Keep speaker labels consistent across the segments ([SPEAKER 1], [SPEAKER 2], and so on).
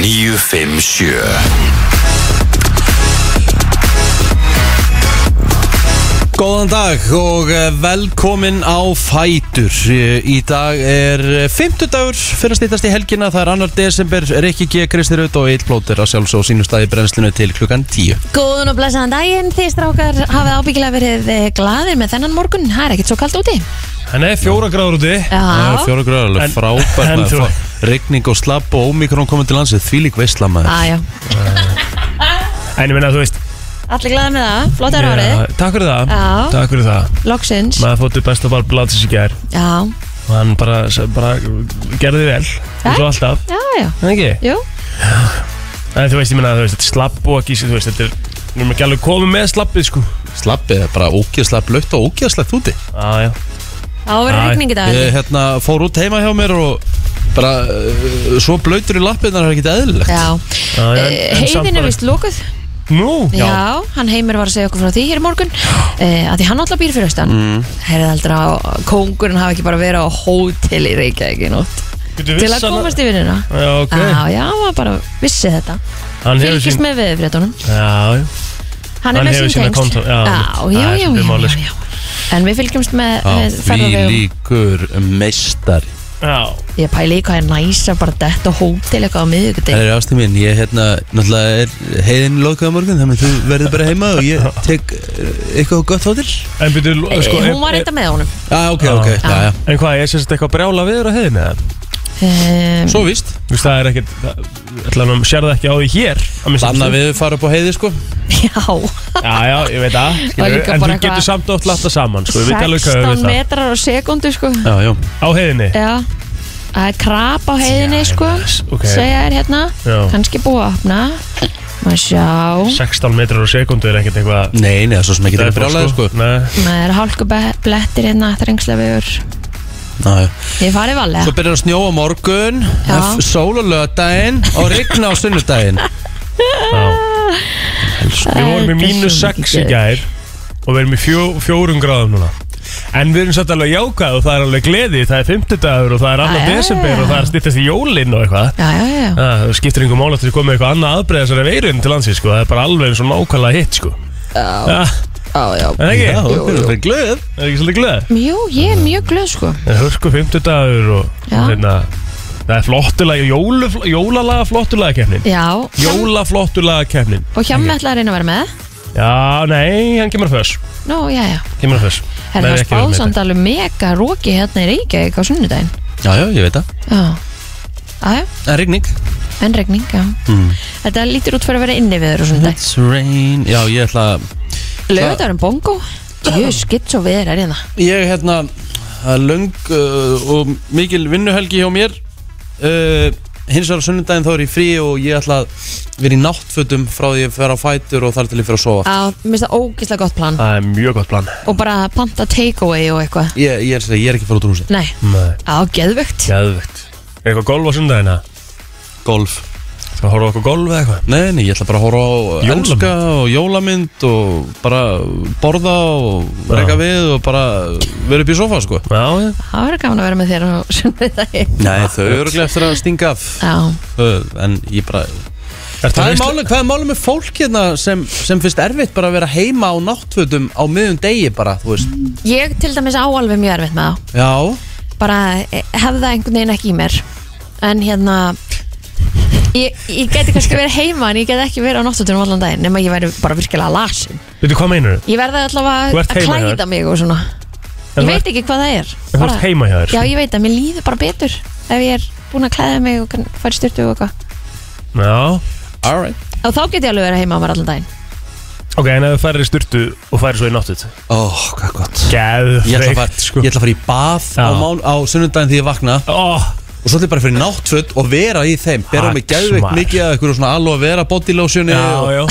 [SPEAKER 1] 957
[SPEAKER 2] Góðan dag og eh, velkomin á Fætur Eh, Í dag er eh, fimmtudagur fyrir að stýttast í helgina Það er annar desember, Rikki G. Kristi Raut og Eitt Blóter að sjálfsög sínum staði brennslinu til klukkan 10
[SPEAKER 3] Góðan og blæsaðan daginn, þið strákar hafið ábyggilega verið eh, glaðir með þennan morgun, það er ekkert svo kalt úti.
[SPEAKER 4] Þannig er fjóra gráður úti
[SPEAKER 2] Það er
[SPEAKER 3] Já,
[SPEAKER 2] fjóra gráður, alveg
[SPEAKER 4] En-
[SPEAKER 2] frábært
[SPEAKER 4] en
[SPEAKER 2] maður.
[SPEAKER 4] þú-
[SPEAKER 2] Fá- Rigning og slapp og ómikrón komið til landsið Þvílík veistla maður
[SPEAKER 3] aðja,
[SPEAKER 4] En ég minna að þú veist
[SPEAKER 3] allir glaðir með það, flott er árið,
[SPEAKER 4] Já, Takk fyrir það
[SPEAKER 3] Já.
[SPEAKER 4] Takk fyrir það
[SPEAKER 3] loksins,
[SPEAKER 4] Maður fóttu besta bara blátis í gær
[SPEAKER 3] já,
[SPEAKER 4] Og hann bara, bara gerði vel eins og alltaf
[SPEAKER 3] já, já,
[SPEAKER 4] En ekki
[SPEAKER 3] jú,
[SPEAKER 4] En þú veist, ég minna að þú veist Þetta er slapp og ekki Þú veist, þetta er Við erum ekki alveg komið með slappið sko
[SPEAKER 2] Slappið er bara ógeðslega blöitt og ógeðslega úti
[SPEAKER 4] Já, já
[SPEAKER 3] þá verður
[SPEAKER 4] Æ,
[SPEAKER 3] regning í dag.
[SPEAKER 2] Ég hérna, fór út heima hjá mér og bara uh, svo blöytur í lappirnar er ekki eðlilegt
[SPEAKER 3] Já, Eh,
[SPEAKER 4] Já, já, en- en samt
[SPEAKER 3] heiðin er
[SPEAKER 4] bara-
[SPEAKER 3] vist lókuð
[SPEAKER 4] Nú
[SPEAKER 3] já. hann heimir var að segja okkur frá því hér í morgun uh, að því hann alltaf býr fyrir austan mm. Herðið aldrei að kóngurinn hafi ekki bara verið á hótel í Reykjavík í nótt Til
[SPEAKER 4] Getur vissan
[SPEAKER 3] að komast í vinnuna
[SPEAKER 4] Já, ok
[SPEAKER 3] Já, já, hann var bara vissi þetta
[SPEAKER 4] Hann hefur
[SPEAKER 3] Fylgist
[SPEAKER 4] sín
[SPEAKER 3] með veðurfréttunum
[SPEAKER 4] Já, já
[SPEAKER 3] Hann er
[SPEAKER 4] Hann
[SPEAKER 3] með
[SPEAKER 4] hefur
[SPEAKER 3] sín
[SPEAKER 4] sína
[SPEAKER 3] tengsl
[SPEAKER 4] kontra- já,
[SPEAKER 3] já, já,
[SPEAKER 4] það er
[SPEAKER 3] já, já,
[SPEAKER 4] svolítið málið,
[SPEAKER 3] já,
[SPEAKER 4] sko.
[SPEAKER 3] já En við fylgjumst með, eh, með
[SPEAKER 2] Því
[SPEAKER 3] ferðarvegum
[SPEAKER 2] líkur meistari
[SPEAKER 4] Já
[SPEAKER 3] Ég pæli í hvað er næs að bara detta á hótel eitthvað á miðvikudegi
[SPEAKER 2] Það er ástin mín, ég hérna, náttúrulega er heiðin lokaða morgun, þannig að þú verður bara heima og ég tek eh, eitthvað gott hótel Já,
[SPEAKER 4] En byrju,
[SPEAKER 3] Eh,
[SPEAKER 4] sko
[SPEAKER 3] Hún var
[SPEAKER 4] en-
[SPEAKER 3] reynda með honum
[SPEAKER 2] ok,
[SPEAKER 4] Já.
[SPEAKER 2] ok,
[SPEAKER 4] Já.
[SPEAKER 2] já, já
[SPEAKER 4] En hvað, ég sést eitthvað brjála viður á heiðinni eða?
[SPEAKER 3] um,
[SPEAKER 2] Svo víst,
[SPEAKER 4] Þú veist, það er ekkert það- ætla hann að sér það ekki á því hér að minnsta
[SPEAKER 2] þannig að
[SPEAKER 4] kosti.
[SPEAKER 2] við fara upp á heiði, sko
[SPEAKER 3] Já
[SPEAKER 4] Já, já, ég veit að
[SPEAKER 3] Og líka
[SPEAKER 4] Eh, En þú
[SPEAKER 3] bara
[SPEAKER 4] getur
[SPEAKER 3] eitthvað-
[SPEAKER 4] samt oft latta saman, sko Við veit alveg hvað við
[SPEAKER 3] 16
[SPEAKER 4] það
[SPEAKER 3] metrar á sekundu sko
[SPEAKER 2] Já, já,
[SPEAKER 4] Á heiðinni
[SPEAKER 3] Já Það er krap á heiðinni
[SPEAKER 4] Já,
[SPEAKER 3] sko
[SPEAKER 4] yes, ok.
[SPEAKER 3] Segja þér hérna
[SPEAKER 4] Já.
[SPEAKER 3] kannski búið að opna Maður sjá
[SPEAKER 4] 16 metrar á sekundu er ekkert eitthvað
[SPEAKER 2] nei, nei, það er svo sem ekki
[SPEAKER 4] Það
[SPEAKER 2] ekki
[SPEAKER 4] er
[SPEAKER 2] brjálæði, sko
[SPEAKER 4] Nei,
[SPEAKER 3] Maður er hálku blettir hérna Þrengslega viður
[SPEAKER 2] Já, já.
[SPEAKER 3] Ég farið valega
[SPEAKER 2] Svo byrjar að snjóa á morgun,
[SPEAKER 3] Já.
[SPEAKER 2] f- sól á lögadaginn og rigna á sunnudaginn
[SPEAKER 4] já Við vorum
[SPEAKER 3] Þetta
[SPEAKER 4] í
[SPEAKER 3] er
[SPEAKER 4] mínus
[SPEAKER 3] svo mikið
[SPEAKER 4] 6 í gær Og við erum í fjó, fjórum gráðum núna En við erum satt alveg jákvæð og það er alveg gleði Það er 50 dagur og það er
[SPEAKER 3] Já,
[SPEAKER 4] annar
[SPEAKER 3] já, já.
[SPEAKER 4] desember Og það er stýttast í jólinn og eitthvað
[SPEAKER 3] Já, já, já
[SPEAKER 4] Ah, Það skiptir einhver mál að þetta komið eitthvað annað aðbreið þessari veirun til landsins sko. Það er bara alveg eins og nákvæmlega hitt sko.
[SPEAKER 3] Já,
[SPEAKER 4] ah,
[SPEAKER 3] já, já
[SPEAKER 4] En ekki,
[SPEAKER 2] Já, þú fyrir glöð
[SPEAKER 4] er ekki svolítið glöð
[SPEAKER 3] Jú, ég er mjög glöð sko
[SPEAKER 4] Það er hörku 50 dagur og
[SPEAKER 3] Já.
[SPEAKER 4] hérna, Það er flottulega, jólu, jólalaga flottulega kefnin
[SPEAKER 3] Já,
[SPEAKER 4] Jóla flottulega kefnin
[SPEAKER 3] og hjá mig ætlaði að reyna að vera með
[SPEAKER 4] Já, nei, hann kemur að fös
[SPEAKER 3] Nú, já, já
[SPEAKER 4] Kemur að fös
[SPEAKER 3] Er það spáðsamt alveg mega róki hérna í Reykjavík á sunnudaginn
[SPEAKER 2] Já, já, ég veit það,
[SPEAKER 3] Já, já, já
[SPEAKER 2] en rigning
[SPEAKER 3] En regning, já
[SPEAKER 2] Mm.
[SPEAKER 3] Þetta lítur út fyrir að vera inni við þér og svona
[SPEAKER 2] It's rain, já, ég ætla að
[SPEAKER 3] Lögðar um bongo Jú, skitt svo við er hérna
[SPEAKER 2] ég hérna það er löng uh, og mikil vinnuhelgi hjá mér uh, hins vegar á sunnudaginn þá er ég frí og ég ætla að vera í náttfötum frá því að vera á fætur og þar til ég fyrir að sofa
[SPEAKER 3] Á, mér finnst það ógislega gott plan
[SPEAKER 4] Það er mjög gott plan
[SPEAKER 3] Og bara panta takeaway og eitthvað
[SPEAKER 2] ég, ég, er, ég er ekki að fara út úr húsi
[SPEAKER 3] Nei,
[SPEAKER 4] Nei,
[SPEAKER 3] á, geðvögt
[SPEAKER 4] Geðvegt Er eitthvað golf á sundagina?
[SPEAKER 2] golf
[SPEAKER 4] Skal horfa á okkur golf eða eitthvað?
[SPEAKER 2] nei, nei, ég ætla bara að horfa á
[SPEAKER 4] Jólamynd.
[SPEAKER 2] elska og jólamynd og bara borða og
[SPEAKER 4] Já.
[SPEAKER 2] reyka við og bara vera upp í sofa sko
[SPEAKER 4] Já, já
[SPEAKER 3] Það verður gaman að vera með þér á sunnudagi
[SPEAKER 2] nei, þau eru örugglega eftir að stinga af
[SPEAKER 3] Já,
[SPEAKER 2] uh, en ég bara
[SPEAKER 4] Ertu
[SPEAKER 2] Hvað er,
[SPEAKER 4] veislu-
[SPEAKER 2] málum, hvað er málum með fólk hérna sem, sem finnst erfitt bara að vera heima á náttfötum á miðum degi bara, þú veist
[SPEAKER 3] ég til dæmis á alveg mjög erfitt með það
[SPEAKER 2] Já,
[SPEAKER 3] Bara eh, hefði það einhvern veginn ekki í mér En hérna Ég, ég geti kannski verið heima en ég geti ekki verið á náttúrtunum allan daginn nema ég væri bara virkilega lasin
[SPEAKER 4] Veitu, hvað meinarðu?
[SPEAKER 3] Ég verði
[SPEAKER 4] Þú
[SPEAKER 3] allavega
[SPEAKER 4] ert
[SPEAKER 3] að
[SPEAKER 4] heima hjá
[SPEAKER 3] klæða
[SPEAKER 4] þér?
[SPEAKER 3] mig og svona
[SPEAKER 4] En
[SPEAKER 3] Ég
[SPEAKER 4] þú
[SPEAKER 3] veit
[SPEAKER 4] ert-
[SPEAKER 3] ekki hvað það er
[SPEAKER 4] en Þú ert heima hjá þér
[SPEAKER 3] Já,
[SPEAKER 4] sko.
[SPEAKER 3] ég veit að mér líður bara betur ef ég er búin að klæða mig og kann- fara í styrtu og eitthvað
[SPEAKER 4] Já
[SPEAKER 2] alright
[SPEAKER 3] og þá get ég alveg verið heima á mér allan daginn
[SPEAKER 4] Ok, en ef þú færir í styrtu og færir svo í náttut
[SPEAKER 2] Ó, Oh, hvað gott Ég ætla að fara,
[SPEAKER 4] Geðveikt sko
[SPEAKER 2] ég ætla að fara í bað
[SPEAKER 4] Já.
[SPEAKER 2] á, mán, á sunnundaginn því ég vakna
[SPEAKER 4] Ó,
[SPEAKER 2] og svo ætla ég bara að fara í náttföt og vera í þeim bera
[SPEAKER 4] Ha,
[SPEAKER 2] mig gæðveikt
[SPEAKER 4] smart.
[SPEAKER 2] mikið að ykkur svona alveg að vera bodylotioni
[SPEAKER 4] já,
[SPEAKER 2] og
[SPEAKER 4] já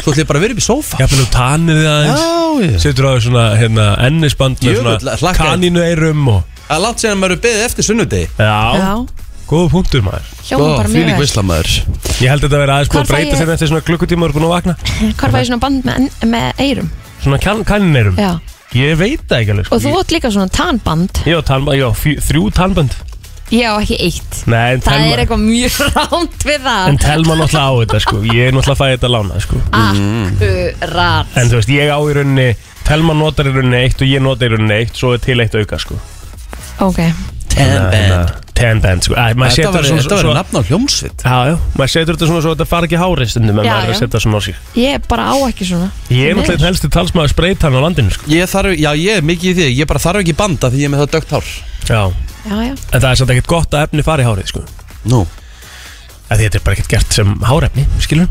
[SPEAKER 2] svo ætla ég bara að vera upp í sófa
[SPEAKER 4] Jafnvel þú tannir þið aðeins
[SPEAKER 2] ég
[SPEAKER 4] Setur á þér svona hérna, ennisband
[SPEAKER 2] Jöfull,
[SPEAKER 4] með
[SPEAKER 2] hlakka
[SPEAKER 4] svona
[SPEAKER 2] ég.
[SPEAKER 4] kanínu eirum og
[SPEAKER 2] Það er langt síðan maður er beðið eftir sunnundegi
[SPEAKER 4] Já, góða punktur maður
[SPEAKER 3] hljóma bara mjög
[SPEAKER 2] fýling
[SPEAKER 3] vel
[SPEAKER 2] veislamæður
[SPEAKER 4] Ég held að þetta verið aðeins
[SPEAKER 3] Hvar
[SPEAKER 4] búið að
[SPEAKER 3] fæ
[SPEAKER 4] breyta
[SPEAKER 3] ég-
[SPEAKER 4] þetta eftir svona klukkutíma og er búin að vakna
[SPEAKER 3] Hvar fæði ég svona band með, með eirum?
[SPEAKER 4] Svona kan kanínu eirum
[SPEAKER 3] Já,
[SPEAKER 4] Ég veit það ekki alveg sko.
[SPEAKER 3] og þú átt líka svona tanband
[SPEAKER 4] Ég á tannband, ég á fjö- þrjú tannband
[SPEAKER 3] Ég á ekki eitt
[SPEAKER 4] Nei, en
[SPEAKER 3] Það er
[SPEAKER 4] telma,
[SPEAKER 3] eitthvað mjög rámt við
[SPEAKER 4] en
[SPEAKER 3] það
[SPEAKER 4] telma náttúrulega á þetta sko Ég er náttúrulega að fæða þetta lána sko
[SPEAKER 3] Ah. Akkurat
[SPEAKER 4] En þú veist, ég á í rauninni Telma notar í rauninni eitt og ég notar í rauninni eitt Svo er til eitt auka sko
[SPEAKER 3] Ok
[SPEAKER 2] Ten band
[SPEAKER 4] Hérna, Ten band sko Æ, maður
[SPEAKER 2] Þetta
[SPEAKER 4] setur
[SPEAKER 2] verður
[SPEAKER 4] svona-
[SPEAKER 2] þetta verður
[SPEAKER 4] svona-
[SPEAKER 2] nafn á hljómsveit
[SPEAKER 4] Já, já, maður setur þetta svona svo þetta far ekki hárið stundum en
[SPEAKER 3] Já,
[SPEAKER 4] maður er að
[SPEAKER 3] já.
[SPEAKER 4] setja svona á sig
[SPEAKER 3] Ég bara á ekki svona
[SPEAKER 4] Ég er náttúrulega einn helsti talsmaður spreytan á landinu sko.
[SPEAKER 2] Ég þarf, já ég er mikið í því Ég bara þarf ekki banda því ég er með það dögt hár
[SPEAKER 4] Já,
[SPEAKER 3] Já, já
[SPEAKER 4] en það er samt ekkert gott að efni fari hárið sko.
[SPEAKER 2] Nú
[SPEAKER 4] Af því Þetta er bara ekkert gert sem hárefni, skilur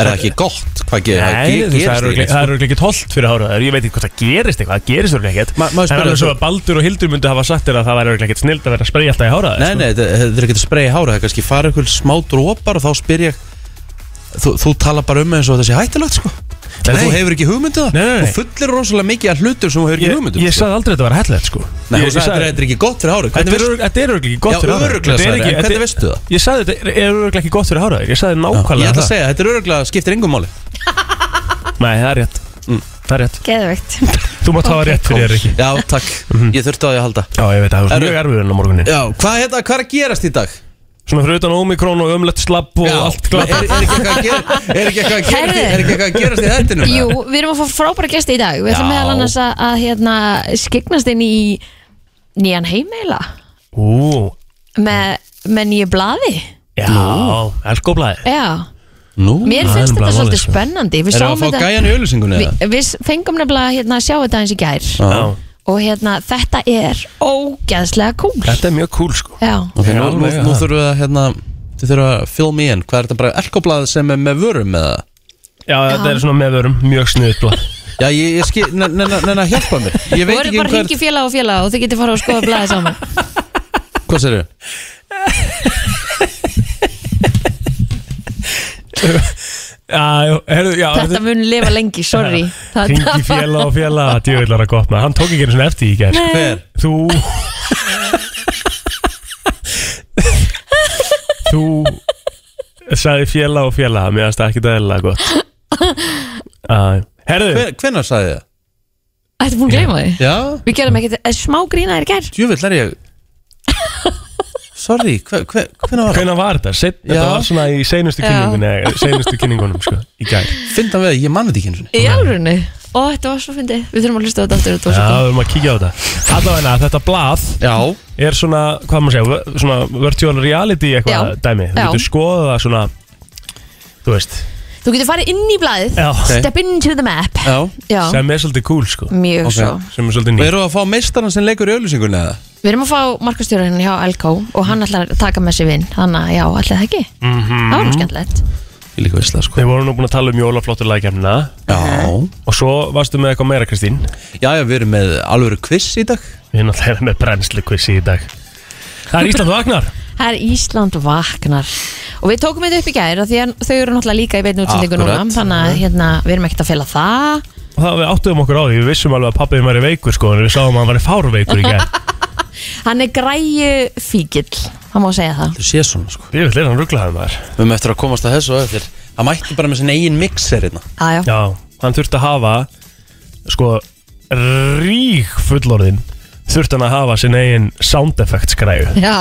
[SPEAKER 2] Er það ekki gott? Hvað gerir það?
[SPEAKER 4] Nei, þú veist, það er
[SPEAKER 2] Gerist sko?
[SPEAKER 4] örugglega-
[SPEAKER 2] ekki
[SPEAKER 4] það er örugglega ekkert holdt fyrir hárið Ég veit ekki hvort það gerist eitthvað, það gerist örugglega ekkert
[SPEAKER 2] Ma- maður
[SPEAKER 4] En
[SPEAKER 2] spyrir
[SPEAKER 4] alveg svo
[SPEAKER 2] þessu-
[SPEAKER 4] að Baldur og Hildur myndu hafa sagt þér að það væri örugglega ekkert snild að vera að spreja alltaf í hárið sko.
[SPEAKER 2] Nei, nei, þetta þetta er ekki að spreja hára Það er kannski fara ykkur smá drópar og þá spyr ég Þú, þú tala bara um eins og þessi hættilegt sko
[SPEAKER 4] Nei.
[SPEAKER 2] Og þú hefur ekki hugmyndu það
[SPEAKER 4] Nei, nei, nei.
[SPEAKER 2] Þú fullir rosalega mikið af hlutum sem þú hefur ekki
[SPEAKER 4] Ég,
[SPEAKER 2] hugmyndu
[SPEAKER 4] ég sagði aldrei að þetta var hættilegt sko
[SPEAKER 2] Nei,
[SPEAKER 4] Ég-
[SPEAKER 2] þú
[SPEAKER 4] ég
[SPEAKER 2] sagði
[SPEAKER 4] sagði-
[SPEAKER 2] þetta er ekki gott fyrir hára
[SPEAKER 4] Þetta er örugg- þetta er örugglega ekki gott
[SPEAKER 2] Já,
[SPEAKER 4] fyrir hárið
[SPEAKER 2] örugglega
[SPEAKER 4] Þetta er
[SPEAKER 2] sagði
[SPEAKER 4] ekki-
[SPEAKER 2] það, en
[SPEAKER 4] þetta-
[SPEAKER 2] hvernig veistu það?
[SPEAKER 4] Ég sagði þetta er örugglega ekki gott fyrir hárið Ég sagði
[SPEAKER 2] Ég
[SPEAKER 4] nákvæmlega
[SPEAKER 2] ætla að
[SPEAKER 4] það
[SPEAKER 2] segja, þetta er öruglega skiptir engum máli
[SPEAKER 4] Nei, það er rétt
[SPEAKER 2] Mm.
[SPEAKER 4] Það er rétt
[SPEAKER 3] Geðveikt
[SPEAKER 4] Þú mátt hafa rétt fyrir þér ekki
[SPEAKER 2] Já, takk, ég þurfti á því að halda
[SPEAKER 4] Já, ég veit að það er
[SPEAKER 2] Eru-
[SPEAKER 4] mjög erfið enn á morgunin
[SPEAKER 2] Já, hvað, hérna, hvað er að gerast í dag?
[SPEAKER 4] Svona fyrir utan ómikrón og ömlegt slapp og
[SPEAKER 2] Já,
[SPEAKER 4] allt glatt
[SPEAKER 2] er, er ekki eitthvað að gera- er ekki eitthvað að gerast í-
[SPEAKER 3] Herðu.
[SPEAKER 2] er ekki eitthvað að gerast í þættinum?
[SPEAKER 3] Jú, við erum að fá frábæra gesti í dag Við ætlum
[SPEAKER 2] Já.
[SPEAKER 3] meðal annars að, að hérna, skiknast inn í nýjan heimeila
[SPEAKER 4] Ú,
[SPEAKER 3] með, með nýju blaði
[SPEAKER 4] já, elskoblaði
[SPEAKER 3] Já,
[SPEAKER 2] Nú,
[SPEAKER 3] mér
[SPEAKER 4] það er
[SPEAKER 3] finnst
[SPEAKER 4] nefnilega
[SPEAKER 3] þetta
[SPEAKER 4] málið,
[SPEAKER 3] svolítið
[SPEAKER 4] sko.
[SPEAKER 3] spennandi Við
[SPEAKER 2] er það
[SPEAKER 3] sáum
[SPEAKER 2] að fá
[SPEAKER 3] þetta
[SPEAKER 2] gæjan í öllusingunni eða?
[SPEAKER 3] Við, við fengum nefnilega hérna, að sjá þetta eins í gær
[SPEAKER 2] Já.
[SPEAKER 3] og hérna, þetta er ógeðslega kúl
[SPEAKER 4] Þetta er mjög cool sko
[SPEAKER 3] Já,
[SPEAKER 2] Ok,
[SPEAKER 4] Já,
[SPEAKER 2] nú, nú,
[SPEAKER 4] alveg,
[SPEAKER 2] nú
[SPEAKER 4] já.
[SPEAKER 2] þurfum við að hérna Þið þurfum að fill me in Hvað er þetta bara elkoblað sem er með vörum með það?
[SPEAKER 4] Já, þetta er svona meðvörum, mjög sniðut blað
[SPEAKER 2] Já, ég, ég skil, neina, hjálpa mér Ég
[SPEAKER 3] við vorum
[SPEAKER 2] veit ekki um
[SPEAKER 3] bara að
[SPEAKER 2] hvað,
[SPEAKER 3] hringi félag og félag og þið getið fara að skoða blaði saman
[SPEAKER 2] hvað sér
[SPEAKER 4] Já, já, herðu, já
[SPEAKER 3] Þetta mun lifa lengi, sorry
[SPEAKER 4] Hringi
[SPEAKER 3] Þetta var-
[SPEAKER 4] fjela og fjela, djöðlar að gott maður Hann tók ekki einu svona eftir í gær sko.
[SPEAKER 2] Hver?
[SPEAKER 4] Þú Þú sagði fjela og fjela Mér finnst það ekki dæðilega gott Æ, Herðu,
[SPEAKER 2] Hver, hvenær sagði ég það?
[SPEAKER 3] Þetta er búin að gleyma því
[SPEAKER 2] Já,
[SPEAKER 3] Við gerum ekkert eh, smá grína þér í gær
[SPEAKER 2] djúvill er ég Sorry, hver, hver, hvenær var það?
[SPEAKER 4] Hvenær var þetta? Set, þetta
[SPEAKER 2] Já.
[SPEAKER 4] var svona í seinustu
[SPEAKER 3] Já.
[SPEAKER 4] kynningunum Seinustu kynningunum, sko, í gær
[SPEAKER 2] Findan við að ég manna þetta ekki einu sinni
[SPEAKER 3] Í alvörunni Og þetta var svo fyndið Við þurfum að hlusta á þetta aftur Þetta
[SPEAKER 4] Já,
[SPEAKER 3] var svo
[SPEAKER 4] við erum að kíkja á þetta Allavega, þetta blað
[SPEAKER 2] Já,
[SPEAKER 4] er svona, hvað maður segja v- Svona virtual reality eitthvað
[SPEAKER 3] Já.
[SPEAKER 4] dæmi Þú
[SPEAKER 3] Já.
[SPEAKER 4] getur skoðað það svona Þú veist
[SPEAKER 3] cool Þú getur farið inn í blaðið
[SPEAKER 4] Já.
[SPEAKER 3] Step into the map
[SPEAKER 2] já
[SPEAKER 3] Já,
[SPEAKER 4] Sem er svolítið cool, sko
[SPEAKER 3] mjög
[SPEAKER 2] Ok.
[SPEAKER 3] svo
[SPEAKER 4] Sem er svolítið
[SPEAKER 2] Og
[SPEAKER 4] nýtt
[SPEAKER 2] eru að fá meistaran sem leikur í öllusingunni eða?
[SPEAKER 3] Við erum að fá markastjórun hjá Elko Og hann ætlar að taka með sér vinn Þannig að já, ætlaði það ekki Það var nú skemmtilegt
[SPEAKER 2] Ég líka veist það sko
[SPEAKER 4] Mhm. Við vorum nú búin að tala um jólaflotturlækjæmna
[SPEAKER 2] Já,
[SPEAKER 4] Mhm. Og svo varstu með eitthvað meira, Kristín
[SPEAKER 2] já, já, við erum með alvöru quiz í dag
[SPEAKER 4] Við erum alltaf með brennslu kvissi í dag Það er Ísland vagnar
[SPEAKER 3] Það er Ísland vaknar Og við tókum þetta upp í gær af Því að þau eru náttúrulega líka í beinu útsendingu núna
[SPEAKER 2] Akkurat.
[SPEAKER 3] Þannig að hérna, við erum ekkert að fela það
[SPEAKER 4] Og það við áttuðum okkur á því Við vissum alveg að pappiðum væri veikur, sko En við sáum að hann væri fárveikur í gær
[SPEAKER 3] Hann er græju fíkil Það má segja það
[SPEAKER 2] Þú sé svona sko
[SPEAKER 4] Ég vil leira hann rugglaði maður
[SPEAKER 2] Við erum eftir að komast að þessu og eftir Það mætti bara með sinna eigin mixer hérna
[SPEAKER 3] Aðjá,
[SPEAKER 4] Já, hann þurfti að hafa sko rík fullorðin þurfti hann að hafa sinn eigin sound effects græðu
[SPEAKER 3] já,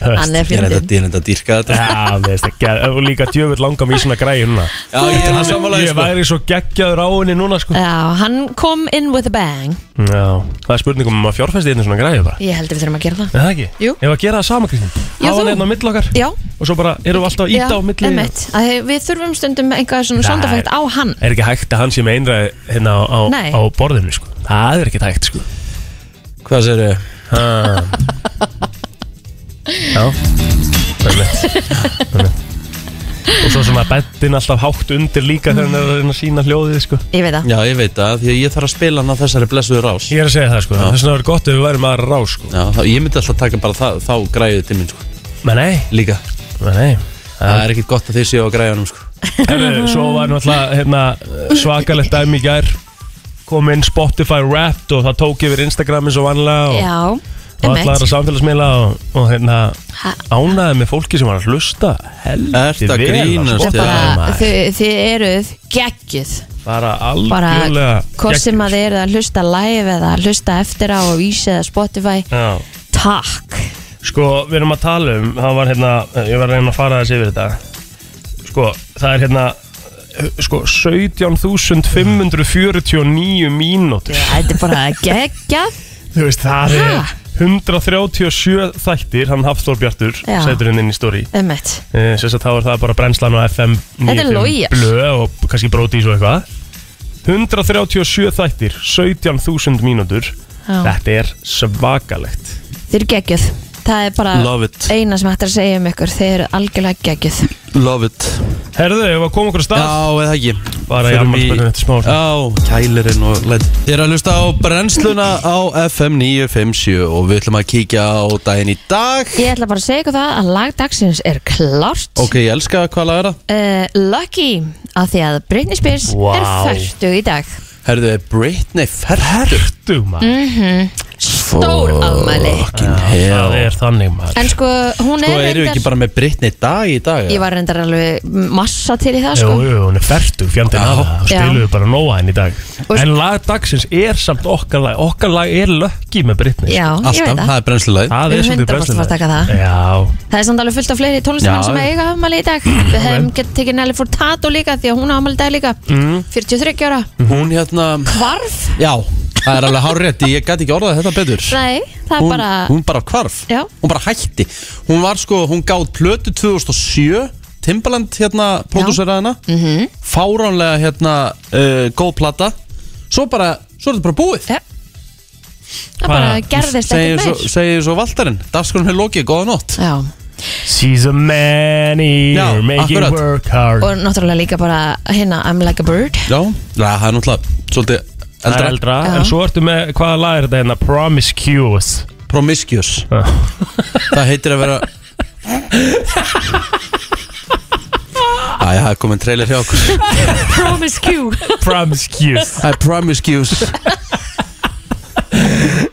[SPEAKER 3] hann er
[SPEAKER 2] Ég er
[SPEAKER 3] fyndin
[SPEAKER 2] enda- ég er enda að dýrka þetta
[SPEAKER 4] Já, mér veist ekki, og líka djöfull langar mér í svona græði núna
[SPEAKER 2] Já, ég er hans samanlega
[SPEAKER 4] Ég
[SPEAKER 2] sko.
[SPEAKER 4] væri svo geggjaður á henni núna sko
[SPEAKER 3] Já, hann kom in with a bang
[SPEAKER 4] Já, það er spurning um að fjárfæsti einnig svona græði bara
[SPEAKER 3] Ég held að við þurfum að gera það
[SPEAKER 4] Er það ekki?
[SPEAKER 3] Jú.
[SPEAKER 4] Ég var að gera það sama Kristín
[SPEAKER 3] Já, þú.
[SPEAKER 4] Hafa hann einn hérna á milli okkar
[SPEAKER 3] Já,
[SPEAKER 4] Og svo bara erum við alltaf
[SPEAKER 3] já,
[SPEAKER 4] ít á milli
[SPEAKER 3] einmitt. Að þið- Við þurfum stundum einhvað svona
[SPEAKER 4] Nei.
[SPEAKER 3] sondafægt á hann
[SPEAKER 4] Er ekki hægt að hann sé með einræði hérna á, á,
[SPEAKER 3] Nei.
[SPEAKER 4] á borðinu sko Það er ekki hægt sko
[SPEAKER 2] Hvað sér þau?
[SPEAKER 4] Ah. Já Einmitt. Einmitt. Og svo svona bendin alltaf hátt undir líka þegar hann er að reyna að sína hljóðið sko.
[SPEAKER 3] Ég veit það
[SPEAKER 2] Já, ég veit það, því að ég þarf að spila hann á þessari blessuðu rás Já,
[SPEAKER 4] Ég er að segja það sko, þess vegna er gott ef við værum aðra rá sko.
[SPEAKER 2] þá, ég myndi alltaf taka bara það, þá græðu til mín sko
[SPEAKER 4] Men nei,
[SPEAKER 2] Líka,
[SPEAKER 4] men nei
[SPEAKER 2] það er ekkit gott að þið séu á græðunum sko
[SPEAKER 4] Herru, Svo var náttúrulega hérna, svakalegt dæmi í gær kom inn Spotify Wrapped og það tók yfir Instagramin svo vanlega og,
[SPEAKER 3] Já,
[SPEAKER 4] og allar
[SPEAKER 3] emmett
[SPEAKER 4] aðra samfélagsmiðla og, og hérna ánæði með fólki sem var að hlusta helviti
[SPEAKER 2] Ertu að
[SPEAKER 4] vel á
[SPEAKER 2] grínast,
[SPEAKER 4] Spotify,
[SPEAKER 2] já,
[SPEAKER 3] Bara
[SPEAKER 4] maður.
[SPEAKER 3] þið, þið eruð geggjuð
[SPEAKER 4] bara
[SPEAKER 3] Bara
[SPEAKER 4] algjörlega
[SPEAKER 3] hvort sem
[SPEAKER 4] geggjur.
[SPEAKER 3] að þið eruð að hlusta live eða að hlusta eftir á og vísi eða Spotify
[SPEAKER 4] Já.
[SPEAKER 3] Takk
[SPEAKER 4] Sko, við erum að tala um Það var hérna, ég var að reyna að fara þessi yfir þetta Sko, það er hérna Sko, 17.549 mínútur
[SPEAKER 3] Þetta er bara geggja
[SPEAKER 4] Þú veist, það
[SPEAKER 3] Ha?
[SPEAKER 4] er 137 þættir Hann Hafþór Bjartur
[SPEAKER 3] Já.
[SPEAKER 4] setur hann inn í story
[SPEAKER 3] Emmett
[SPEAKER 4] Eh, sem sagt þá er það bara brennslan á FM 95
[SPEAKER 3] Þetta er Lojas.
[SPEAKER 4] blöð og kannski brótís og eitthvað 137 þættir 17.000 mínútur þetta er svakalegt
[SPEAKER 3] Þið eru geggjöð Það er bara
[SPEAKER 2] Love it.
[SPEAKER 3] eina sem hægt er að segja um ykkur Þið eru algjörlega geggjöð
[SPEAKER 2] Love it
[SPEAKER 4] Herðu, ef að koma okkur að
[SPEAKER 2] Já,
[SPEAKER 4] stað
[SPEAKER 2] eða ekki
[SPEAKER 4] bara í
[SPEAKER 2] Förum
[SPEAKER 4] ammalspöldinu eftir smá orð.
[SPEAKER 2] Já, kælirinn og led Ég er að hlusta á brennsluna á FM 957 og við ætlum að kíkja á daginn í dag
[SPEAKER 3] Ég ætla bara að segja ykkur það að lag dagsins er klárt
[SPEAKER 2] Ok, ég elska hvað lag er það
[SPEAKER 3] uh, Lucky að því að Britney Spears er
[SPEAKER 4] Vá.
[SPEAKER 3] færtug í dag
[SPEAKER 2] Herðu, Britney Ferður
[SPEAKER 4] Þú, maður,
[SPEAKER 3] Mhm. Stór afmæli
[SPEAKER 2] Fucking
[SPEAKER 4] það
[SPEAKER 2] hell
[SPEAKER 4] er þannig maður
[SPEAKER 3] En sko hún
[SPEAKER 2] Sko,
[SPEAKER 3] er
[SPEAKER 2] erum við ekki bara með Britney dag í dag?
[SPEAKER 3] Ég var reyndar alveg massa til í það sko
[SPEAKER 4] Jú, jú, hún er ferdu, fjandinn
[SPEAKER 2] Já.
[SPEAKER 4] af það
[SPEAKER 3] Já.
[SPEAKER 4] Stiluðu bara nóa henni í dag
[SPEAKER 3] Og-
[SPEAKER 4] En lag dagsins er samt okkar lag Okkar lag er lökki með Britney sko.
[SPEAKER 3] Já, ég
[SPEAKER 2] Alltaf,
[SPEAKER 3] veit
[SPEAKER 2] það
[SPEAKER 3] það
[SPEAKER 2] er brennslulagið
[SPEAKER 4] Það er
[SPEAKER 3] Við 100%
[SPEAKER 4] svolítið brennslan
[SPEAKER 3] að taka það.
[SPEAKER 4] Já,
[SPEAKER 3] Það er samt alveg fullt af fleiri tónlistamenn
[SPEAKER 2] Já,
[SPEAKER 3] sem
[SPEAKER 2] já.
[SPEAKER 3] eiga afmæli í dag Við hefum gett tekið Nelly Furtado líka því að hún á afmæli í dag líka
[SPEAKER 4] Mm.
[SPEAKER 3] 43 ára
[SPEAKER 2] Hún hérna,
[SPEAKER 3] Hvarf?
[SPEAKER 2] já, það er alveg hárétti Ég gæti ekki orðað þetta betur
[SPEAKER 3] Nei, það er
[SPEAKER 2] hún,
[SPEAKER 3] bara
[SPEAKER 2] hún bara hvarf
[SPEAKER 3] Já.
[SPEAKER 2] Hún bara hætti Hún var sko, hún gáð plötu 2007 Timbaland hérna, pródúseraðina -hmm.
[SPEAKER 3] Mm-hmm.
[SPEAKER 2] Fáránlega hérna uh, Góð plata Svo bara, svo er þetta bara búið
[SPEAKER 3] ja. Það bara
[SPEAKER 4] Hvað-
[SPEAKER 3] gerðist
[SPEAKER 2] Segir
[SPEAKER 3] ekkert
[SPEAKER 2] svo,
[SPEAKER 3] meir
[SPEAKER 2] segir svo Valdarinn Dagskrunum er lokið, góða nótt
[SPEAKER 3] Já,
[SPEAKER 4] she's a man
[SPEAKER 2] Já,
[SPEAKER 4] here Making
[SPEAKER 2] akkurat.
[SPEAKER 4] work hard
[SPEAKER 3] og náttúrulega líka bara hérna I'm like a bird
[SPEAKER 2] Já, ja, það er náttúrulega svolítið
[SPEAKER 4] Það er
[SPEAKER 2] eldra
[SPEAKER 4] eldra,
[SPEAKER 3] Já.
[SPEAKER 4] en svo ertu með, hvaða lag er þetta hérna, Promiscuous Ah.
[SPEAKER 2] Promiscuous
[SPEAKER 4] Já.
[SPEAKER 2] Það heitir að vera Æja, það er komin trailer hjá okkur
[SPEAKER 3] Promiscue
[SPEAKER 4] Promiscuous
[SPEAKER 2] Það er promiscuous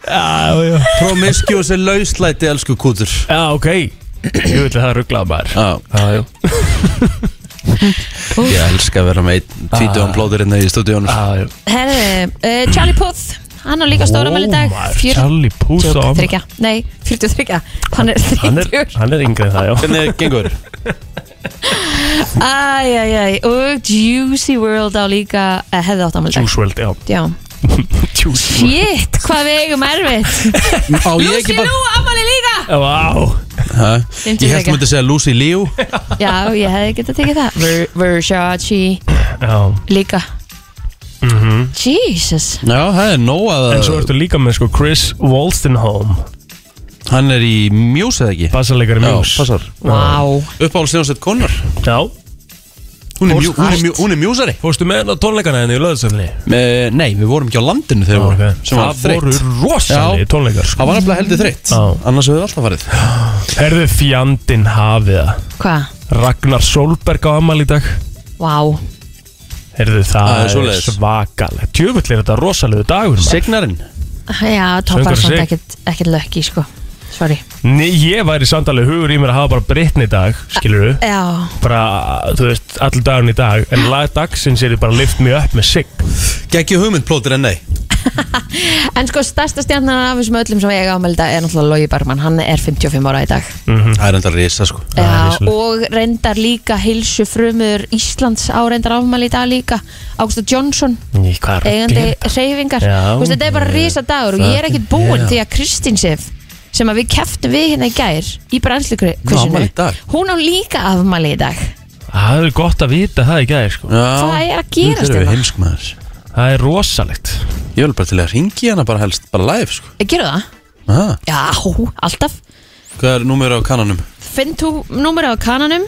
[SPEAKER 4] Já, já
[SPEAKER 2] Promiscuous er lauslæti, elsku kútur
[SPEAKER 4] Já, ok Ég vil að það rugglaða maður
[SPEAKER 2] Já,
[SPEAKER 4] Já, já
[SPEAKER 2] ég elska að vera með einn Tvítuðan blóðurinn í stúdíónu
[SPEAKER 4] Ah. Já, já
[SPEAKER 3] Herðu, uh, Charlie Puth Hann á líka stóra mæli í dag
[SPEAKER 4] Ó, maður,
[SPEAKER 3] Fjör-
[SPEAKER 4] Charlie Puth
[SPEAKER 3] Tjók,
[SPEAKER 4] á afmæli.
[SPEAKER 3] þriggja. Nei, 43 Hann er
[SPEAKER 4] Hann er,
[SPEAKER 3] 30
[SPEAKER 4] hann er yngri en það, já
[SPEAKER 2] Hvernig gengur?
[SPEAKER 3] Æj, æj, æj Og Juicy World á líka eh, Hefði átt ámæli í dag
[SPEAKER 4] Juice WRLD, já
[SPEAKER 3] Já
[SPEAKER 4] Juice
[SPEAKER 3] Shit, hvað við eigum erfitt
[SPEAKER 2] Á, ég
[SPEAKER 3] Lucy
[SPEAKER 2] ekki
[SPEAKER 3] Lou
[SPEAKER 2] bara
[SPEAKER 3] ámæli líka
[SPEAKER 4] WRLD Vá
[SPEAKER 2] Hæ?
[SPEAKER 3] Fimmtíu
[SPEAKER 2] Ég held
[SPEAKER 3] þriggja.
[SPEAKER 2] að myndi segja Lucy Liu
[SPEAKER 3] Já, ég hefði getað tekið það Ver- Versace
[SPEAKER 4] Já
[SPEAKER 3] líka Jesus
[SPEAKER 2] Já, það er nóg að
[SPEAKER 4] Mhm. En svo ertu líka með sko Chris Wolstenholme
[SPEAKER 2] Hann er í Muse eða ekki
[SPEAKER 4] Bassalegari
[SPEAKER 2] Já,
[SPEAKER 4] Muse
[SPEAKER 2] passar.
[SPEAKER 3] Wow
[SPEAKER 2] Uppáhaldsnjónsett konar
[SPEAKER 4] Já
[SPEAKER 2] Hún er, mjú, hún er, mjú, hún er mjúsari
[SPEAKER 4] Fórstu með hérna tónleikana henni í löðsönni?
[SPEAKER 2] Eh, Nei, við vorum ekki á landinu þegar við vorum Sem var
[SPEAKER 4] Það voru
[SPEAKER 2] þreytt
[SPEAKER 4] rosalega
[SPEAKER 2] Já.
[SPEAKER 4] tónleikar sko.
[SPEAKER 2] Það var nefnilega heldur þreytt
[SPEAKER 4] Já.
[SPEAKER 2] Annars hefur við alltaf farið
[SPEAKER 4] Herðu fjandinn hafið það
[SPEAKER 3] Hvað?
[SPEAKER 4] Ragnar Solberg á amal í dag
[SPEAKER 3] Wow
[SPEAKER 4] Herðu
[SPEAKER 2] Það er
[SPEAKER 4] það er
[SPEAKER 2] svoleiðis.
[SPEAKER 4] svakalegt Tjöfull er þetta rosalega dagur maður.
[SPEAKER 2] Signarinn
[SPEAKER 3] Já, toppar
[SPEAKER 4] Söngvari
[SPEAKER 3] samt
[SPEAKER 4] sig.
[SPEAKER 3] ekkert ekkert lökki, sko Sorry
[SPEAKER 4] Nei, Ég væri samtalið hugur í mér að hafa bara brittni dag Skilur þú?
[SPEAKER 3] Já
[SPEAKER 4] Bara, þú veist, allir dagun í dag En
[SPEAKER 3] Ah.
[SPEAKER 4] lag dagsins er ég bara lift me up með sig
[SPEAKER 2] Gekki hugmynd plótir en nei
[SPEAKER 3] En sko, stærsta stjarnan af þessum öllum sem ég ámelda er náttúrulega Logi Bergmann, hann er 55 ára í dag
[SPEAKER 2] Það er enda risa sko
[SPEAKER 4] Mhm. er
[SPEAKER 3] Já,
[SPEAKER 4] risalegt.
[SPEAKER 3] og reyndar líka hilsu frumur Íslands á reyndar afmæli í dag líka Águsta Johnson,
[SPEAKER 4] Í hvað er að
[SPEAKER 3] eigandi
[SPEAKER 4] gera?
[SPEAKER 3] reyfingar
[SPEAKER 4] Já,
[SPEAKER 3] Vist, Þetta er bara
[SPEAKER 4] ég-
[SPEAKER 3] risa dagur og ég er ekkert
[SPEAKER 4] fucking
[SPEAKER 3] búin
[SPEAKER 4] hell.
[SPEAKER 3] því að Kristín Sif sem að við keftum við hérna í gær í
[SPEAKER 2] Hún á afmæli
[SPEAKER 3] brænslukursinu
[SPEAKER 2] í dag.
[SPEAKER 3] hún á líka afmæli í dag
[SPEAKER 4] Það er gott að vita það í gæði sko.
[SPEAKER 3] Hvað er að gerast
[SPEAKER 2] Nú þurfum
[SPEAKER 3] hérna?
[SPEAKER 2] við heimsk maður
[SPEAKER 4] Það er rosalegt
[SPEAKER 2] Ég vil bara til að ringi hana bara helst, bara live sko
[SPEAKER 3] Eh, Gerðu það?
[SPEAKER 2] ah,
[SPEAKER 3] Já, alltaf
[SPEAKER 2] Hvað er númer á kananum?
[SPEAKER 3] Finn þú númur á kananum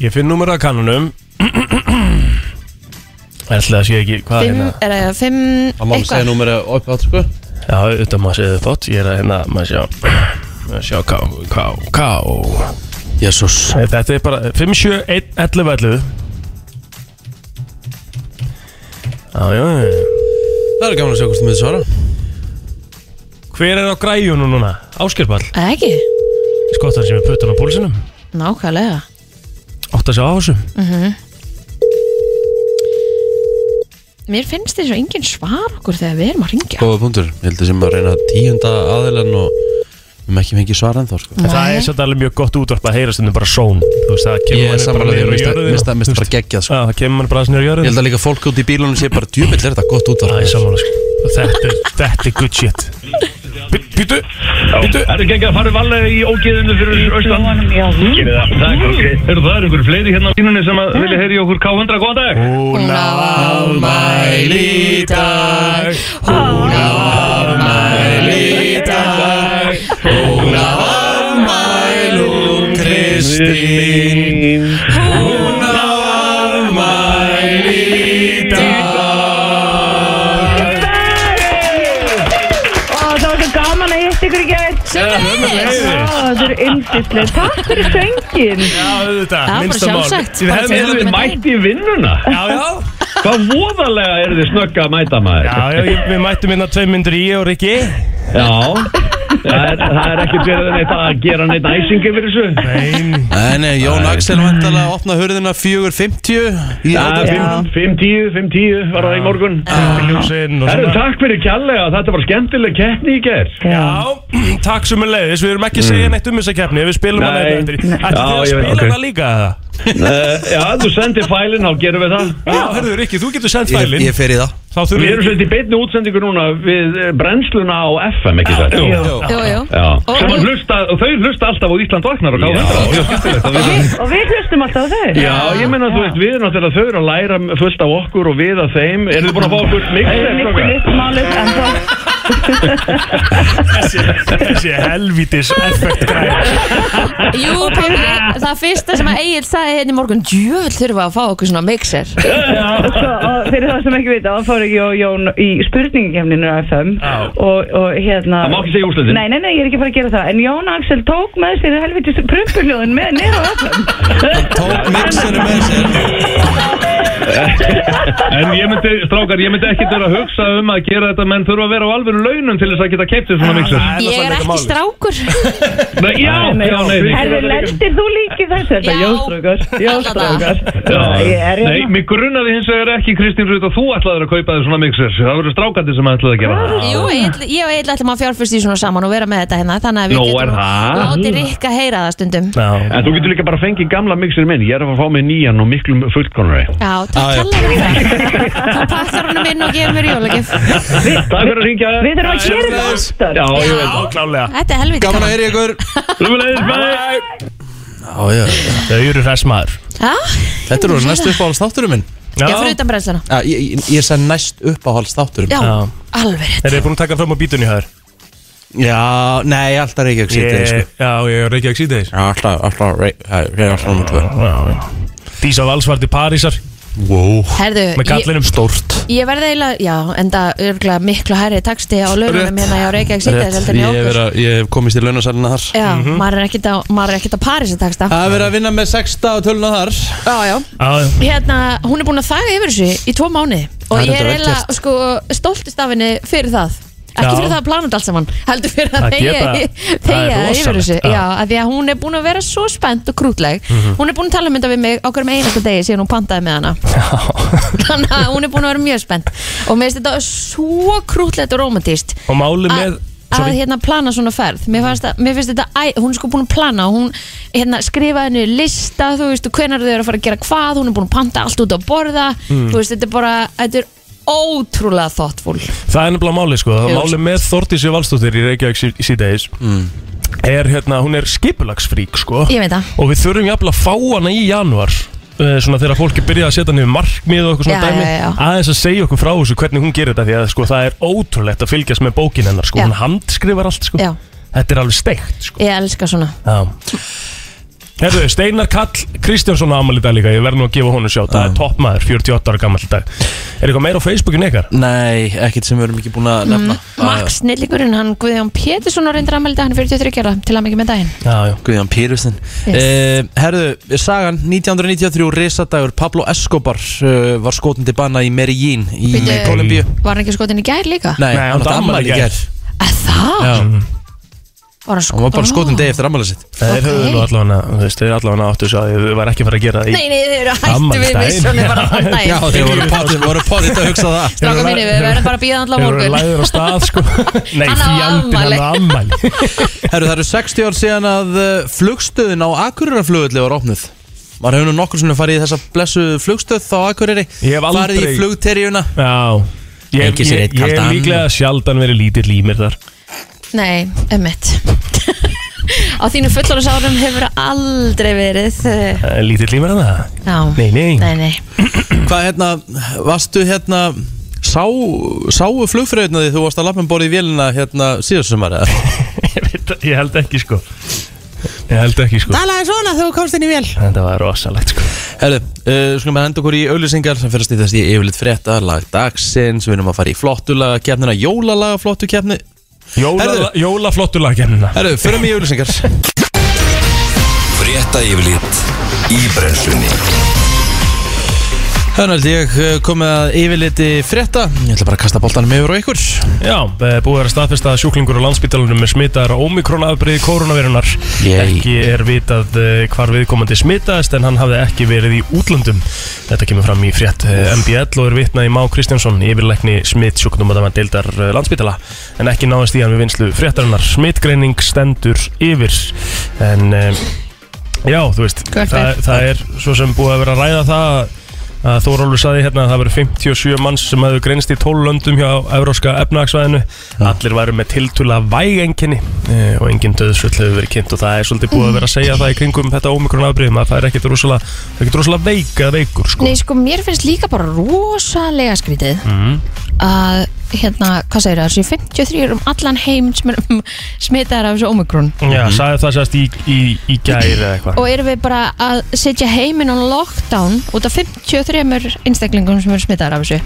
[SPEAKER 4] Ég finn númer að kannunum Ætli það sé ekki Hvað er
[SPEAKER 3] 5,
[SPEAKER 4] hérna?
[SPEAKER 3] er það 5
[SPEAKER 2] Að maður segja númer á upp átt sko
[SPEAKER 4] Já, auðvitað maður segði þátt, ég er að hérna, maður sjá, maður sjá, ká, ká, ká.
[SPEAKER 2] Jésús
[SPEAKER 4] Þetta er bara 571 11 11. Já, já, já.
[SPEAKER 2] Það er gaman að sjá hvort þú miður svara
[SPEAKER 4] Hver er á græjunum núna? Áskirpall,
[SPEAKER 3] Eða ekki?
[SPEAKER 4] skottan sem er puttan á púlsinum,
[SPEAKER 3] Nákvæmlega
[SPEAKER 4] átt að sjá á þessu.
[SPEAKER 3] Mhm. Mér finnst þess að enginn svar okkur þegar við erum að ringja
[SPEAKER 2] Góða punktur, ég held að sem að reyna tíunda aðilann og Við erum ekki fengið svara ennþá sko
[SPEAKER 4] En það er svolítið alveg mjög gott útvarp að heyra stundum bara són Þú veist, það kemur
[SPEAKER 2] Ég er
[SPEAKER 4] manni bara
[SPEAKER 2] samanlega,
[SPEAKER 4] niður á
[SPEAKER 2] mér
[SPEAKER 4] jörðina.
[SPEAKER 2] finnst það- mér finnst það bara geggjað
[SPEAKER 4] Já,
[SPEAKER 2] sko
[SPEAKER 4] það kemur mann bara aðeins niður á
[SPEAKER 2] Ég
[SPEAKER 4] jörðinu
[SPEAKER 2] held að líka fólk út í bílunum sé bara djúbill er þetta gott
[SPEAKER 4] Það er
[SPEAKER 2] útvarp
[SPEAKER 4] samanlega, sko Þetta er, þetta er good shit Býtu, býtu
[SPEAKER 1] Það eru gengið að fara valega í ógeðinu fyrir austan Gerið það, takk, ok Eru það eru einhver fleiri hérna á línunni sem að vilja heyri okkur K100, góðan dag
[SPEAKER 4] Hún á afmæli í dag Hún á afmæli í dag Hún á afmæli úr Kristín Hún á afmæli í dag
[SPEAKER 5] Ó, það var svo gaman að hitta ykkur í gær Ó, það eru yndislegt Takk fyrir söngin
[SPEAKER 4] Já, auðvitað,
[SPEAKER 3] bara
[SPEAKER 4] minnsta mál
[SPEAKER 3] sjálfsagt.
[SPEAKER 4] Við
[SPEAKER 3] Bara
[SPEAKER 4] hefum
[SPEAKER 3] segja
[SPEAKER 1] Eru þið
[SPEAKER 4] hefðum
[SPEAKER 1] mætt í vinnuna?
[SPEAKER 4] Já, já
[SPEAKER 1] Hvað voðalega eru þið snögga að mæta maður?
[SPEAKER 4] Já, já, ég- við mættum hérna tvei myndur í og Rikki
[SPEAKER 1] Já. Það er, það er ekkert verið neitt að gera neitt æsing yfir þessu
[SPEAKER 4] Nein
[SPEAKER 2] Nei, nei, Jón Axel vantalega að opna hurðina 4.50 í
[SPEAKER 1] Það
[SPEAKER 2] átökum.
[SPEAKER 1] er 5.10, 5.10 var það í morgun
[SPEAKER 4] Ljúsin Ah. og
[SPEAKER 1] Það
[SPEAKER 4] svona
[SPEAKER 1] takk fyrir kjallega, þetta var skemmtileg keppni í ger
[SPEAKER 4] Já, takk sem er leiðis, við erum ekki
[SPEAKER 2] Mm.
[SPEAKER 4] að segja neitt um þessa keppni Við spilum
[SPEAKER 1] Nei.
[SPEAKER 4] hana eitthvað eftir
[SPEAKER 1] Nei.
[SPEAKER 4] Ætti
[SPEAKER 1] Já,
[SPEAKER 4] þið að
[SPEAKER 1] ég veit,
[SPEAKER 4] spila
[SPEAKER 1] ok.
[SPEAKER 4] hana líka eða?
[SPEAKER 1] Já, þú sendir fælinn, þá gerum við það
[SPEAKER 4] Já, hörðu Rikki, þú getur sendt
[SPEAKER 2] Ég,
[SPEAKER 4] fælin
[SPEAKER 2] ég fer í það
[SPEAKER 4] Þá þurfum
[SPEAKER 1] Við erum svolítið í beinni útsendingu núna við eh, brennsluna á FM, ekki það?
[SPEAKER 4] Jú.
[SPEAKER 3] Jú, jú
[SPEAKER 1] Já,
[SPEAKER 3] Og-
[SPEAKER 1] sem að hlusta, og þau hlusta alltaf á Ísland vaknar og káðan
[SPEAKER 5] Og við hlustum alltaf á þau
[SPEAKER 1] Já, ég menna, þú veist, við erum náttúrulega þau eru að læra fullt af okkur og við að þeim Eru þið búin að fá okkur mixer?
[SPEAKER 5] Málið, en þá
[SPEAKER 4] þessi, þessi helvítis effekt græð
[SPEAKER 3] Jú, Pálmi, það fyrsta sem að Egil sagði hérna í morgun Djöfull þurfa að fá okkur svona mixer
[SPEAKER 5] og svo, og fyrir það sem ekki vita, þá fór ekki og Jón í spurningakefninu á FM
[SPEAKER 4] Já.
[SPEAKER 5] og, og hérna
[SPEAKER 1] Það má ekki segja úrslitin.
[SPEAKER 5] Nei, nei, nei, ég er ekki að fara að gera það En Jón Axel tók með sér helviti prumpuljóðin með niður á FM
[SPEAKER 2] Tók mixinu með sér
[SPEAKER 1] En ég myndi, strákar, ég myndi ekkert vera að hugsa um að gera þetta menn þurfa að vera á alvöru launum til þess að geta keipt sér svona mixer
[SPEAKER 3] Ég er ekki strákur
[SPEAKER 1] Nei, Já, já,
[SPEAKER 5] Herri,
[SPEAKER 1] nei
[SPEAKER 5] lendir þú líki þessu? Þetta
[SPEAKER 3] Já.
[SPEAKER 5] Jóstrákar, jóstrákar
[SPEAKER 1] Já,
[SPEAKER 5] Ég er
[SPEAKER 1] Nei,
[SPEAKER 5] hérna
[SPEAKER 1] mig grunnaði hins vegar ekki Kristín Rut að þú ætlaðir að kaupa þér svona mixer Það voru strákandi sem ætlaði að gera það
[SPEAKER 3] Jú, Egill- ég og Egil ætlum að fjárfyrst í svona saman og vera með þetta hérna Þannig að við
[SPEAKER 1] Nú, er það?
[SPEAKER 3] látið Rikka heyra það stundum
[SPEAKER 4] Já,
[SPEAKER 1] En þú getur líka bara fengið gamla mixir minn, ég er að fara að fá mig nýjan og miklu fullkonari.
[SPEAKER 3] Já,
[SPEAKER 2] Já,
[SPEAKER 3] takk
[SPEAKER 2] já.
[SPEAKER 3] allir fyrir það Þá pakkar honum inn og gefur mér jólagif
[SPEAKER 1] Takk fyrir að ringja.
[SPEAKER 5] Við þurfum að gera þetta oftar
[SPEAKER 1] Já, ég veit.
[SPEAKER 4] já klálega
[SPEAKER 3] Þetta er helvítið
[SPEAKER 2] Gaman að heyra í ykkur
[SPEAKER 1] Rúmulegis, bæ!
[SPEAKER 2] Já, já.
[SPEAKER 4] Þau eru hressmaður
[SPEAKER 2] Þetta eru næst uppáhalds þátturum minn
[SPEAKER 3] Já, fyrir utan brennsluna
[SPEAKER 2] Já, ég, ég- ég sagði næst uppáhalds þátturum
[SPEAKER 3] Já,
[SPEAKER 4] Já.
[SPEAKER 3] alveg rétt
[SPEAKER 4] Er þið búin að taka fram á bítunni hér?
[SPEAKER 2] Já, nei, alltaf Reykjavík sýttir sko.
[SPEAKER 4] Já, ég er Reykjavík síðdeis
[SPEAKER 2] Já, alltaf, alltaf Reykjavík nummer 2
[SPEAKER 4] Dísa Valsvarti Parísar
[SPEAKER 2] Wow
[SPEAKER 3] Herðu,
[SPEAKER 4] með
[SPEAKER 3] ég,
[SPEAKER 4] kallinum Stórt
[SPEAKER 3] ég verði eiginlega, já, enda örgulega miklu hærri taksti á launum hérna hjá Reykjavík sýttir
[SPEAKER 2] Rétt,
[SPEAKER 3] heldur en
[SPEAKER 2] ég
[SPEAKER 3] hjá
[SPEAKER 2] hef
[SPEAKER 3] okkur
[SPEAKER 2] verið að- ég hef komist í launasalina þar
[SPEAKER 3] Já,
[SPEAKER 4] Mhm.
[SPEAKER 3] maður er ekkert á, maður er ekkert á París að taksta
[SPEAKER 2] Það er verið að vinna með sexta og töluna þar
[SPEAKER 3] Já, já hérna, hún er búin að þaga yfir þessu í tvo mánu og
[SPEAKER 2] Það er
[SPEAKER 3] ég er
[SPEAKER 2] þetta vel
[SPEAKER 3] eiginlega sko, stoltist af henni fyrir það ekki
[SPEAKER 4] Já.
[SPEAKER 3] fyrir það að plana þetta allt saman heldur fyrir að
[SPEAKER 4] Að
[SPEAKER 3] þegja
[SPEAKER 4] geta- það er
[SPEAKER 3] þegja yfir
[SPEAKER 4] rosalegt,
[SPEAKER 3] þessu
[SPEAKER 4] já. Mhm.
[SPEAKER 3] já, af því að hún er búin að vera svo spennt og krútleg hún er búin að tala mynda við mig á hverjum einasta degi síðan hún pantaði með hana þannig að hún er búin að vera mjög spennt og mér finnst þetta svo krútlegt og romantíst
[SPEAKER 4] Og máli með
[SPEAKER 3] að að hérna plana svona ferð mér, fannst að, mér finnst þetta, æ, hún er sko búin að plana hún hérna, skrifaði henni lista þú veist, hvenar þau eru að fara að gera hvað hún er búin að panta allt út á borða þú veist, þetta er bara, þetta er ótrúlega thoughtful
[SPEAKER 4] Það er nefnilega máli sko, það
[SPEAKER 3] Jú.
[SPEAKER 4] er
[SPEAKER 3] Mm.
[SPEAKER 4] máli með Þordísi Valstóttir í Reykjavík sí- síðdegis er hérna, hún er skipulagsfrík sko
[SPEAKER 3] ég veit það,
[SPEAKER 4] og við þurfum jafnvel að fá hana í januar eh, svona þegar fólki byrja að setja niður markmið og eitthvað svona
[SPEAKER 3] Já,
[SPEAKER 4] dæmi
[SPEAKER 3] já, já.
[SPEAKER 4] aðeins að segja okkur frá þessu hvernig hún gerir þetta því að sko það er ótrúlegt að fylgjast með bókin hennar sko,
[SPEAKER 3] Já.
[SPEAKER 4] hún handskrifar allt sko
[SPEAKER 3] Já.
[SPEAKER 4] þetta er alveg steikt sko
[SPEAKER 3] ég elska svona
[SPEAKER 4] Já. Herðu, Steinar Kall Kristjánsson ámali dag líka, ég verð nú að gefa honum sjá það er toppmaður, 48 ára gammal dag er eitthvað meira á Facebookin ykkar?
[SPEAKER 2] Nei, ekkert sem við erum ekki búin að
[SPEAKER 3] Mm,
[SPEAKER 2] nefna
[SPEAKER 3] Mark Snillingurinn, Mhm. hann Guðjón Pétursson og reyndir ammæli dag, hann er 43 ára til að mikið með daginn
[SPEAKER 4] Já, já.
[SPEAKER 2] Guðjón Pýrustin
[SPEAKER 3] Yes.
[SPEAKER 2] yes. Herðu, sagan 1993 risadagur Pablo Escobar uh, var skotin til banna í Medellín í
[SPEAKER 3] Bíddu.
[SPEAKER 2] Kolumbíu
[SPEAKER 3] var hann ekki skotin í gær líka?
[SPEAKER 2] Nei,
[SPEAKER 4] Nei, hann
[SPEAKER 2] hann
[SPEAKER 4] átti afmæli
[SPEAKER 2] átti ammali
[SPEAKER 4] í
[SPEAKER 2] í
[SPEAKER 4] gær.
[SPEAKER 2] gær
[SPEAKER 3] að það?
[SPEAKER 2] Já.
[SPEAKER 3] Var hann
[SPEAKER 2] Hún var bara
[SPEAKER 3] Ó.
[SPEAKER 2] skotin degi eftir ammæli sitt
[SPEAKER 4] Þeir
[SPEAKER 3] Sko. Ok.
[SPEAKER 4] höfðu nú allavega, þú veist, þeir allavega áttu svo að ég var ekki að fara að gera það í
[SPEAKER 3] Nei, nei, þeir eru hættu við
[SPEAKER 4] Afmælisdaginn.
[SPEAKER 3] missunni bara þann daginn
[SPEAKER 2] Já, þeir voru potið, voru potið að hugsa það
[SPEAKER 3] Stráka mínir, við verðum bara að bíða allan
[SPEAKER 4] Þeir voru
[SPEAKER 3] morgun
[SPEAKER 4] læður á stað, sko Nei,
[SPEAKER 3] Hann á
[SPEAKER 4] fjandinn
[SPEAKER 3] afmæli.
[SPEAKER 4] hann á ammæli
[SPEAKER 2] Herru, það eru 60 ár síðan að uh, flugstöðin á Akureyrarflugulli var opnuð Maður hefur nú nokkur svona farið í þessa blessu flugstöð á Akureyri
[SPEAKER 4] Ég hef aldrei-
[SPEAKER 2] Farið í flugterjuna
[SPEAKER 4] Já Ég, ég,
[SPEAKER 2] Ekki sér eitt
[SPEAKER 4] ég, ég
[SPEAKER 2] kaldan.
[SPEAKER 4] er líklega sjaldan verið lítill í mér þar
[SPEAKER 3] Nei, emmitt Á þínu fullorðs árum hefur aldrei verið eh,
[SPEAKER 4] Eh, Lítill í mér hann það?
[SPEAKER 3] Já,
[SPEAKER 4] Nei, nei,
[SPEAKER 3] nei, nei
[SPEAKER 2] Hvað hérna, varstu hérna Sá, sáu flugfröðina því þú varst að lappin borið í vélina hérna síðast sumar eða?
[SPEAKER 4] Ég, veit, það- ég held ekki, sko Ég held ekki, sko
[SPEAKER 2] Talaði svona þú komst inn í vél
[SPEAKER 4] Þetta var rosalegt, sko
[SPEAKER 2] Herru, uh, skulum að henda okkur í auðlýsingar sem fyrir að stýðast í yfirleitt frétta lag dagsins, við erum að fara í flottulaga kefnina, jólalaga flottu kefni
[SPEAKER 4] Jóla,
[SPEAKER 2] Herðu.
[SPEAKER 4] jóla flottu lagjennina
[SPEAKER 2] Herru, fyrir mig í auðlýsingar
[SPEAKER 6] Frétta yfirlit í brennslunni
[SPEAKER 2] Þannig að ég eh, komið að yfirleiti frétta Ég ætla bara að kasta boltanum yfir á ykkur
[SPEAKER 4] Já, eh, búið er að staðfesta að sjúklingur á landsbítalunum er smitaðar á omikronafbriði koronavirunar
[SPEAKER 2] Yay.
[SPEAKER 4] Ekki er vitað eh, hvar viðkomandi smitaðist en hann hafði ekki verið í útlöndum Þetta kemur fram í frétt eh, MBL og er vitnað í Má Kristjánsson yfirleikni smitt sjúkdómadama deildar eh, landsbítala en ekki náðist í hann við vinslu fréttarinnar smittgreining stendur yfir en eh, já, þú veist
[SPEAKER 3] Hvert
[SPEAKER 4] það,
[SPEAKER 3] er?
[SPEAKER 4] það er svo sem búið að vera að ræða það að- að Þórólfur saði hérna að það verið 57 manns sem hafðu greinst í 12 löndum hjá Evróska efnahagsvæðinu allir væru með tiltúla vægenginni eh, og engin döðsvöld hefur verið kynnt og það er svolítið búið að vera að segja það í kringum þetta ómikrona afbríðum að það er ekkit rosalega, ekkit rosalega veik eða veikur sko.
[SPEAKER 3] Nei, sko, mér finnst líka bara rosalega skrítið að, hérna, hvað segir það, þessi 53 um allan heim sem er smitaðar af þessu ómikrón
[SPEAKER 4] Já, sagði það sérst í, í, í gæri eða eitthvað
[SPEAKER 3] og erum við bara að setja heiminn á lockdown út af 53 einstaklingum sem eru smitaðar af þessu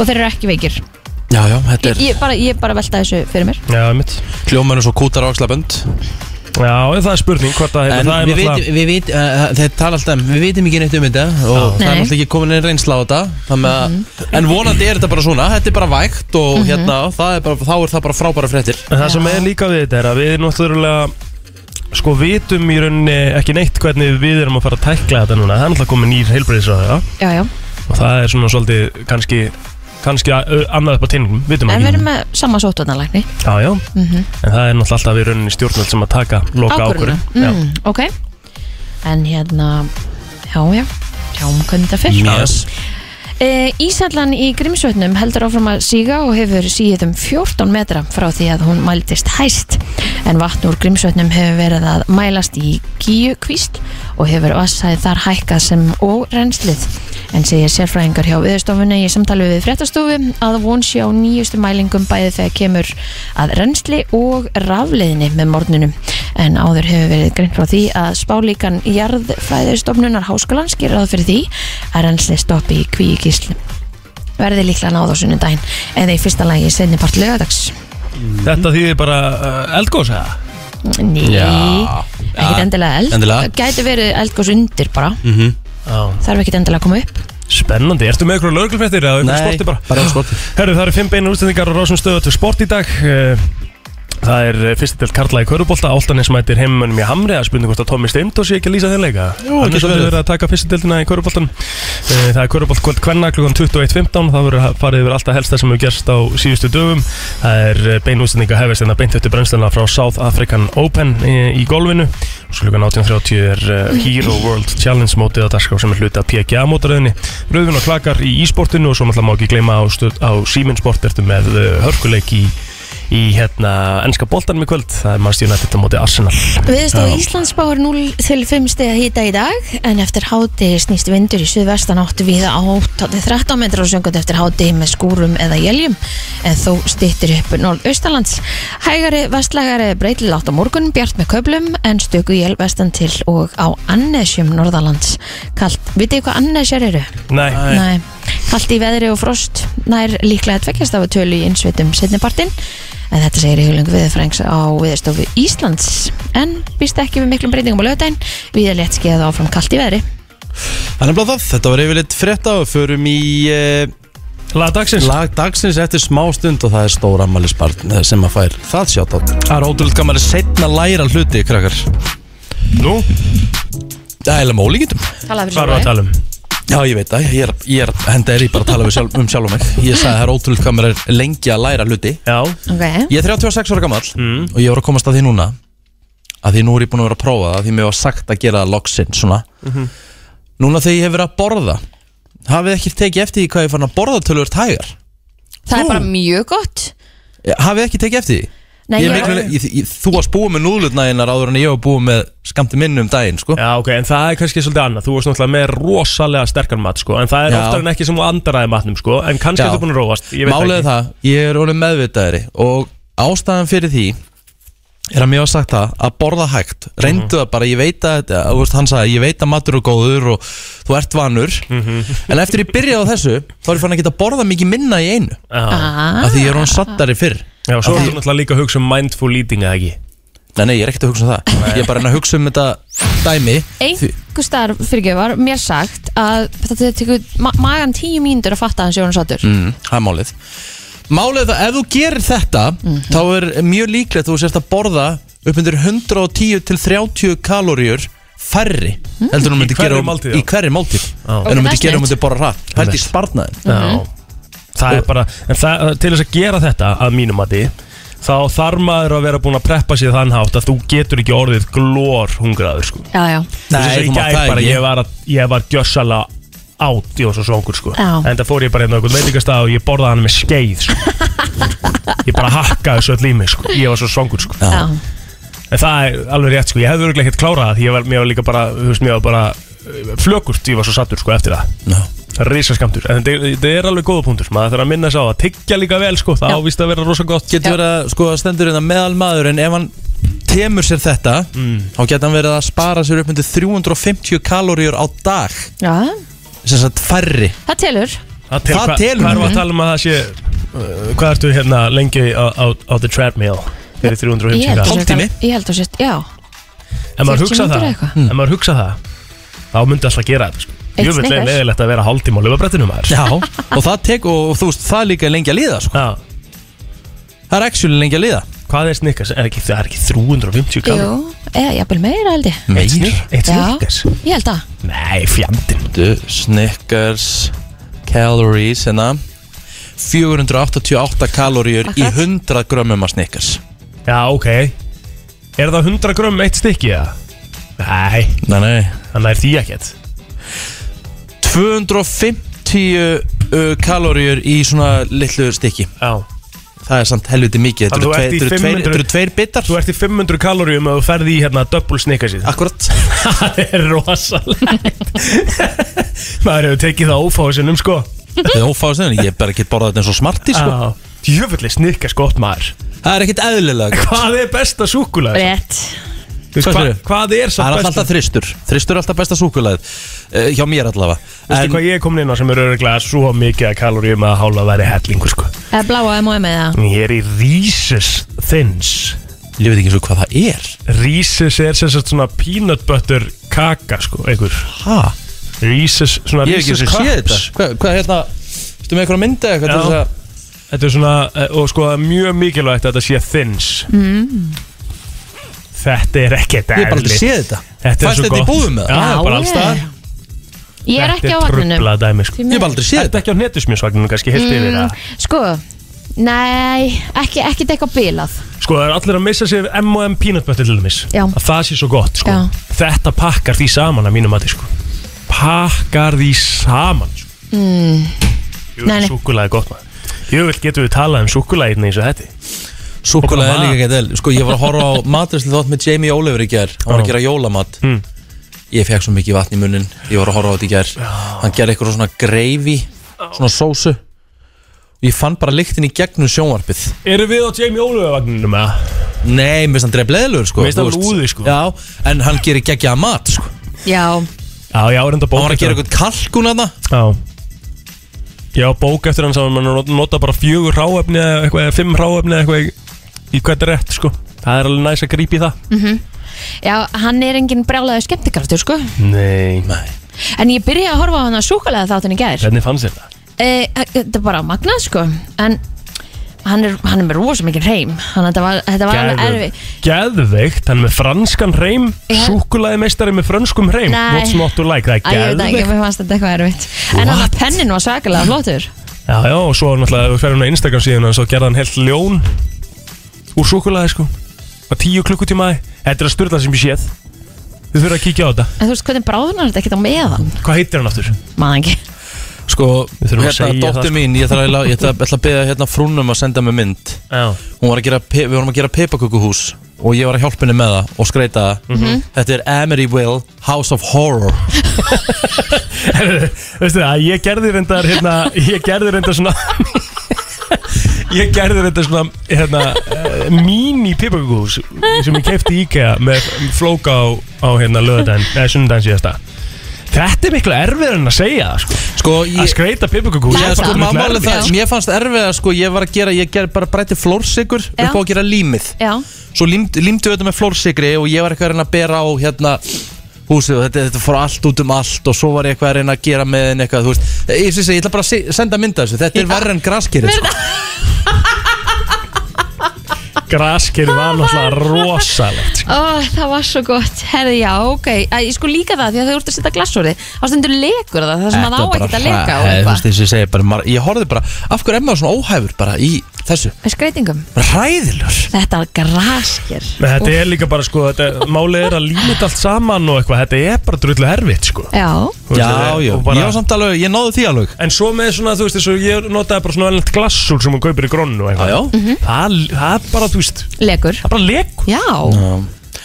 [SPEAKER 3] og þeir eru ekki veikir
[SPEAKER 2] Já, já,
[SPEAKER 3] ég,
[SPEAKER 2] þetta er
[SPEAKER 3] ég, bara, ég bara velta þessu fyrir mér
[SPEAKER 4] Já, mitt
[SPEAKER 2] kljómanu svo kútar á axlabönd
[SPEAKER 4] Já, en það er spurning hvort að hérna,
[SPEAKER 2] En
[SPEAKER 4] það er
[SPEAKER 2] við vitum, við vitum, uh, þeir tala alltaf um, við vitum ekki neitt um þetta og það er
[SPEAKER 3] Nei.
[SPEAKER 2] alltaf ekki komin einn reynsla á þetta þannig að, en vonandi er þetta bara svona þetta er bara vægt og hérna það er bara, þá er það bara frábæra fréttir
[SPEAKER 4] En það sem er líka við þetta er að við náttúrulega sko vitum í rauninni ekki neitt hvernig við erum að fara að tækla þetta núna það er náttúrulega komið nýr heilbreyðisraða
[SPEAKER 3] já, já.
[SPEAKER 4] og það er svona svolítið kannski kannski ö, annað upp á tinningum, vitum
[SPEAKER 3] en
[SPEAKER 4] ekki
[SPEAKER 3] við erum með sama sótvarnalækni
[SPEAKER 4] já, já.
[SPEAKER 3] Mhm.
[SPEAKER 4] en það er náttúrulega alltaf í rauninni stjórnvöld sem að taka loka ákvörðina
[SPEAKER 3] ákvörðuna mm, ok en hérna, já, já sjáum hvernig þetta fyrr
[SPEAKER 2] yes.
[SPEAKER 3] E, Ísallan í Grímsvötnum heldur áfram að síga og hefur síið um 14 metra frá því að hún mæltist hæst en vatn úr Grímsvötnum hefur verið að mælast í Gíu kvísl og hefur vassæði þar hækkað sem órennslið en segja sérfræðingar hjá viðstofunni í samtali við fréttastofu að von sé á nýjustu mælingum bæði þegar kemur að rennsli og rafleiðinni með morguninu en áður hefur verið greint frá því að spálíkan jarðfræðistofnunar háskólan skýrðað fyrir því að rennsli stoppi í kvíkísl verði líklega náð á sunnudaginn eða í fyrsta lagi setni part lögadags Mhm.
[SPEAKER 4] þetta þýðir bara uh, eldgóðs eða?
[SPEAKER 3] Ný,
[SPEAKER 2] Já.
[SPEAKER 3] ekkert endilega eld
[SPEAKER 2] Endilega. Mhm.
[SPEAKER 3] gæti verið eldgós undir bara
[SPEAKER 4] Já.
[SPEAKER 3] þarf ekkert endilega að koma upp
[SPEAKER 4] spennandi, ertu með ykkur lögreglufréttir eða ykkur sporti bara?
[SPEAKER 2] bara um sporti
[SPEAKER 4] Herru, það eru fimm beinar útsendingar á rásum stöðu til sport í dag Eh, Það er eh, fyrsti til Karla í Körubólta Áltanis mætir heimmunum í Hamri að spurning hvort að Tommy Steindor sé ekki að lýsa þeim leika Jú, Hann
[SPEAKER 2] getur
[SPEAKER 4] er svolítið
[SPEAKER 2] verið.
[SPEAKER 4] verið að taka fyrsti deltina í Körubóltan Það er Körubólt kvöld kvenna klukkan 21.15 Það verður farið yfir alltaf helsta sem hefur gerst á síðustu dögum Það er eh, bein útsendinga hefist en það hérna beint eftir brennsluna frá South African Open í, í golfinu Og svo klukkan 18.30 er eh, Hero World Challenge mótið að dagskrá sem er hluti af PGA mótaröðinni Rauðun og klakar í ísportinu og svo náttúrulega má ekki gleyma á, stöð- á Sýminsport ertu með eh, hörkuleik í í hérna ennska boltanum í kvöld það er Manchester United á móti Arsenal
[SPEAKER 3] Viðstof Íslands spáir 0 til 5 steg að hýta í dag en eftir háti snýst vindur í suðvestan áttu við á 8-13 metrar og söngut eftir háti með skúrum eða jéljum en þó stýttir upp norðaustalands. Hægari vestlagari breytil átt á morgun, bjart með köplum en stöku jél vestan til og á annesjum norðalands. Kalt, vitið þið hvað annesjar eru?
[SPEAKER 4] Nei,
[SPEAKER 3] Nei, kallt í veðri og frost nær líklega tveggjast af tölu í innsveitum setnipartin en þetta segir Hjóling Viðfrængs á Viðstofu Íslands en býst ekki við miklum breytingum á lögdæn við er létt skeið áfram kallt í veðri
[SPEAKER 2] Þannig að það, þetta var yfirleitt frétta og förum í uh,
[SPEAKER 4] Laga dagsins
[SPEAKER 2] Lag dagsins eftir smá stund og það er stór ammælisbarn eh, sem að fær það sjátt á Það er ótrúlega gaman að setna læra hluti, krakkar
[SPEAKER 4] Nú,
[SPEAKER 2] Það er eiginlega með ólíkindum
[SPEAKER 3] Talaðu fyrir
[SPEAKER 4] hvað erum við að
[SPEAKER 3] sjálfa þig.
[SPEAKER 4] tala um?
[SPEAKER 2] Já, ég veit það, ég er, ég er henda er ég bara að tala um sjálf, um sjálf og mig Ég sagði að það er ótrúlega hvað maður er lengi að læra hluti
[SPEAKER 4] Já, Mm.
[SPEAKER 3] Ok,
[SPEAKER 2] Ég er 36 ára gammal og ég var að komast að því núna að því nú er ég búin að vera að prófa það að því mér var sagt að gera það loksinn svona Núna þegar ég hef verið að borða hafið ekki tekið eftir því hvað ég fann að borða tölvöld hægar
[SPEAKER 3] það er bara mjög gott
[SPEAKER 2] Eh, Hafið ekki tekið eftir því
[SPEAKER 3] Nei,
[SPEAKER 2] ég,
[SPEAKER 3] ég-
[SPEAKER 2] miklu, ég, ég, Þú varst búið með núðlutnæginar áður en ég var búið með skamti minn um daginn sko.
[SPEAKER 4] já ok, en það er kannski svolítið annað Þú varst náttúrulega með rosalega sterkan mat sko En það er
[SPEAKER 2] Já.
[SPEAKER 4] oftar en ekki sem á andaraði matnum sko En kannski
[SPEAKER 2] Já.
[SPEAKER 4] ertu búin að róast, ég veit
[SPEAKER 2] Málið er
[SPEAKER 4] ekki
[SPEAKER 2] það, ég er orðin meðvitaðri og ástæðan fyrir því er að mér var sagt það að borða hægt reyndu
[SPEAKER 4] Mhm.
[SPEAKER 2] það bara, ég veit að þetta þú veist, hann sagði, ég veit að matur er góður og þú ert vanur
[SPEAKER 4] Mhm.
[SPEAKER 2] en eftir ég byrjaði á þessu þá er ég fann að geta borða mikið minna í einu
[SPEAKER 4] Já,
[SPEAKER 3] Ah,
[SPEAKER 2] af því ég er orðin sattari fyrr
[SPEAKER 4] já svo ertu náttúrulega líka að hugsa um mindful eating eða ekki
[SPEAKER 2] Nei, nei, ég er ekkert að hugsa um það Ég er bara að reyna að hugsa um þetta dæmi Því-
[SPEAKER 3] einhver starf fyrirgefar mér sagt að þetta tekur ma magan tíu mínútur að fatta hans Jónas Sátur
[SPEAKER 2] Mm, Það er málið Málið er það, ef þú gerir þetta þá er mjög líklegt að þú sérst að borða upp undir 110 til 30 kaloríur færri heldur en þú myndir
[SPEAKER 4] hverri
[SPEAKER 2] gera um-
[SPEAKER 4] máltíð, já.
[SPEAKER 2] í hverri máltíð
[SPEAKER 3] Ok,
[SPEAKER 2] en þú
[SPEAKER 3] það er
[SPEAKER 2] myndir
[SPEAKER 3] snilt.
[SPEAKER 2] gera um þetta borða rætt pælt í spartnaðin
[SPEAKER 4] Já, það er bara En það, eh, til þess að gera þetta að mínum mati Þá þarf maður að vera búin að preppa sér þann hátt Að þú getur ekki orðið glór hungraður sko
[SPEAKER 3] Já, já,
[SPEAKER 2] Nei,
[SPEAKER 4] Þess að
[SPEAKER 2] þú
[SPEAKER 4] ég
[SPEAKER 2] mátt
[SPEAKER 4] gæði
[SPEAKER 2] það
[SPEAKER 4] bara,
[SPEAKER 2] ekki.
[SPEAKER 4] ég var, að- ég var gjössalega átt í þessu svongur sko
[SPEAKER 3] Já.
[SPEAKER 4] En það fór ég bara hérna á einhvern veitingastað og ég borðaði hann með skeið sko. Ég bara hakkaði svo öll í mig sko Ég var svo svongur sko
[SPEAKER 3] já.
[SPEAKER 4] En það er alveg rétt sko, ég hefði örgulega ekkert klárað það Því ég var, mér var líka bara, þú veist, mér var bara eh, Flökurt, ég var svo sattur sko eftir það
[SPEAKER 2] no.
[SPEAKER 4] Rísaskamtur, en þetta þetta er alveg góða punktur sko. Maður þarf að minna þess á að tyggja líka vel sko Það
[SPEAKER 3] Já.
[SPEAKER 4] ávist að vera rosa gott
[SPEAKER 2] Getur verið að sko, stendur hérna meðal maður en ef hann temur sér þetta
[SPEAKER 4] Mm.
[SPEAKER 2] þá getur hann verið að spara sér upp undir 350 kaloríur á dag
[SPEAKER 3] já.
[SPEAKER 2] sem sagt færri
[SPEAKER 3] Það telur
[SPEAKER 4] Það tel-
[SPEAKER 2] Það
[SPEAKER 4] hva-
[SPEAKER 2] telur.
[SPEAKER 4] Hvað erum við að tala um að það sé uh, Hvað ertu hérna lengi á, á, á the treadmill Fyrir 350
[SPEAKER 3] Ég held
[SPEAKER 4] kall?
[SPEAKER 3] að
[SPEAKER 2] Hálftími?
[SPEAKER 3] þetta- Ég held að sérst, já
[SPEAKER 4] Ef
[SPEAKER 3] 40
[SPEAKER 4] maður hugsa
[SPEAKER 3] mínútur
[SPEAKER 4] það,
[SPEAKER 3] eða eitthvað.
[SPEAKER 4] ef maður hugsa það Þá myndi alltaf gera þetta sko.
[SPEAKER 3] Eitt
[SPEAKER 4] Jú veit
[SPEAKER 3] snickers.
[SPEAKER 4] leðilegt að vera hálftíma á löfabrettinu maður
[SPEAKER 2] Já, og það tek og, þú veist, það er líka lengi að líða sko.
[SPEAKER 4] Já,
[SPEAKER 2] það er actually lengi að líða
[SPEAKER 4] Hvað er snickers? Er ekki, það er ekki 350 kall
[SPEAKER 3] Jú, eða jafnvel meira held ég
[SPEAKER 4] Eitt snick- eitt
[SPEAKER 3] Já.
[SPEAKER 4] snickers?
[SPEAKER 3] Ég held að
[SPEAKER 4] Nei, fjandinn
[SPEAKER 2] Bíddu, Snickers Calories hérna 488 kaloríur í
[SPEAKER 3] Akkurat.
[SPEAKER 2] 100 grömmum af Snickers
[SPEAKER 4] Já, ok Er það 100 grömm eitt stykki eða? Nei,
[SPEAKER 2] Nei, nei
[SPEAKER 4] þannig er því ekkert
[SPEAKER 2] 250 uh, kaloríur í svona litlu stykki
[SPEAKER 4] Já
[SPEAKER 2] Það er samt helviti mikið
[SPEAKER 4] Þannig þú
[SPEAKER 2] Þetta
[SPEAKER 4] ert í
[SPEAKER 2] eru tveir- þetta eru
[SPEAKER 4] 500
[SPEAKER 2] tveir- þetta eru tveir bitar
[SPEAKER 4] Þú ert í 500 kaloríum ef þú ferði í hérna double snickersið
[SPEAKER 2] Akkurat
[SPEAKER 4] Það er rosalegt Maður hefur tekið það ófásinum sko
[SPEAKER 2] Það er ófáðast þegar Ég er bara ekki borðað þetta eins og smarti sko.
[SPEAKER 4] Já. Jöfulli snikkars gott maður
[SPEAKER 2] Það er ekkit eðlilega gott.
[SPEAKER 4] Hvað er besta súkulega?
[SPEAKER 3] Rétt
[SPEAKER 2] Hvað
[SPEAKER 4] Hva,
[SPEAKER 2] segirðu?
[SPEAKER 4] hvað er
[SPEAKER 2] Það
[SPEAKER 4] satt
[SPEAKER 2] er
[SPEAKER 4] besta
[SPEAKER 2] alltaf þristur Þristur er alltaf besta súkulæð uh, Hjá mér allavega
[SPEAKER 4] Veistu hvað ég er komin inn á sem er öruglega svo mikið að kaloríum að hála að vera hellingur sko
[SPEAKER 3] Eða bláa M&M eða
[SPEAKER 4] Ég er í Reese's Thins
[SPEAKER 2] ég veit ekki eins og hvað það er
[SPEAKER 4] Reese's er sem sagt svona peanut butter kaka sko einhver
[SPEAKER 2] Hæ?
[SPEAKER 4] Reese's svona
[SPEAKER 2] Ég hef ekki
[SPEAKER 4] Reese's
[SPEAKER 2] sem séð þetta
[SPEAKER 4] Cups
[SPEAKER 2] Hvað, hvað hérna, ertu með eitthvað myndið eitthvað til
[SPEAKER 4] Já.
[SPEAKER 2] þess að
[SPEAKER 4] Þetta er svona, eh, og sko það er mjög mikilvægt að þetta sé þins mm. Þetta er ekkert
[SPEAKER 2] Ég hef bara
[SPEAKER 4] eðlilegt.
[SPEAKER 2] aldrei séð þetta
[SPEAKER 4] Þetta er
[SPEAKER 2] Fæst
[SPEAKER 4] svo
[SPEAKER 2] þetta í
[SPEAKER 4] gott.
[SPEAKER 2] búðum með
[SPEAKER 4] Já,
[SPEAKER 2] það?
[SPEAKER 4] já, bara alls
[SPEAKER 3] ég-
[SPEAKER 4] staðar
[SPEAKER 3] Ég er ekki á vatninu
[SPEAKER 4] Þetta er trubla dæmi sko
[SPEAKER 2] Ég hef bara aldrei séð
[SPEAKER 4] Þetta
[SPEAKER 2] þetta
[SPEAKER 4] er ekki á netusmjösvagninu kannski heilt yfir
[SPEAKER 3] Mm,
[SPEAKER 4] það
[SPEAKER 3] Sko, nei, ekki, ekki eitthvað bilað
[SPEAKER 4] Sko það er allir að missa sér M&M peanut butter til dæmis
[SPEAKER 3] Já.
[SPEAKER 4] Að það sé svo gott sko
[SPEAKER 3] Já.
[SPEAKER 4] Þetta pakkar því saman að mínum mati sko Pakkar því saman sko. mm.
[SPEAKER 3] Nei, nei.
[SPEAKER 4] Súkulega gott maður Jöfull getum við talað um súkulegirni eins og þetta
[SPEAKER 2] Súkulega
[SPEAKER 4] Og
[SPEAKER 2] er
[SPEAKER 4] bara
[SPEAKER 2] líka ekki del Sko ég var að horfa á matrisli þátt með Jamie Oliver í gær Hann var að gera jólamat
[SPEAKER 4] Mm.
[SPEAKER 2] Ég fekk svo mikið vatn í munnin Ég var að horfa á þetta í gær Hann gerði eitthvað svona greifi Svona sósu Ég fann bara lyktin í gegnum sjónvarpið
[SPEAKER 4] Eru við á Jamie Oliver vagninu með það?
[SPEAKER 2] Nei, mér finnst hann dreif leðilegur sko
[SPEAKER 4] Mér finnst hann
[SPEAKER 2] þú
[SPEAKER 4] lúði,
[SPEAKER 2] veist.
[SPEAKER 4] sko.
[SPEAKER 2] Já, en hann gerir geggja mat sko
[SPEAKER 3] Já,
[SPEAKER 4] Já, ég áreynda bók
[SPEAKER 2] Hann var að
[SPEAKER 4] eftir
[SPEAKER 2] gera
[SPEAKER 4] hann.
[SPEAKER 2] eitthvað kalkun að
[SPEAKER 4] Já Ég á bók eftir hann sem mann nota bara fjögur ráefni eða eitthvað, eða fimm ráefni eða eitthvað í- í hvert er rétt sko Það er alveg næs að grípa í það
[SPEAKER 3] mhm. já, hann er engin brjálaði skemmtikraftur, sko
[SPEAKER 4] Nei
[SPEAKER 2] Nei
[SPEAKER 3] En ég byrjaði að horfa á hann að súkulega þáttin í gær
[SPEAKER 4] Hvernig fannst þér það?
[SPEAKER 3] e, þetta er bara magnað sko en hann er, hann er með rosa mikið reym þannig að þetta var, þetta var alveg
[SPEAKER 4] Geðveikt.
[SPEAKER 3] erfið
[SPEAKER 4] Geðveikt, hann er með franskan reym
[SPEAKER 3] Já.
[SPEAKER 4] Súkulaði meistari með frönskum reym
[SPEAKER 3] Nei.
[SPEAKER 4] What's not to like, það
[SPEAKER 3] Æ, ég
[SPEAKER 4] er
[SPEAKER 3] veit ekki,
[SPEAKER 4] geðveikt
[SPEAKER 3] mér fannst þetta eitthvað erfitt En hann að pennin var svakalega flottur
[SPEAKER 4] Já, já, og svo náttúrulega, ef við ferum á Instagram síðan Svo gerði hann heilt ljón Úr súkulaði, sko Á tíu klukkutímaði, þetta er að styrla sem ég séð Þið þurfum að kíkja á þetta
[SPEAKER 3] En þú veist hvernig bráðunar þetta ekkert á meðan
[SPEAKER 4] Hvað heitir hann aftur?
[SPEAKER 3] Maður ekki
[SPEAKER 2] Sko,
[SPEAKER 4] Við þurfum að
[SPEAKER 2] hérna,
[SPEAKER 4] segja það,
[SPEAKER 2] dóttir
[SPEAKER 4] sko.
[SPEAKER 2] mín Ég ætla eiginlega- ég ætla- ég ætla að beða hérna frúnum að senda mig mynd
[SPEAKER 4] Já,
[SPEAKER 2] Hún var að gera, pe- Við vorum að gera peipakökuhús Og ég var að hjálpa henni með það og skreita það
[SPEAKER 4] Mhm.
[SPEAKER 2] Þetta er Amityville House of Horror
[SPEAKER 4] veistu það, ég gerði reyndar hérna, Ég gerði reyndar svona Ég gerði reyndar svona hérna, eh, Mini pipagús Sem ég kefti í IKEA Með flóka á, á hérna, löðdæn Eða sunnudæn síðasta Þetta er miklu erfiður en að segja það, sko.
[SPEAKER 2] Sko,
[SPEAKER 4] Að
[SPEAKER 2] ég,
[SPEAKER 4] skreita pipagús
[SPEAKER 2] Já, sko, máli það,
[SPEAKER 3] Já.
[SPEAKER 2] mér fannst erfið að sko, ég var að gera, ég ger bara brætti flórsikur
[SPEAKER 3] Já.
[SPEAKER 2] upp á að gera límið.
[SPEAKER 3] Já,
[SPEAKER 2] Svo límd, límdu við þetta með flórsikri og ég var eitthvað að reyna að bera á hérna húsið og þetta, þetta fór allt út um allt og svo var ég eitthvað að reyna að gera með henni eitthvað, þú veist. Ég syns að ég ætla bara að se- senda mynda þessu, þetta er verra en graskýri, sko.
[SPEAKER 4] Graskir var náttúrulega rosalegt sko.
[SPEAKER 3] Ó, það var svo gott Herði, já, ok Æ, Ég sko líka það því að þau voru að setja glasúri Þá stendur lekur það, það sem að á
[SPEAKER 2] Þetta var
[SPEAKER 3] ekkert að
[SPEAKER 2] bara
[SPEAKER 3] leka
[SPEAKER 2] hra-
[SPEAKER 3] og
[SPEAKER 2] eh, Þú veist,
[SPEAKER 3] eitthvað
[SPEAKER 2] eins og ég segi bara, maður- ég horfði bara, af hverju er maður svona óhæfur bara í þessu?
[SPEAKER 3] Með skreitingum
[SPEAKER 2] Ræðilur.
[SPEAKER 3] Þetta var graskir
[SPEAKER 4] Men Þetta er líka bara sko, þetta, Málið er að límit allt saman og eitthvað Þetta er bara drullu erfitt sko.
[SPEAKER 3] Já,
[SPEAKER 4] Þú veist,
[SPEAKER 2] Já,
[SPEAKER 4] þetta er-
[SPEAKER 2] já,
[SPEAKER 4] og bara-
[SPEAKER 2] ég var samt alveg, ég náðu því alveg.
[SPEAKER 4] En svo með svona, þú veist, þessu, ég notaði bara svona velnett glassúr sem hún kaupir í grónu og
[SPEAKER 2] Já, já.
[SPEAKER 4] eitthvað.
[SPEAKER 3] Mhm.
[SPEAKER 4] Það, það er bara, þú veist,
[SPEAKER 3] lekur
[SPEAKER 4] það er bara lekur.
[SPEAKER 3] Já,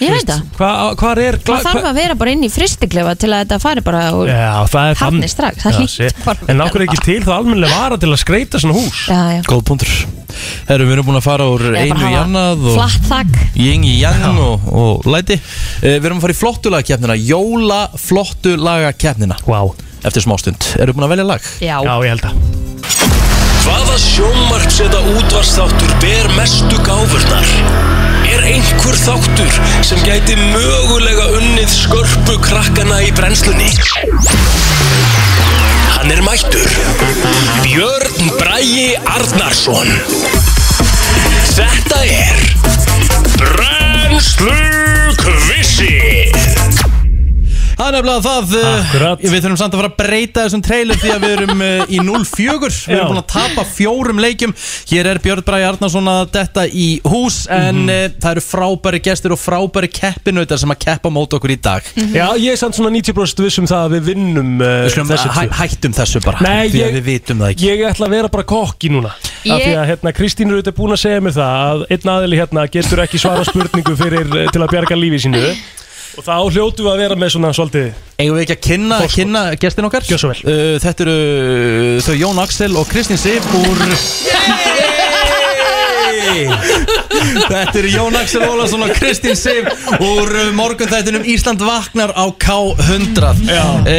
[SPEAKER 3] ég veit það
[SPEAKER 4] Hva, hvað er gla,
[SPEAKER 3] Það þarf
[SPEAKER 4] hva-
[SPEAKER 3] að vera bara inn í fristiklefa til að þetta fari bara og...
[SPEAKER 4] Já, það er
[SPEAKER 3] Hafni strax, það
[SPEAKER 4] Já,
[SPEAKER 3] hlýtur
[SPEAKER 4] sé.
[SPEAKER 3] bara að
[SPEAKER 4] En
[SPEAKER 3] vera
[SPEAKER 4] okkur er ekki til þá almennilega vara til að skreita svona hús.
[SPEAKER 3] Já, já
[SPEAKER 2] Góð punktur. Herru, við erum búin að fara úr
[SPEAKER 3] Eða bara
[SPEAKER 2] einu í
[SPEAKER 3] hafa
[SPEAKER 2] annað og...
[SPEAKER 3] Flatt þak
[SPEAKER 2] Ying Yang og, og læti Eh, Við erum að fara í flottulagakeppnina Jóla flottulagakeppnina
[SPEAKER 4] Vá. Wow.
[SPEAKER 2] Eftir smástund, eru búin að velja lag?
[SPEAKER 3] Já,
[SPEAKER 4] Já, ég held að.
[SPEAKER 7] Hvaða sjónvarps eða útvarstáttur ber mestu gáfurnar? Er einhver þáttur sem gæti mögulega unnið skörpu krakkana í brennslunni? Hann er mættur. Björn Bragi Arnarsson. Þetta er Brennslu Kvissið.
[SPEAKER 2] Það er nefnilega það eh,
[SPEAKER 4] Akkurat.
[SPEAKER 2] Við þurfum samt að fara að breyta þessum trailer Því að við erum eh, í 0-4 Við
[SPEAKER 4] Já.
[SPEAKER 2] erum búin að tapa fjórum leikjum Hér er Björn Bræði Arnarsson að detta í hús En
[SPEAKER 4] Mhm.
[SPEAKER 2] mm það eru frábæri gestir og frábæri keppinautar Sem að keppa mót okkur í dag
[SPEAKER 4] Já, ég er samt svona 90% viss um það að við vinnum uh,
[SPEAKER 2] Við skulum
[SPEAKER 4] þessi
[SPEAKER 2] hæ,
[SPEAKER 4] tvö.
[SPEAKER 2] hættum þessu bara
[SPEAKER 4] Nei,
[SPEAKER 2] Því að
[SPEAKER 4] ég-
[SPEAKER 2] við vitum það ekki
[SPEAKER 4] Ég ætla að vera bara kokki núna Af því
[SPEAKER 3] Ég-
[SPEAKER 4] að hérna, Kristín er auðvitað búin að segja mér það að einn aðili hérna getur ekki svara spurningu fyrir, eh, til að bjarga lífi sínu og þá hljótu við að vera með svona svolítið
[SPEAKER 2] Eigum við ekki að kynna, kynna gestin okkar?
[SPEAKER 4] Gjörðu svo vel.
[SPEAKER 2] Uh, þetta eru uh, þau Jón Axel og Kristín Sif úr... Þetta eru Jón Axel Ólason og Kristín Sif úr uh, morgunþættinum Ísland vaknar á K100
[SPEAKER 4] Já.
[SPEAKER 2] uh,
[SPEAKER 4] og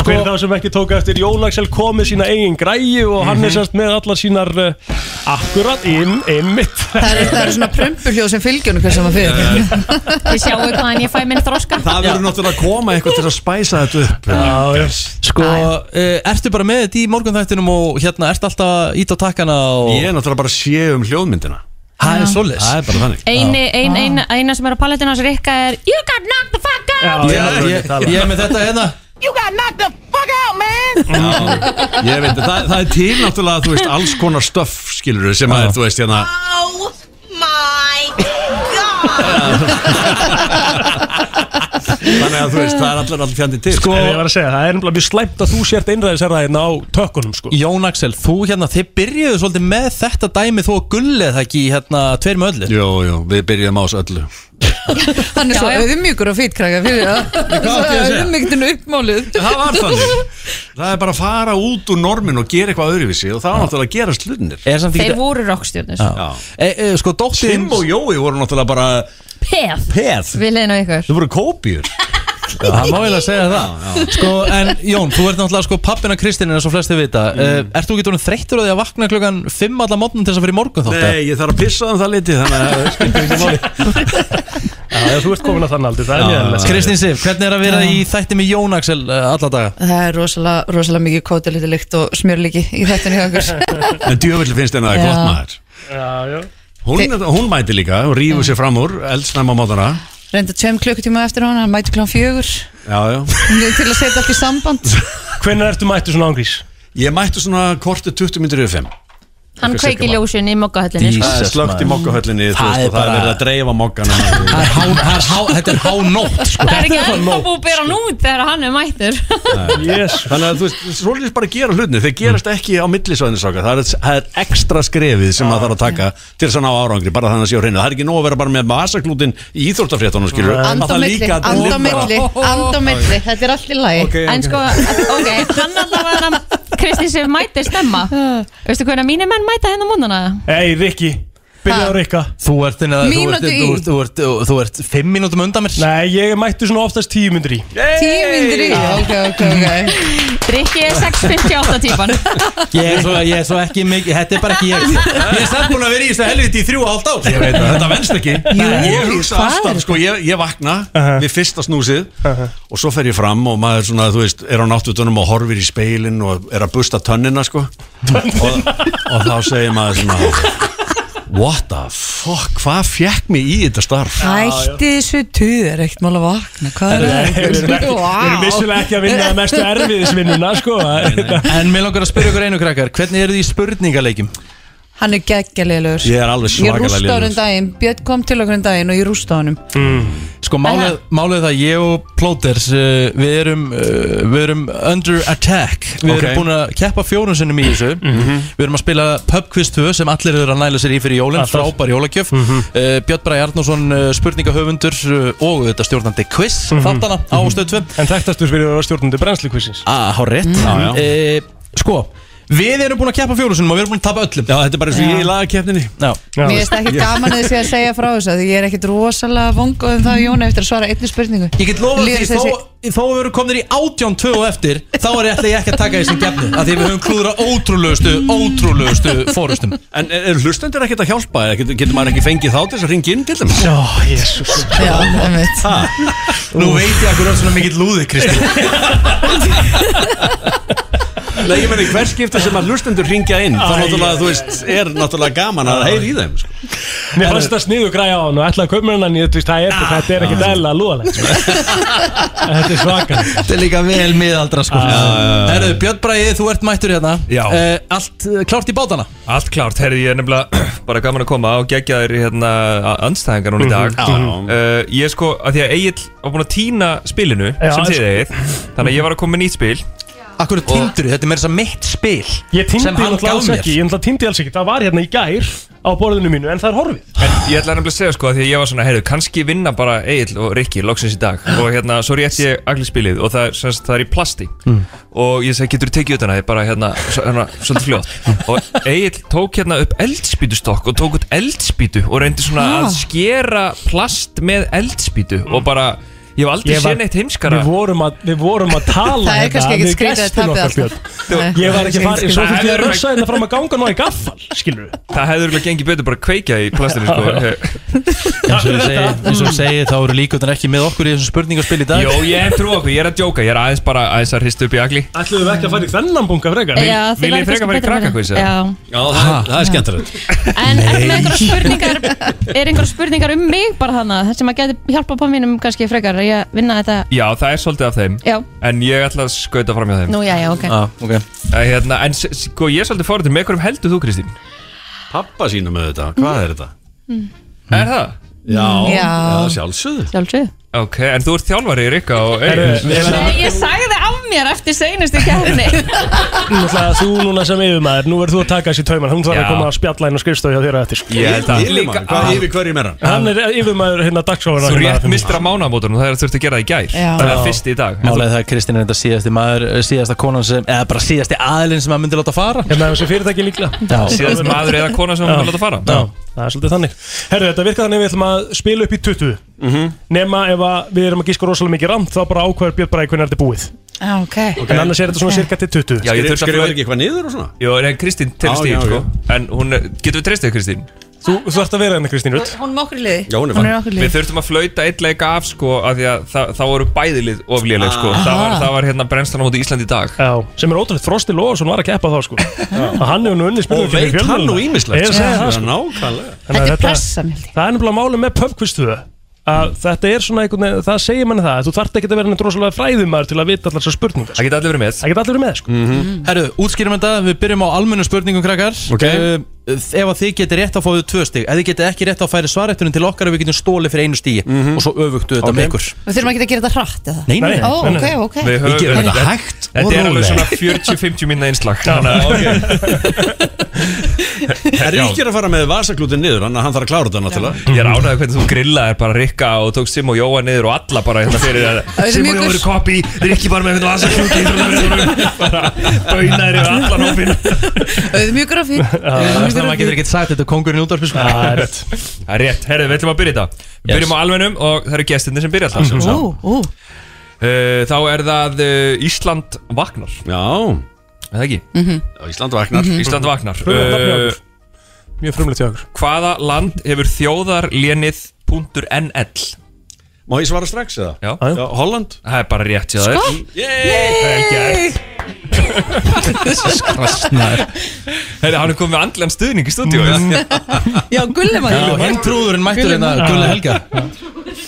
[SPEAKER 2] sko,
[SPEAKER 4] fyrir þá sem ekki tóka eftir Jón Axel kom með sína eigin græju og hann
[SPEAKER 2] Mhm.
[SPEAKER 4] er semst með allar sínar uh, akkurat inn, einmitt
[SPEAKER 8] Það eru er svona prumpuhljóð sem fylgjunum hvað sem að fyrir
[SPEAKER 4] Eh,
[SPEAKER 3] Þið sjáu hvaðan ég fæ minn þroska
[SPEAKER 9] Það verður náttúrulega að koma eitthvað til að spæsa þetta upp
[SPEAKER 4] Já, já
[SPEAKER 2] sko uh, ertu bara með þetta í morgunþættinum og hérna ertu alltaf að ít á takkana og...
[SPEAKER 9] Ég er náttúrulega bara að sé um hljóðmyndina
[SPEAKER 2] Það er svoleiðis
[SPEAKER 9] Það er bara þannig
[SPEAKER 3] Einu, ein, ein, eina sem er á palettinu hans Rikka er You got knocked the fuck out
[SPEAKER 4] Já,
[SPEAKER 2] Ég, ég, ég er með þetta hérna
[SPEAKER 5] You got knocked the fuck out, man
[SPEAKER 9] Já, Ég veit, það, það er til náttúrulega, þú veist, alls konar stöff skilur sem að er, þú veist, hérna
[SPEAKER 5] Oh my god
[SPEAKER 9] Þannig að þú veist, það er allir allir fjandi
[SPEAKER 2] Eh,
[SPEAKER 9] til
[SPEAKER 4] Sko, ég var að segja, það er nefnilega mjög slæmt að þú sért einræðisherraðina á tökkunum sko.
[SPEAKER 2] Jón Axel, þú hérna, þið byrjuðu svolítið með þetta dæmi þú og gullið það ekki í, hérna tveir með öllu
[SPEAKER 9] Jú, jú, við byrjum á þessu öllu
[SPEAKER 8] Hann er svo
[SPEAKER 3] Já, já.
[SPEAKER 8] auðmjúkur og fýtkrakka fyrir það
[SPEAKER 9] Hvað átti ég að segja?
[SPEAKER 8] Auðmjúktinu uppmálið
[SPEAKER 9] Það var þannig Það er bara að fara út úr normin og gera eitthvað öðruvísi og það var náttúrulega að gera slunir
[SPEAKER 2] Er samt
[SPEAKER 3] Þeir
[SPEAKER 2] ekki
[SPEAKER 3] voru rockstjörnus
[SPEAKER 2] Já. e,
[SPEAKER 9] Eh,
[SPEAKER 2] e, Sko, dóttir
[SPEAKER 9] Tim og Jói voru náttúrulega bara
[SPEAKER 3] Peð
[SPEAKER 9] peð
[SPEAKER 3] Við leiðin á ykkur
[SPEAKER 9] Þau voru kópjur
[SPEAKER 2] Já, það má eiginlega segja það Sko, en Jón, þú ert náttúrulega sko pappina Kristín eins og flesti vita mm. Ert þú ekki tónum þreyttur á því að vakna klukkan 5 allan mótnum til þess að fyrir morgun þátt?
[SPEAKER 9] Nei, ég þarf að pissa um það liti Þannig að það skiptir ekki máli
[SPEAKER 4] Já, þú ert komin að þann aldur, það er mjög
[SPEAKER 2] Já, Kristín Sif, hvernig er að vera í þætti með Jón Axel eh, alla daga?
[SPEAKER 8] Það er rosalega, rosalega mikið kótilítilíkt og smjörlíki í þættinu hjá okkur
[SPEAKER 9] En djöfull finnst henni að það er gott maður
[SPEAKER 4] Já, já
[SPEAKER 9] hún, er- hún mæti líka, hún rýfur sér fram úr Eldsnæma mótana
[SPEAKER 8] Reynda tveim klukkutíma eftir hann, hann mæti klán fjögur
[SPEAKER 9] Já, já
[SPEAKER 8] til að setja allt í samband
[SPEAKER 4] Hvernig ertu mættu svona ángrís?
[SPEAKER 9] Ég mætti svona kortu 20 myndir yfir 5
[SPEAKER 3] Hann
[SPEAKER 9] Eitthvað
[SPEAKER 3] kveiki
[SPEAKER 9] sigga
[SPEAKER 3] ljósin í mokkahöllinni sko.
[SPEAKER 9] Það er slögt í mokkahöllinni þú
[SPEAKER 2] Það
[SPEAKER 9] veist,
[SPEAKER 2] er
[SPEAKER 9] og Það er
[SPEAKER 2] bara-
[SPEAKER 9] verið að dreifa mokkanum
[SPEAKER 2] Það er há, það er há, þetta er há nótt sko.
[SPEAKER 3] Það er ekki ennþá búið að bera hann út þegar hann er mættur
[SPEAKER 4] Jésu
[SPEAKER 9] Þannig að þú veist, svolítið bara að gera hlutni Þeir gerast ekki á millisvæðinsaka það, er- það er ekstra skrefið sem maður þarf að taka Til þess að ná árangri, bara þannig að séu hreinu Það er ekki nóg að vera bara með masaklútin í íþórtafréttunum skilur
[SPEAKER 8] And á milli, and á milli, and á milli Þetta er allt í lagi
[SPEAKER 3] En sko, ok, hann allavega Kristi Sif mætir stemma Veistu hvernig að mínir menn mæta hérna múnana?
[SPEAKER 4] Ei, Rikki, byrja á Rikka
[SPEAKER 2] Þú ert, inna, þú, ert,
[SPEAKER 8] Mínútu
[SPEAKER 2] þú,
[SPEAKER 8] í.
[SPEAKER 2] ert, þú, ert, þú, ert, þú ert fimm mínútum undan mér
[SPEAKER 4] Nei, ég er mættu svona oftast tíu myndir í
[SPEAKER 8] Tíu myndir í, ok, ok, ok
[SPEAKER 3] Rikki er 658 típan
[SPEAKER 2] Ég er svo, ég er svo ekki mikið, þetta er bara ekki ég Ég er samt búin að vera í þessu helviti í þrjú og hálft ár
[SPEAKER 9] Ég veit það, þetta venst ekki Ég hugsa
[SPEAKER 8] hvað er
[SPEAKER 9] alltaf, sko, ég, ég vakna Við fyrsta snúsið Og svo fer ég fram og maður svona, þú veist Er á náttutunum og horfir í speilin Og er að busta tönnina, sko og, og þá segir maður svona What the fuck, hvað fekk mig í þetta starf?
[SPEAKER 8] Hætti þessu tuð, er ekkert mál að vakna Hvað er
[SPEAKER 4] Við erum ekki- við erum vissulega ekki að vinna að mestu erfiðisvinnuna, sko
[SPEAKER 2] En mér langar að spyrja ykkur einu krakkar Hvernig eru þið í spurningaleikjum?
[SPEAKER 8] Hann er geggjalegur
[SPEAKER 9] Ég er alveg
[SPEAKER 8] Ég
[SPEAKER 9] svakalega
[SPEAKER 8] rústa á
[SPEAKER 9] lélegur.
[SPEAKER 8] hann daginn, Björn kom til okkur um daginn og ég rústa á hann
[SPEAKER 4] Mm.
[SPEAKER 2] Sko málið, málið það, ég og Plóters uh, við, erum, uh, við erum under attack Við
[SPEAKER 9] Ok.
[SPEAKER 2] erum búin að keppa fjórun sinnum í þessu Við erum að spila Pub Quiz 2 sem allir eru að næla sér í fyrir jólinn
[SPEAKER 4] Alltaf. Mhm.
[SPEAKER 2] Frábær jólagjöf uh, Björn Bræði Arnósson, uh, spurningahöfundur uh, og þetta stjórnandi quiz
[SPEAKER 4] Mhm.
[SPEAKER 2] Þáttana á stöð 2
[SPEAKER 4] Mm, En þekktastur fyrir að vera stjórnandi brennslukvissins
[SPEAKER 2] Ah, há rétt
[SPEAKER 9] Já, já.
[SPEAKER 2] Eh, Sko, við erum búin að keppa fjórun sinnum og við erum búin að tapa öllum
[SPEAKER 9] Já, þetta er bara eins og ég í lagakefninni
[SPEAKER 2] Já.
[SPEAKER 8] Mér finnst ekki gaman að þessi að segja frá þessu af Því ég er ekkert rosalega vongóð um það Jóna eftir að svara einni spurningu
[SPEAKER 2] Ég get lofað því,
[SPEAKER 8] Líður
[SPEAKER 2] þó,
[SPEAKER 8] þessi-
[SPEAKER 2] þó við erum komnir í 18-2 og eftir þá er ég ætla ég ekki að taka þessi gefni af því við höfum klúðra ótrúlegustu, ótrúlegustu fórustum
[SPEAKER 9] En er, er hlustendur ekkert að hjálpa? Eða Getur, getur maður ekki fengið þá til þess að ringa inn til þeim?
[SPEAKER 4] Já, jésus
[SPEAKER 8] Já, einmitt.
[SPEAKER 2] Nú veit ég að hverju er svona mikill lúði, Kristi
[SPEAKER 9] Nei, ég meni, hver skipta sem að hlustendur ringja inn þá náttúrulega, þú veist, er náttúrulega gaman að heyra í þeim sko.
[SPEAKER 4] Mér fannst það sniðu græja á hann og ætlaði að köpa mér hann en ég veist það er þetta er ekki dæla lúðalegt sko. Þetta er svaka
[SPEAKER 2] Þetta er líka vel miðaldra sko Herru, Björn Bræði, þú ert mættur hérna
[SPEAKER 10] Já.
[SPEAKER 2] Eh, Allt eh, klárt í bátana
[SPEAKER 10] Allt klárt, herri, ég er nefnilega bara gaman að koma og gegja þér í hérna anstæðingar núna í dag
[SPEAKER 4] Mhm.
[SPEAKER 9] Já,
[SPEAKER 10] uh, Ég sko, að því að Egil var búin að týna spilinu
[SPEAKER 4] Já,
[SPEAKER 10] sem
[SPEAKER 4] sko.
[SPEAKER 10] þið eigið Þannig að ég var að koma með nýtt spil
[SPEAKER 2] Akkur er tindur, þetta er meira þess að mitt spil
[SPEAKER 4] Ég týndi
[SPEAKER 2] sem hann
[SPEAKER 4] alltaf
[SPEAKER 2] gaf
[SPEAKER 4] alls
[SPEAKER 2] mér
[SPEAKER 4] ekki, ég náttúrulega týndi alls ekki Það var hérna í gær á borðinu mínu en það er horfið
[SPEAKER 10] En ég ætlaði nefnilega að segja sko að því að ég var svona, heyrðu, kannski vinna bara Egil og Rikki loksins í dag og hérna, svo rétt ég allir spilið og það, er, sem sagt, það er í plasti og ég segi, getur tekið utan að ég bara hérna, svo- hérna svolítið fljótt og Egil tók hérna upp eldspýtustokk og tók út eldspýtu og reyndi svona
[SPEAKER 2] Ah.
[SPEAKER 10] að skera plast með eldspýtu
[SPEAKER 2] Mm.
[SPEAKER 10] og bara, ég hef aldrei
[SPEAKER 4] Ég var-
[SPEAKER 10] séð neitt heimskara
[SPEAKER 4] Við vorum að, við vorum að tala
[SPEAKER 8] Það er
[SPEAKER 4] hérna
[SPEAKER 8] kannski
[SPEAKER 4] við
[SPEAKER 8] ekkert skrítið að
[SPEAKER 4] gestin
[SPEAKER 8] tapja
[SPEAKER 4] okkar, Björn.
[SPEAKER 8] alltaf
[SPEAKER 4] Ég var ekki farið, svo þurfti ég að
[SPEAKER 10] Nei,
[SPEAKER 4] rössa hérna fram að ganga nú í gaffal, skilur við
[SPEAKER 10] það hefði örugglega gengið betur bara að kveikja í plastinu sko
[SPEAKER 2] Eins og ég segi, eins og ég segi þá eru líkvöldan ekki með okkur í þessum spurningaspil í dag
[SPEAKER 10] Jó, ég hef trú okkur, ég er að djóka, ég er aðeins bara aðeins að hristu upp í agli
[SPEAKER 4] Ætlum við ekki að fara í þennan bunga frekar?
[SPEAKER 3] Já, þið
[SPEAKER 10] vil ég
[SPEAKER 3] væri
[SPEAKER 10] frekar
[SPEAKER 3] kannski
[SPEAKER 10] fara í
[SPEAKER 3] betra með
[SPEAKER 10] krakkakvís,
[SPEAKER 3] það.
[SPEAKER 10] eða?
[SPEAKER 3] Já.
[SPEAKER 9] það, það er skemmtilegt
[SPEAKER 3] En er með einhverjar spurningar Er einhverjar spurningar um mig bara þannig sem að geti hjálpa på mínum kannski frekar í að vinna þetta
[SPEAKER 10] Já, það er svolítið af þeim
[SPEAKER 3] Já,
[SPEAKER 10] En ég ætla að skauta fram hjá þeim
[SPEAKER 3] nú já, já, ok
[SPEAKER 2] ah, okay.
[SPEAKER 10] Æ, hérna, En s- sko, ég er svolítið fórhættur með hverjum heldur þú, Kristín?
[SPEAKER 9] Pappa sínum með þetta, hvað er þetta?
[SPEAKER 10] Mm. Er það?
[SPEAKER 9] Já,
[SPEAKER 8] Já.
[SPEAKER 9] já sjálfsögðu
[SPEAKER 3] Sjálfsög
[SPEAKER 10] Ok, en þú ert þjálfari í Rikka og Egil
[SPEAKER 4] Herru,
[SPEAKER 3] Ég sagði af mér eftir seinustu kefni
[SPEAKER 4] Náttúrulega þú núna sem yfirmaður, nú verður þú að taka þessi tauman Hún þarf
[SPEAKER 10] Já.
[SPEAKER 4] að koma að spjalla inn og skrifstofi hjá þér á eftir sko.
[SPEAKER 10] Ég held að- Yfirmaður, hvað yfir
[SPEAKER 9] hverju meira?
[SPEAKER 4] Hann er yfirmaður hérna dagskóðan
[SPEAKER 10] Þú rétt mistir að mánamótunum, það er þurfti að gera það í gær
[SPEAKER 4] Já.
[SPEAKER 10] Það er
[SPEAKER 4] Já.
[SPEAKER 10] fyrst í dag En þú-
[SPEAKER 2] Málega það er Kristín er þetta síðasti maður, eh, síðasta konan sem, eða bara síðasti aðilinn sem maður myndi láta fara
[SPEAKER 4] Hérna þessi fyrirtæki líklega
[SPEAKER 2] Já.
[SPEAKER 10] Síðasti maður eða kona sem
[SPEAKER 4] Já.
[SPEAKER 10] hún vil láta fara.
[SPEAKER 4] Já, það er svolítið þannig Herru, þetta virkar þannig að við ætlum að spila upp í 20
[SPEAKER 10] Mhm.
[SPEAKER 4] Nema ef að við erum að gíska rosalega mikið ramt Þá bara ákvæður Björn Bræði hvernig er þetta búið
[SPEAKER 8] Já, Ah, ok
[SPEAKER 4] En annars er þetta svona cirka til 20
[SPEAKER 10] Já, ég þurfti að
[SPEAKER 9] ekki eitthvað niður og svona?
[SPEAKER 10] Jó, en Kristín
[SPEAKER 4] Já,
[SPEAKER 10] telst í,
[SPEAKER 4] já,
[SPEAKER 10] sko En hún, er- getum við treystið Kristín?
[SPEAKER 4] Þú, þú ert að vera hérna Kristín Rutt
[SPEAKER 8] Hún er okkur í liði í okkur í
[SPEAKER 10] Við
[SPEAKER 8] liði
[SPEAKER 10] þurftum að flauta eitt leik af sko af því að það, það voru bæðilið ofléleg sko
[SPEAKER 4] Ah.
[SPEAKER 10] það var,
[SPEAKER 4] Aha.
[SPEAKER 10] það var hérna brennslan á móti Ísland í dag
[SPEAKER 4] Já, sem er ótrúlega Frosti Lóðarsson var að keppa þá sko að hann hefur nú unni spilum
[SPEAKER 9] Og veit hann nú ýmislegt,
[SPEAKER 4] Ég segi
[SPEAKER 9] sko.
[SPEAKER 4] það
[SPEAKER 9] Já,
[SPEAKER 4] sko
[SPEAKER 9] nákvæmlega.
[SPEAKER 4] Þannig að
[SPEAKER 9] Þetta er pressan, held
[SPEAKER 4] Það er nefnilega málið með pubquistuðu að þetta er svona einhvern veginn, það segir manni það að þú þarft ekki að vera neitt rosalega fræðumar til að vita allar svo spurningar
[SPEAKER 10] Það geta allir verið með Mm. Það
[SPEAKER 4] geta allir verið með sko
[SPEAKER 1] Mhm.
[SPEAKER 2] Herru, Eh, útskýrum þetta, við byrjum á almennu spurningum krakkar
[SPEAKER 4] Ok.
[SPEAKER 2] uh, Ef að þið getur rétt á fóðu tvö stig Ef þið getur ekki rétt á færi svarættunum til okkar og við getum stólið fyrir einu stigi
[SPEAKER 4] Mhm.
[SPEAKER 2] og svo öfugtu þetta
[SPEAKER 9] Ok.
[SPEAKER 2] með ykkur
[SPEAKER 8] Við þurfum ekki að gera þetta hrætt eða?
[SPEAKER 2] Nei, nei, nei.
[SPEAKER 8] Ó,
[SPEAKER 2] Nei,
[SPEAKER 8] ok,
[SPEAKER 2] nei.
[SPEAKER 8] ok
[SPEAKER 10] Við höfum-
[SPEAKER 2] Við gerum þetta
[SPEAKER 10] Þetta-
[SPEAKER 2] hægt og
[SPEAKER 10] Þetta er alveg
[SPEAKER 2] rólega.
[SPEAKER 10] svona 40-50 minna einslag Þannig að ok
[SPEAKER 9] Það er ekki að fara með vasaklútin niður, hann, hann þarf að klára þetta náttúrulega
[SPEAKER 10] Ég er ánægði hvernig þú grillaðir bara Rikka og tókst Sim og Jóa niður og alla bara hérna fyrir
[SPEAKER 7] Það
[SPEAKER 10] það
[SPEAKER 7] er
[SPEAKER 10] Sim
[SPEAKER 7] mjög
[SPEAKER 10] og Jóa eru
[SPEAKER 7] gott.
[SPEAKER 10] kopi, Rikki bara með hvernig lasa klúki bara baunaðir yfir allan hópin
[SPEAKER 8] Auðmjúkur af því
[SPEAKER 2] Þannig að Eh, maður getur ekkert sagt þetta er kongurinn í útvarpi sko.
[SPEAKER 4] Það er rétt
[SPEAKER 10] Það er rétt, herðu, við ætlum að byrja þetta Við
[SPEAKER 2] Yes.
[SPEAKER 10] byrjum á almennum og það eru gestinni sem byrja alltaf
[SPEAKER 8] Ú,
[SPEAKER 10] sjálfsagt.
[SPEAKER 8] ú
[SPEAKER 10] Uh, Þá er það uh, Ísland vaknar
[SPEAKER 9] Já
[SPEAKER 10] Er það ekki?
[SPEAKER 9] Mhm. Já, Ísland vaknar. Mhm.
[SPEAKER 10] Mm-hmm. Ísland vaknar Uh, Eh,
[SPEAKER 9] Frumlegt nafn hjá okkur.
[SPEAKER 4] Mjög frumlegt hjá okkur
[SPEAKER 10] Hvaða land hefur þjóðarlénið.nl?
[SPEAKER 9] Má ég svara strax eða?
[SPEAKER 10] Já,
[SPEAKER 9] Já Holland
[SPEAKER 10] Það er bara rétt hjá þér
[SPEAKER 7] Yey
[SPEAKER 10] Skrasnar Herri, hann er komið með andlan stuðning í stúdíu
[SPEAKER 9] Mm.
[SPEAKER 8] Já, gulli
[SPEAKER 2] Já, hinn trúðurinn mættur hérna, Gulli Helga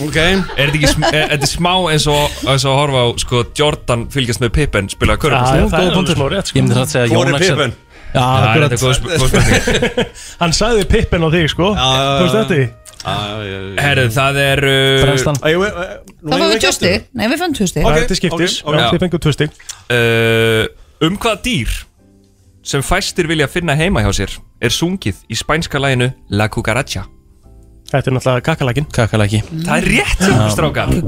[SPEAKER 9] Ok
[SPEAKER 10] Er þetta ekki sm er, þetta smá eins og, eins og að horfa á sko, Jordan fylgjast með Pippen spila
[SPEAKER 4] Já, það er alveg
[SPEAKER 10] körfubolta?
[SPEAKER 4] smá rétt, sko.
[SPEAKER 2] Ég myndi það að segja
[SPEAKER 10] Hvor er
[SPEAKER 2] Jón Axel.
[SPEAKER 10] Pippen?
[SPEAKER 2] Já,
[SPEAKER 10] Já,
[SPEAKER 2] akkurat.
[SPEAKER 10] þetta er góð sp- góð spurning.
[SPEAKER 4] Hann sagði pippin á þig sko
[SPEAKER 9] já,
[SPEAKER 4] Þú veist
[SPEAKER 9] já.
[SPEAKER 4] þetta í?
[SPEAKER 10] Ah, Herri, það er uh,
[SPEAKER 4] Brennslan.
[SPEAKER 9] Æ, jú, uh,
[SPEAKER 8] Það var við tvö stig Nei, við fannum tvö stig
[SPEAKER 4] Það er til skiptis,
[SPEAKER 10] ok, ok.
[SPEAKER 4] já, þið fengum tvö stig
[SPEAKER 10] uh, Um hvaða dýr sem fæstir vilja finna heima hjá sér er sungið í spænska læginu La Cucaracha
[SPEAKER 4] Þetta er náttúrulega kakalækin
[SPEAKER 2] Kakalæki
[SPEAKER 10] Það er rétt, strákar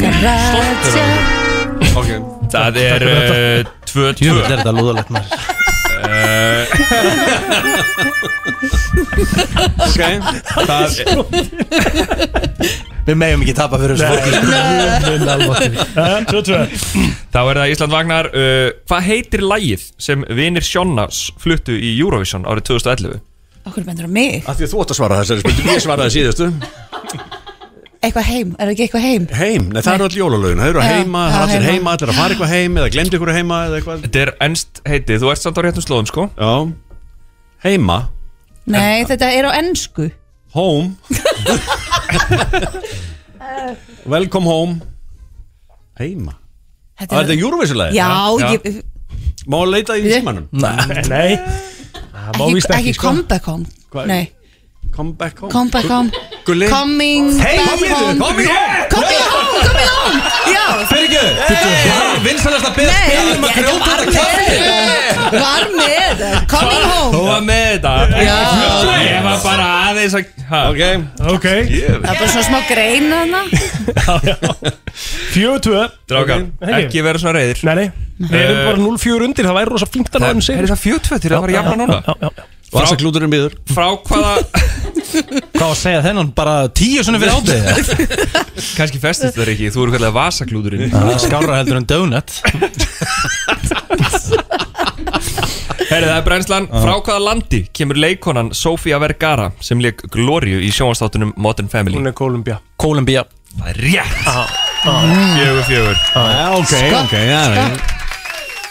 [SPEAKER 10] okay. Það er uh, tvö, Eh, tvö.
[SPEAKER 2] Jú, þetta er þetta lúðalegt maður
[SPEAKER 9] Ok,
[SPEAKER 10] það
[SPEAKER 2] Við megum ekki tapa fyrir þessu fólki
[SPEAKER 4] Tvö, Eh, tvö
[SPEAKER 10] Þá er það Ísland Vagnar uh, Hvað heitir lægið sem vinir Sjónas fluttu í Eurovision árið 2011?
[SPEAKER 8] Okkur bendur á mig
[SPEAKER 9] Af því að þú átt að svara þessari spurningu, ég svaraði síðustu
[SPEAKER 8] Eitthvað heim, er ekki eitthvað heim?
[SPEAKER 9] Heim, nei það eru öll jólalögin, það eru
[SPEAKER 8] Já,
[SPEAKER 9] heima, það
[SPEAKER 8] já,
[SPEAKER 9] eru allir
[SPEAKER 8] heima.
[SPEAKER 9] heima, allir að fara eitthvað heim eða glemdi ykkur heima eða eitthvað
[SPEAKER 10] Þetta er ennst heitið, þú ert samt á réttum slóðum sko
[SPEAKER 9] Já, heima,
[SPEAKER 8] Nei, þetta er á ennsku
[SPEAKER 9] home Welcome home Heima
[SPEAKER 8] Þetta
[SPEAKER 9] Þetta er þetta júruvísulega
[SPEAKER 8] Já, ég
[SPEAKER 9] Má leita í símanum
[SPEAKER 4] Nei Það má
[SPEAKER 8] Ekki-
[SPEAKER 4] víst
[SPEAKER 8] Ekki
[SPEAKER 4] ekki sko
[SPEAKER 8] come back home
[SPEAKER 9] Hvað-
[SPEAKER 8] Nei,
[SPEAKER 9] Come back home
[SPEAKER 8] come back home
[SPEAKER 9] Gulli.
[SPEAKER 8] Coming
[SPEAKER 9] Hey,
[SPEAKER 8] back
[SPEAKER 9] heyrðu,
[SPEAKER 8] home
[SPEAKER 9] coming home.
[SPEAKER 8] Coming home, coming home Já
[SPEAKER 2] Fyrir ekki, vinsalast að beða spilum að grjóta þetta
[SPEAKER 8] Nei, Var með Coming home
[SPEAKER 10] Þú var með þetta
[SPEAKER 8] Já.
[SPEAKER 10] Ég var bara aðeins að ha.
[SPEAKER 9] Ok
[SPEAKER 4] Ok
[SPEAKER 8] Það er bara svona smá greina hana
[SPEAKER 4] Fjögur, tvö
[SPEAKER 10] Dráka,
[SPEAKER 4] Ekki.
[SPEAKER 10] ekki vera svona reyðir
[SPEAKER 4] Nei, nei Við erum bara 0-4 undir, það væri rosa fínt að um
[SPEAKER 10] Það
[SPEAKER 4] náðum sig
[SPEAKER 10] er það fjötfött til að fara jafna núna
[SPEAKER 9] Vasaklúturinn býður
[SPEAKER 10] Frá hvaða,
[SPEAKER 2] Hvað að segja þennan, bara tíu svona fyrir átið
[SPEAKER 10] kannski festist það ekki Þú eru kallega vasaklúðurinn
[SPEAKER 2] Skára heldur en donut
[SPEAKER 10] Herri, það er brennslan Frá hvaða landi kemur leikonan Sofía Vergara sem leik Glóriu í sjónvastáttunum Modern Family
[SPEAKER 4] Hún er Kolumbia
[SPEAKER 2] Kolumbía
[SPEAKER 10] Það er rétt
[SPEAKER 4] Ah.
[SPEAKER 10] Fjögur, fjögur
[SPEAKER 9] Ok, ok, já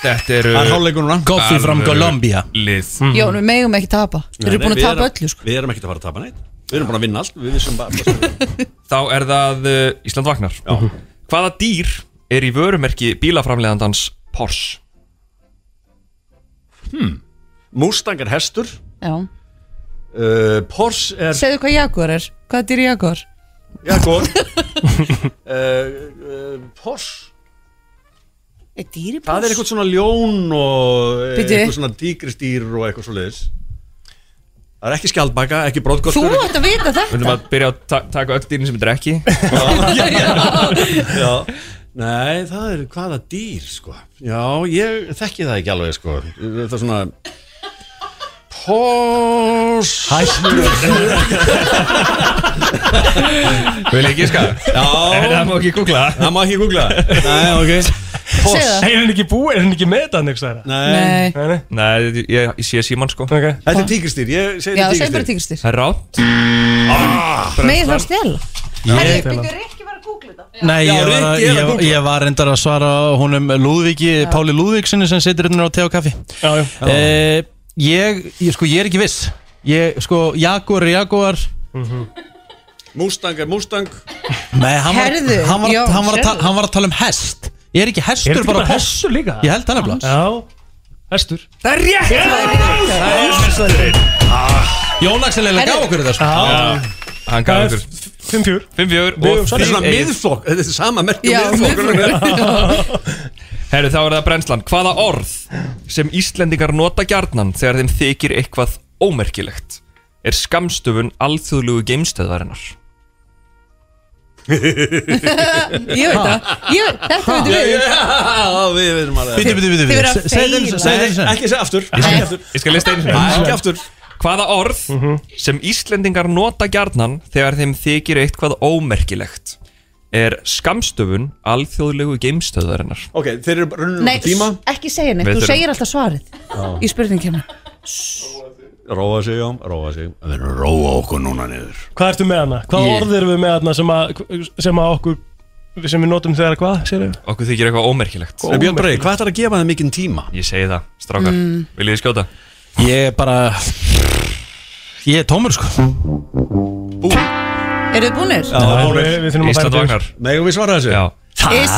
[SPEAKER 10] Þetta eru
[SPEAKER 9] Það er hálfleikur núna
[SPEAKER 2] Coffee from
[SPEAKER 10] Alvöru
[SPEAKER 2] Colombia
[SPEAKER 10] Lið
[SPEAKER 8] Jón, við megum ekki tapa Þeir eru búin að tapa öllu sko
[SPEAKER 9] Við erum ekki að fara að tapa neitt Við erum búin að vinna allt Við vissum bara
[SPEAKER 10] Þá er það uh, Ísland Vagnar
[SPEAKER 9] Já.
[SPEAKER 10] Hvaða dýr er í vörumerki bílaframlegandans Porsche?
[SPEAKER 9] Hmm. Mustang er hestur
[SPEAKER 8] Já
[SPEAKER 9] uh, Porsche er
[SPEAKER 8] Segðu hvað Jaguar er Hvað dýr er Jaguar?
[SPEAKER 9] Eh, Já, góð uh, uh, Porsche
[SPEAKER 8] Er dýripús?
[SPEAKER 9] eh, Það er eitthvað svona ljón og eh,
[SPEAKER 8] Bíddu.
[SPEAKER 9] eitthvað svona tígristýr og eitthvað svo leiðis Það er ekki skjaldbaka, ekki bróðgóttur
[SPEAKER 8] Þú ætti að vita
[SPEAKER 10] Við viljum
[SPEAKER 8] þetta
[SPEAKER 10] að byrja að ta- taka öll dýrin sem þetta er ekki
[SPEAKER 9] Já, nei, það er hvaða dýr, sko Já, ég þekki það ekki alveg, sko Það er svona Pós
[SPEAKER 10] Vil ég giska?
[SPEAKER 9] Já
[SPEAKER 4] Það má ekki googla
[SPEAKER 9] Það má ekki googla Nei, ok
[SPEAKER 8] Segðu það.
[SPEAKER 4] Er hann ekki búið, er hann ekki með þetta neiks aðra?
[SPEAKER 8] Nei,
[SPEAKER 4] Nei, nei.
[SPEAKER 10] Nei, ég, ég, ég sé síman sko
[SPEAKER 4] ok
[SPEAKER 9] Þetta er tígristýr, ég segi
[SPEAKER 8] já,
[SPEAKER 9] þetta
[SPEAKER 8] segð bara
[SPEAKER 9] tígristýr
[SPEAKER 8] tígristir
[SPEAKER 10] Það er rátt
[SPEAKER 8] Megið þá stjæla
[SPEAKER 2] Ég- Nei,
[SPEAKER 9] Já,
[SPEAKER 2] ég var, að-
[SPEAKER 9] Rikki er
[SPEAKER 2] ég,
[SPEAKER 9] að googla.
[SPEAKER 2] ég var reyndar að svara honum Lúðvíki, Páli Lúðvíksinni sem situr hérna á te og kaffi
[SPEAKER 4] Já, já
[SPEAKER 2] Eh, ég, ég, sko, ég er ekki viss Ég, sko, Jaguar, er Jaguar
[SPEAKER 9] Mustang er Mustang
[SPEAKER 2] Nei, hann var,
[SPEAKER 8] Herðu,
[SPEAKER 2] hann, var,
[SPEAKER 8] já,
[SPEAKER 2] hann, var að
[SPEAKER 8] sérðu.
[SPEAKER 2] tala, hann var að tala um hest Ég er ekki
[SPEAKER 4] Er
[SPEAKER 2] hestur,
[SPEAKER 4] þetta
[SPEAKER 2] bara
[SPEAKER 4] bara
[SPEAKER 2] poss
[SPEAKER 4] hessu líka?
[SPEAKER 2] Ég held það nefnilega
[SPEAKER 4] Já Hestur
[SPEAKER 8] Það er rétt
[SPEAKER 2] Jón Axel er að gá
[SPEAKER 8] Herðu.
[SPEAKER 2] okkur þetta sko.
[SPEAKER 10] Hann
[SPEAKER 4] Það
[SPEAKER 10] gaf
[SPEAKER 4] er
[SPEAKER 10] okkur
[SPEAKER 4] 5-4
[SPEAKER 10] 5-4
[SPEAKER 4] Við
[SPEAKER 10] og
[SPEAKER 4] höfum svarið.
[SPEAKER 9] Þetta er
[SPEAKER 10] þið
[SPEAKER 9] svona
[SPEAKER 10] eigið-
[SPEAKER 9] miðflokk, þetta er sama merkja
[SPEAKER 8] Já,
[SPEAKER 9] miðflokkur
[SPEAKER 10] Herru, þá er það brennslan Hvaða orð sem Íslendingar nota gjarnan þegar þeim þykir eitthvað ómerkilegt er skamstöfun alþjóðlugu geimstöðvarinnar
[SPEAKER 8] Ég veit það, Ég- þetta veitum við
[SPEAKER 9] Já, við veitum alveg
[SPEAKER 2] Bíddu, bíddu, bíddu,
[SPEAKER 8] Þið verða
[SPEAKER 2] bíddu.
[SPEAKER 8] að
[SPEAKER 2] Segðu þeim-
[SPEAKER 8] feila.
[SPEAKER 2] segðu þeim
[SPEAKER 9] Nei,
[SPEAKER 2] sem
[SPEAKER 9] Ekki segja aftur Ekki aftur
[SPEAKER 10] Ég skal lista einu sinni.
[SPEAKER 9] Nei, Ekki aftur
[SPEAKER 10] Hvaða orð sem Íslendingar nota gjarnan þegar þeim þykir eitthvað ómerkilegt er skamstöfun alþjóðlegu geimstöðvarinnar
[SPEAKER 9] Ok, þeir eru bara runnum
[SPEAKER 8] Nei,
[SPEAKER 9] út á tíma
[SPEAKER 8] s- ekki segja neitt,
[SPEAKER 10] Við
[SPEAKER 8] þú
[SPEAKER 10] þurfum-
[SPEAKER 8] segir alltaf svarið Í spurningkjörna
[SPEAKER 9] Róa sig, já, róa sig Við erum að róa okkur núna niður
[SPEAKER 4] Hvað ertu með hana? Hvað
[SPEAKER 10] Ég-
[SPEAKER 4] orð erum við með hana sem að, sem að okkur sem við notum þegar hvað, segir við?
[SPEAKER 10] Okkur þykir eitthvað ómerkilegt
[SPEAKER 9] En Björn Brey, hvað ætlar að gefa þeim mikinn tíma?
[SPEAKER 10] Ég segi það, strákar
[SPEAKER 8] Mm.
[SPEAKER 10] Viljið þið skjóta?
[SPEAKER 2] Ég er bara Ég er tómur sko
[SPEAKER 8] Eru þið búnir?
[SPEAKER 4] Já, við, við þurfum að
[SPEAKER 10] Ísland
[SPEAKER 4] færa
[SPEAKER 10] vagnar
[SPEAKER 9] Megum við svara þessu?
[SPEAKER 10] Já
[SPEAKER 8] Is,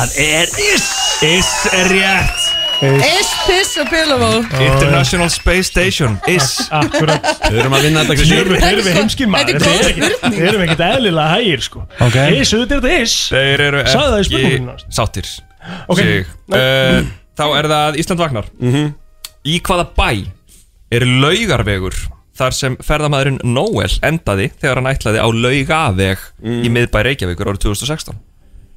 [SPEAKER 10] Is er rétt
[SPEAKER 8] is, piss og billable
[SPEAKER 10] International Space Station Is
[SPEAKER 4] Akkurat
[SPEAKER 9] Við erum að vinna
[SPEAKER 4] Erum
[SPEAKER 9] þetta Kristín
[SPEAKER 4] við, erum við
[SPEAKER 8] sko- þetta
[SPEAKER 4] heimskir maður
[SPEAKER 8] er góð spurning.
[SPEAKER 4] Erum við ekkert eðlilega hægir sko
[SPEAKER 2] Ok.
[SPEAKER 4] Ís, auðvitað er þetta ís
[SPEAKER 10] Þeir eru
[SPEAKER 4] Sagði það í
[SPEAKER 10] ekki
[SPEAKER 4] spurningunni, Lars.
[SPEAKER 10] Sáttir
[SPEAKER 4] Ok.
[SPEAKER 10] Sig. Eh, Þá er það Ísland vagnar
[SPEAKER 9] Mhm.
[SPEAKER 10] Í hvaða bæ er laugarvegur þar sem ferðamæðurinn Noel endaði þegar hann ætlaði á laugaveg
[SPEAKER 9] Mm.
[SPEAKER 10] í miðbæ Reykjavíkur árið 2016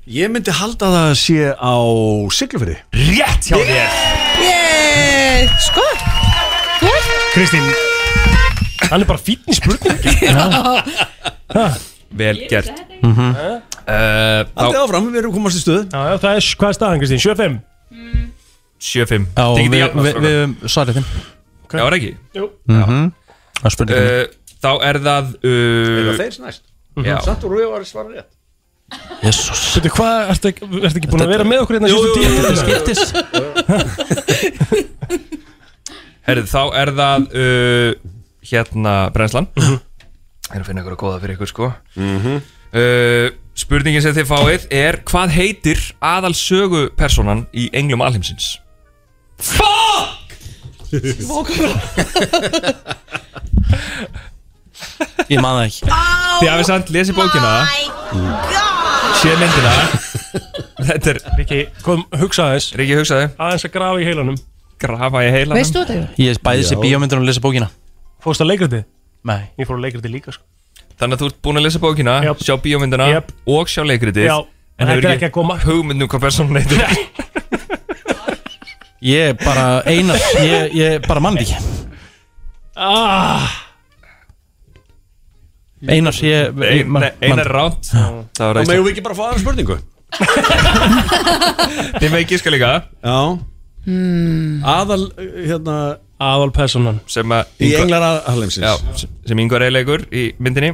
[SPEAKER 9] Ég myndi halda það að sé á Siglufyrði
[SPEAKER 10] Rétt hjá þér
[SPEAKER 8] Yey, sko Þú ert
[SPEAKER 4] Kristín Hann er bara fínn í spurningi
[SPEAKER 10] Vel gert Eh, Þá
[SPEAKER 9] Haldið áfram, við erum komast í stöð
[SPEAKER 4] Já, já, það er, hvað er staðan Kristín? 75?
[SPEAKER 10] 7-5
[SPEAKER 2] Já,
[SPEAKER 10] Tekið
[SPEAKER 2] við
[SPEAKER 10] þið
[SPEAKER 2] vi,
[SPEAKER 10] jafnast
[SPEAKER 2] vi,
[SPEAKER 10] vi,
[SPEAKER 2] svarið þeim
[SPEAKER 10] Já, er ekki
[SPEAKER 2] Mhm. Það er spurning
[SPEAKER 10] Eh, Þá er það uh,
[SPEAKER 9] Þeir snæst
[SPEAKER 10] Já
[SPEAKER 9] Samt og Rúi var að svara rétt
[SPEAKER 2] Jésús
[SPEAKER 4] Veitu, hvað, ertu ekki- ertu ekki búin að vera með okkur hérna
[SPEAKER 9] Jú,
[SPEAKER 4] síðustu
[SPEAKER 9] jú, jú,
[SPEAKER 4] tíu
[SPEAKER 2] Það
[SPEAKER 4] tíu?
[SPEAKER 2] skiptis
[SPEAKER 10] Herðu, þá er það uh, hérna brennslan Ég er að finna ykkur að góða fyrir ykkur sko uh, Spurningin sem þið fáið er Hvað heitir aðal sögupersonan í Englum Alheimsins?
[SPEAKER 2] Ég man það ekki
[SPEAKER 10] Þið hafið samt lesið bókina Sér myndina Þetta er,
[SPEAKER 4] Riki, kom, hugsa aðeins
[SPEAKER 10] Ríkki hugsaði
[SPEAKER 4] Aðeins að grafa í heilanum
[SPEAKER 10] Grafa í heilanum
[SPEAKER 8] Veist þú þetta? Jón?
[SPEAKER 2] Ég bæði sér bíómyndur og lesa bókina
[SPEAKER 4] Fórst að leikritið?
[SPEAKER 2] Nei
[SPEAKER 4] Ég fór að leikritið líka sko
[SPEAKER 10] Þannig að þú ert búin að lesa bókina
[SPEAKER 4] Jöp.
[SPEAKER 10] Sjá bíómyndina
[SPEAKER 4] Jöp.
[SPEAKER 10] og sjá leikritið
[SPEAKER 4] Já,
[SPEAKER 10] En
[SPEAKER 4] þetta
[SPEAKER 10] hefur
[SPEAKER 4] er
[SPEAKER 10] ekki,
[SPEAKER 4] ekki að koma.
[SPEAKER 10] hugmynd um hvað personan heitir
[SPEAKER 2] Ég er bara einar Ég, ég bara mann ekki
[SPEAKER 4] ah,
[SPEAKER 2] Einar ég, ég man,
[SPEAKER 10] Nei, Einar rátt Það var
[SPEAKER 9] Og
[SPEAKER 10] það
[SPEAKER 9] megum við ekki bara fá aðra spurningu?
[SPEAKER 10] Þið með gíska líka
[SPEAKER 9] Já Aðal, hérna
[SPEAKER 4] Aðal personan
[SPEAKER 10] sem að
[SPEAKER 9] Í
[SPEAKER 10] Ingvar-
[SPEAKER 9] englar
[SPEAKER 10] Já,
[SPEAKER 9] aðalimsins
[SPEAKER 10] sem- sem yngvar eiginlegur í myndinni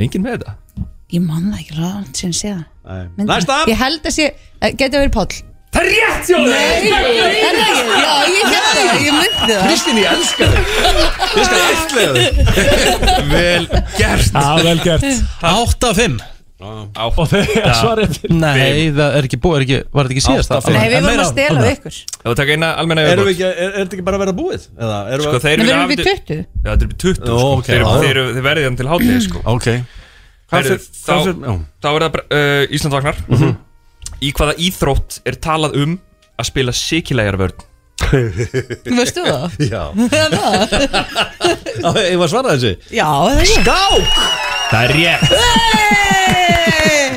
[SPEAKER 10] Engin með þetta
[SPEAKER 8] Ég man það ekki ráðan sem sé það Myndin.
[SPEAKER 9] Næsta
[SPEAKER 8] Ég held að sé, eh, geti verið Páll
[SPEAKER 10] Það er rétt, Jóður!
[SPEAKER 8] Er það ekki? Já, ég held það, ég myndi það
[SPEAKER 9] Kristín, ég elska þig Ég skal ætla þig
[SPEAKER 10] Vel gert
[SPEAKER 4] Já, vel gert
[SPEAKER 2] 8 af 5
[SPEAKER 4] Og þegar svarið til
[SPEAKER 2] Nei, það er ekki búið, er ekki, var þetta ekki síðast
[SPEAKER 9] Átta, fimm.
[SPEAKER 8] Nei, við
[SPEAKER 2] En
[SPEAKER 8] vorum
[SPEAKER 2] meira-
[SPEAKER 8] að stela við ykkur
[SPEAKER 10] Það var að taka eina almenna
[SPEAKER 9] Erum við
[SPEAKER 10] yfirbót
[SPEAKER 9] ekki, er, er þetta ekki bara að vera búið? Eða, erum
[SPEAKER 10] Sko,
[SPEAKER 8] Nei,
[SPEAKER 10] þeir
[SPEAKER 8] við
[SPEAKER 10] eru
[SPEAKER 8] erum við 20
[SPEAKER 10] Já, þetta er við 20 sko.
[SPEAKER 9] Ó, ok.
[SPEAKER 10] þeir,
[SPEAKER 9] Já.
[SPEAKER 10] þeir, þeir verðið hann til hátíð sko.
[SPEAKER 9] Ok Hvað
[SPEAKER 10] Heyrðu,
[SPEAKER 9] fyrir, hvað
[SPEAKER 10] þá-
[SPEAKER 9] fyrir, já Mhm.
[SPEAKER 10] Þá er það bara, uh, Ísland vagnar Í hvaða íþrótt er talað um að spila sikilægarvörn?
[SPEAKER 8] Veistu það?
[SPEAKER 9] Já
[SPEAKER 8] Það?
[SPEAKER 9] Ég var svarað þessu
[SPEAKER 8] Já, það er
[SPEAKER 9] Skák
[SPEAKER 10] Það er rétt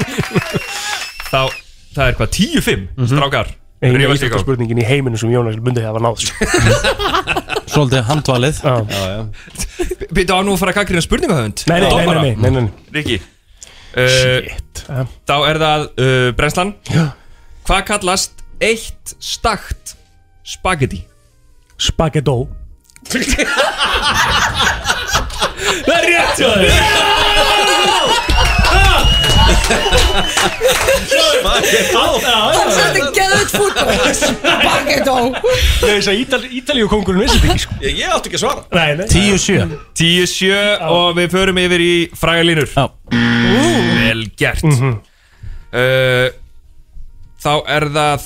[SPEAKER 10] Þá, það er hvað, 10-5
[SPEAKER 9] Mhm.
[SPEAKER 10] Strákar
[SPEAKER 4] Einu
[SPEAKER 10] rífast í
[SPEAKER 4] íþjóta
[SPEAKER 10] gang.
[SPEAKER 4] spurningin í heiminu sem Jónas myndi hafa náð sko.
[SPEAKER 2] Svolítið handvalið
[SPEAKER 10] Býttu á nú að fara að kakriðna spurningahöfund
[SPEAKER 4] Nei, nei, nei,
[SPEAKER 10] Dómara.
[SPEAKER 4] nei, nei, nei, nei.
[SPEAKER 10] Riki Shit Þá er það uh, brennslan Já Hvað kallast eitt stakt spagetti?
[SPEAKER 4] Spagettó
[SPEAKER 10] Það er rétt hjá þér
[SPEAKER 8] Hann sætti geðut fútból Spagettó
[SPEAKER 4] Þess að Ítal, Ítalíu kongurinn vissi þetta ekki sko.
[SPEAKER 9] Ég, ég átti ekki að svara
[SPEAKER 4] Nei, nei
[SPEAKER 2] 10-7
[SPEAKER 10] 10-7 og við förum yfir í frægalínur Já Vel gert uh, Þá er það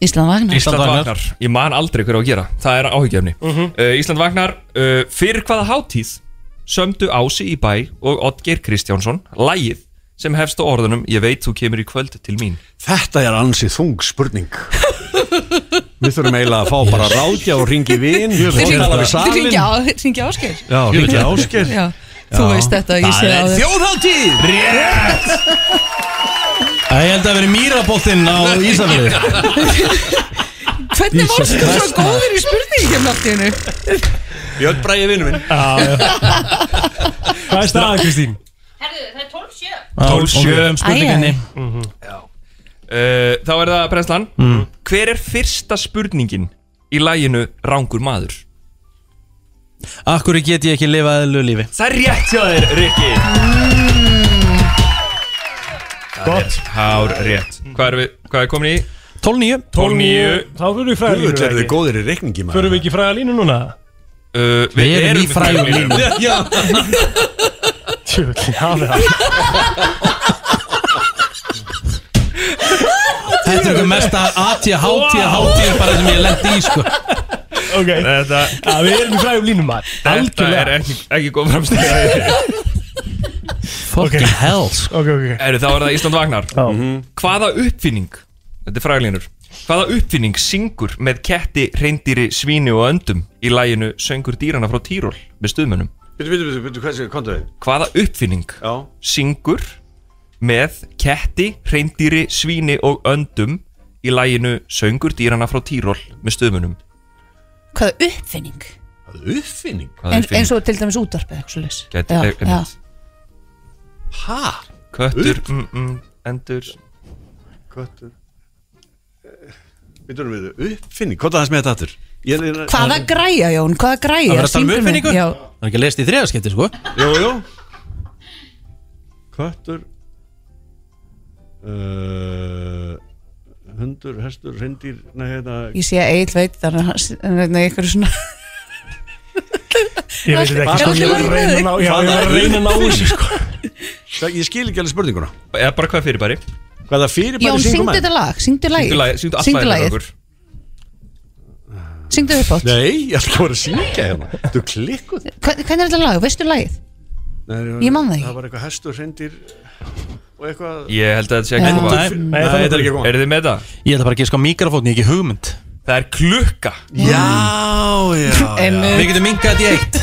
[SPEAKER 8] Ísland Vagnar
[SPEAKER 10] Ísland Vagnar Ég man aldrei hver á að gera Það er áhyggjefni uh, Ísland Vagnar uh, Fyrir hvaða hátíð Sömdu Ási í bæ og Oddgeir Kristjánsson Lægið sem hefst á orðunum Ég veit þú kemur í kvöld til mín
[SPEAKER 9] Þetta er ansið þung spurning Við þurfum eiginlega að fá bara ráðja og ringi vin
[SPEAKER 8] Þið
[SPEAKER 9] og tala við salin
[SPEAKER 8] ringja á, ringja ásker
[SPEAKER 9] Já, ringi ásker
[SPEAKER 8] Já, þú veist þetta, ég sé á þér
[SPEAKER 9] þjóðháttíð
[SPEAKER 2] Það ég held að vera mýraboltinn á Ísafjörði
[SPEAKER 8] Hvernig varst þú svo góður í spurningum náttúinu?
[SPEAKER 9] Björn Bræði vinnu minn
[SPEAKER 4] Hvað er staðan Kristín?
[SPEAKER 3] Herðu, það er 12-7
[SPEAKER 10] Ah.
[SPEAKER 2] Tólsjöum spurninginni
[SPEAKER 4] Mhm.
[SPEAKER 10] uh, Þá er það Prenslan
[SPEAKER 2] Mm.
[SPEAKER 10] Hver er fyrsta spurningin í læginu Rángur maður?
[SPEAKER 2] Akkur get ég ekki lifað eðlu lífi
[SPEAKER 10] Það er rétt hjá þér, Rikki
[SPEAKER 4] Mm. Gott
[SPEAKER 10] Hár rétt Hvað er, við, hvað er komin í?
[SPEAKER 2] 12-9
[SPEAKER 10] 12-9
[SPEAKER 4] Þá fyrir við fræða
[SPEAKER 9] Þú
[SPEAKER 4] línu
[SPEAKER 9] veit, er þið góðir í reikningi maður
[SPEAKER 4] Fyrir við ekki fræða línu núna?
[SPEAKER 10] Uh, við,
[SPEAKER 2] erum í
[SPEAKER 10] með
[SPEAKER 2] frægum
[SPEAKER 10] frægum línum.
[SPEAKER 9] Já,
[SPEAKER 4] Tjöfellin, hafið það
[SPEAKER 2] Þetta er eitthvað mesta ATH, HTH bara sem ég lendi í sko
[SPEAKER 4] Ok,
[SPEAKER 10] Þetta,
[SPEAKER 4] Já, við erum í fræðum línum maður
[SPEAKER 10] þetta er
[SPEAKER 4] Algjörlega
[SPEAKER 10] ekki, ekki góð framstæði
[SPEAKER 2] Fucking hell sko
[SPEAKER 4] Ok, ok,
[SPEAKER 10] Þá er það Ísland Vagnar
[SPEAKER 4] ok
[SPEAKER 9] Mhm.
[SPEAKER 10] Hvaða uppfinning Þetta er fræglínur Hvaða uppfinning syngur með ketti, reyndýri, svíni og öndum í læginu Söngur dýrana frá Týról með stuðmönnum
[SPEAKER 9] Býtu, býtu, býtu, býtu, hvað séu, komdu þið
[SPEAKER 10] Hvaða uppfinning
[SPEAKER 9] Já,
[SPEAKER 10] syngur með ketti, reyndýri, svíni og öndum í læginu Söngur dýrana frá Týról með stuðmönnum
[SPEAKER 8] Hvaða uppfinning?
[SPEAKER 9] það er uppfinning
[SPEAKER 10] Hvaða
[SPEAKER 8] En, eins
[SPEAKER 10] uppfinning
[SPEAKER 8] og til dæmis útvarpið eitthvað svoleiðis.
[SPEAKER 10] Gæti-
[SPEAKER 8] Já,
[SPEAKER 10] eh, eh,
[SPEAKER 8] já.
[SPEAKER 9] Hæ?
[SPEAKER 10] Köttur, mm, mm, endur
[SPEAKER 9] Köttur Eh, Býtu, býtu, uppfinning, hvað er það sem þetta aftur? Ég er-
[SPEAKER 8] Hvaða græja Jón, hvaða græja
[SPEAKER 2] Það verður að tala um
[SPEAKER 8] Syngdu mér.
[SPEAKER 2] uppfinningu
[SPEAKER 8] Já,
[SPEAKER 2] Það er ekki að lesa í þriðaskipti sko
[SPEAKER 9] Jú, jú Köttur uh, Hundur, hestur, hreindýr Nei, hérna
[SPEAKER 8] ég sé að Egil veit þannig að hann er eitthvað svona
[SPEAKER 4] Ég veit þetta ekki
[SPEAKER 8] Er
[SPEAKER 4] sko,
[SPEAKER 8] allir
[SPEAKER 4] ég var að
[SPEAKER 8] voru
[SPEAKER 4] reyna að ná, já, ég var að reyna að ná þessu sko
[SPEAKER 9] Ég ég skil ekki alveg spurninguna
[SPEAKER 10] Eða bara hvað fyrirbæri
[SPEAKER 9] Hvað það fyrir
[SPEAKER 8] Jón,
[SPEAKER 9] bara
[SPEAKER 8] syngdu þetta lag, syngdu
[SPEAKER 10] Syngdu lagið-
[SPEAKER 8] lagið
[SPEAKER 10] Syngdu allt lagið okkur
[SPEAKER 8] Syngdu upp átt
[SPEAKER 9] Nei, ég ætla ekki að vera að syngja hérna Þú klikkuð
[SPEAKER 8] Hvernig er þetta lag, veistu lagið?
[SPEAKER 9] Nei,
[SPEAKER 8] Ég man það ekki.
[SPEAKER 9] Það var eitthvað hestur, hreindýr Og eitthvað
[SPEAKER 10] Ég held að þetta sé
[SPEAKER 8] Já.
[SPEAKER 10] ekki koma
[SPEAKER 2] Nei,
[SPEAKER 4] Nei, það
[SPEAKER 9] þetta er ekki að koma
[SPEAKER 10] Er þið með það?
[SPEAKER 2] Ég ætla bara að gíska á mikrofótni, ekki hugmynd
[SPEAKER 10] Það er klukka
[SPEAKER 9] Já, já
[SPEAKER 8] En
[SPEAKER 2] Við getum minkað þetta í eitt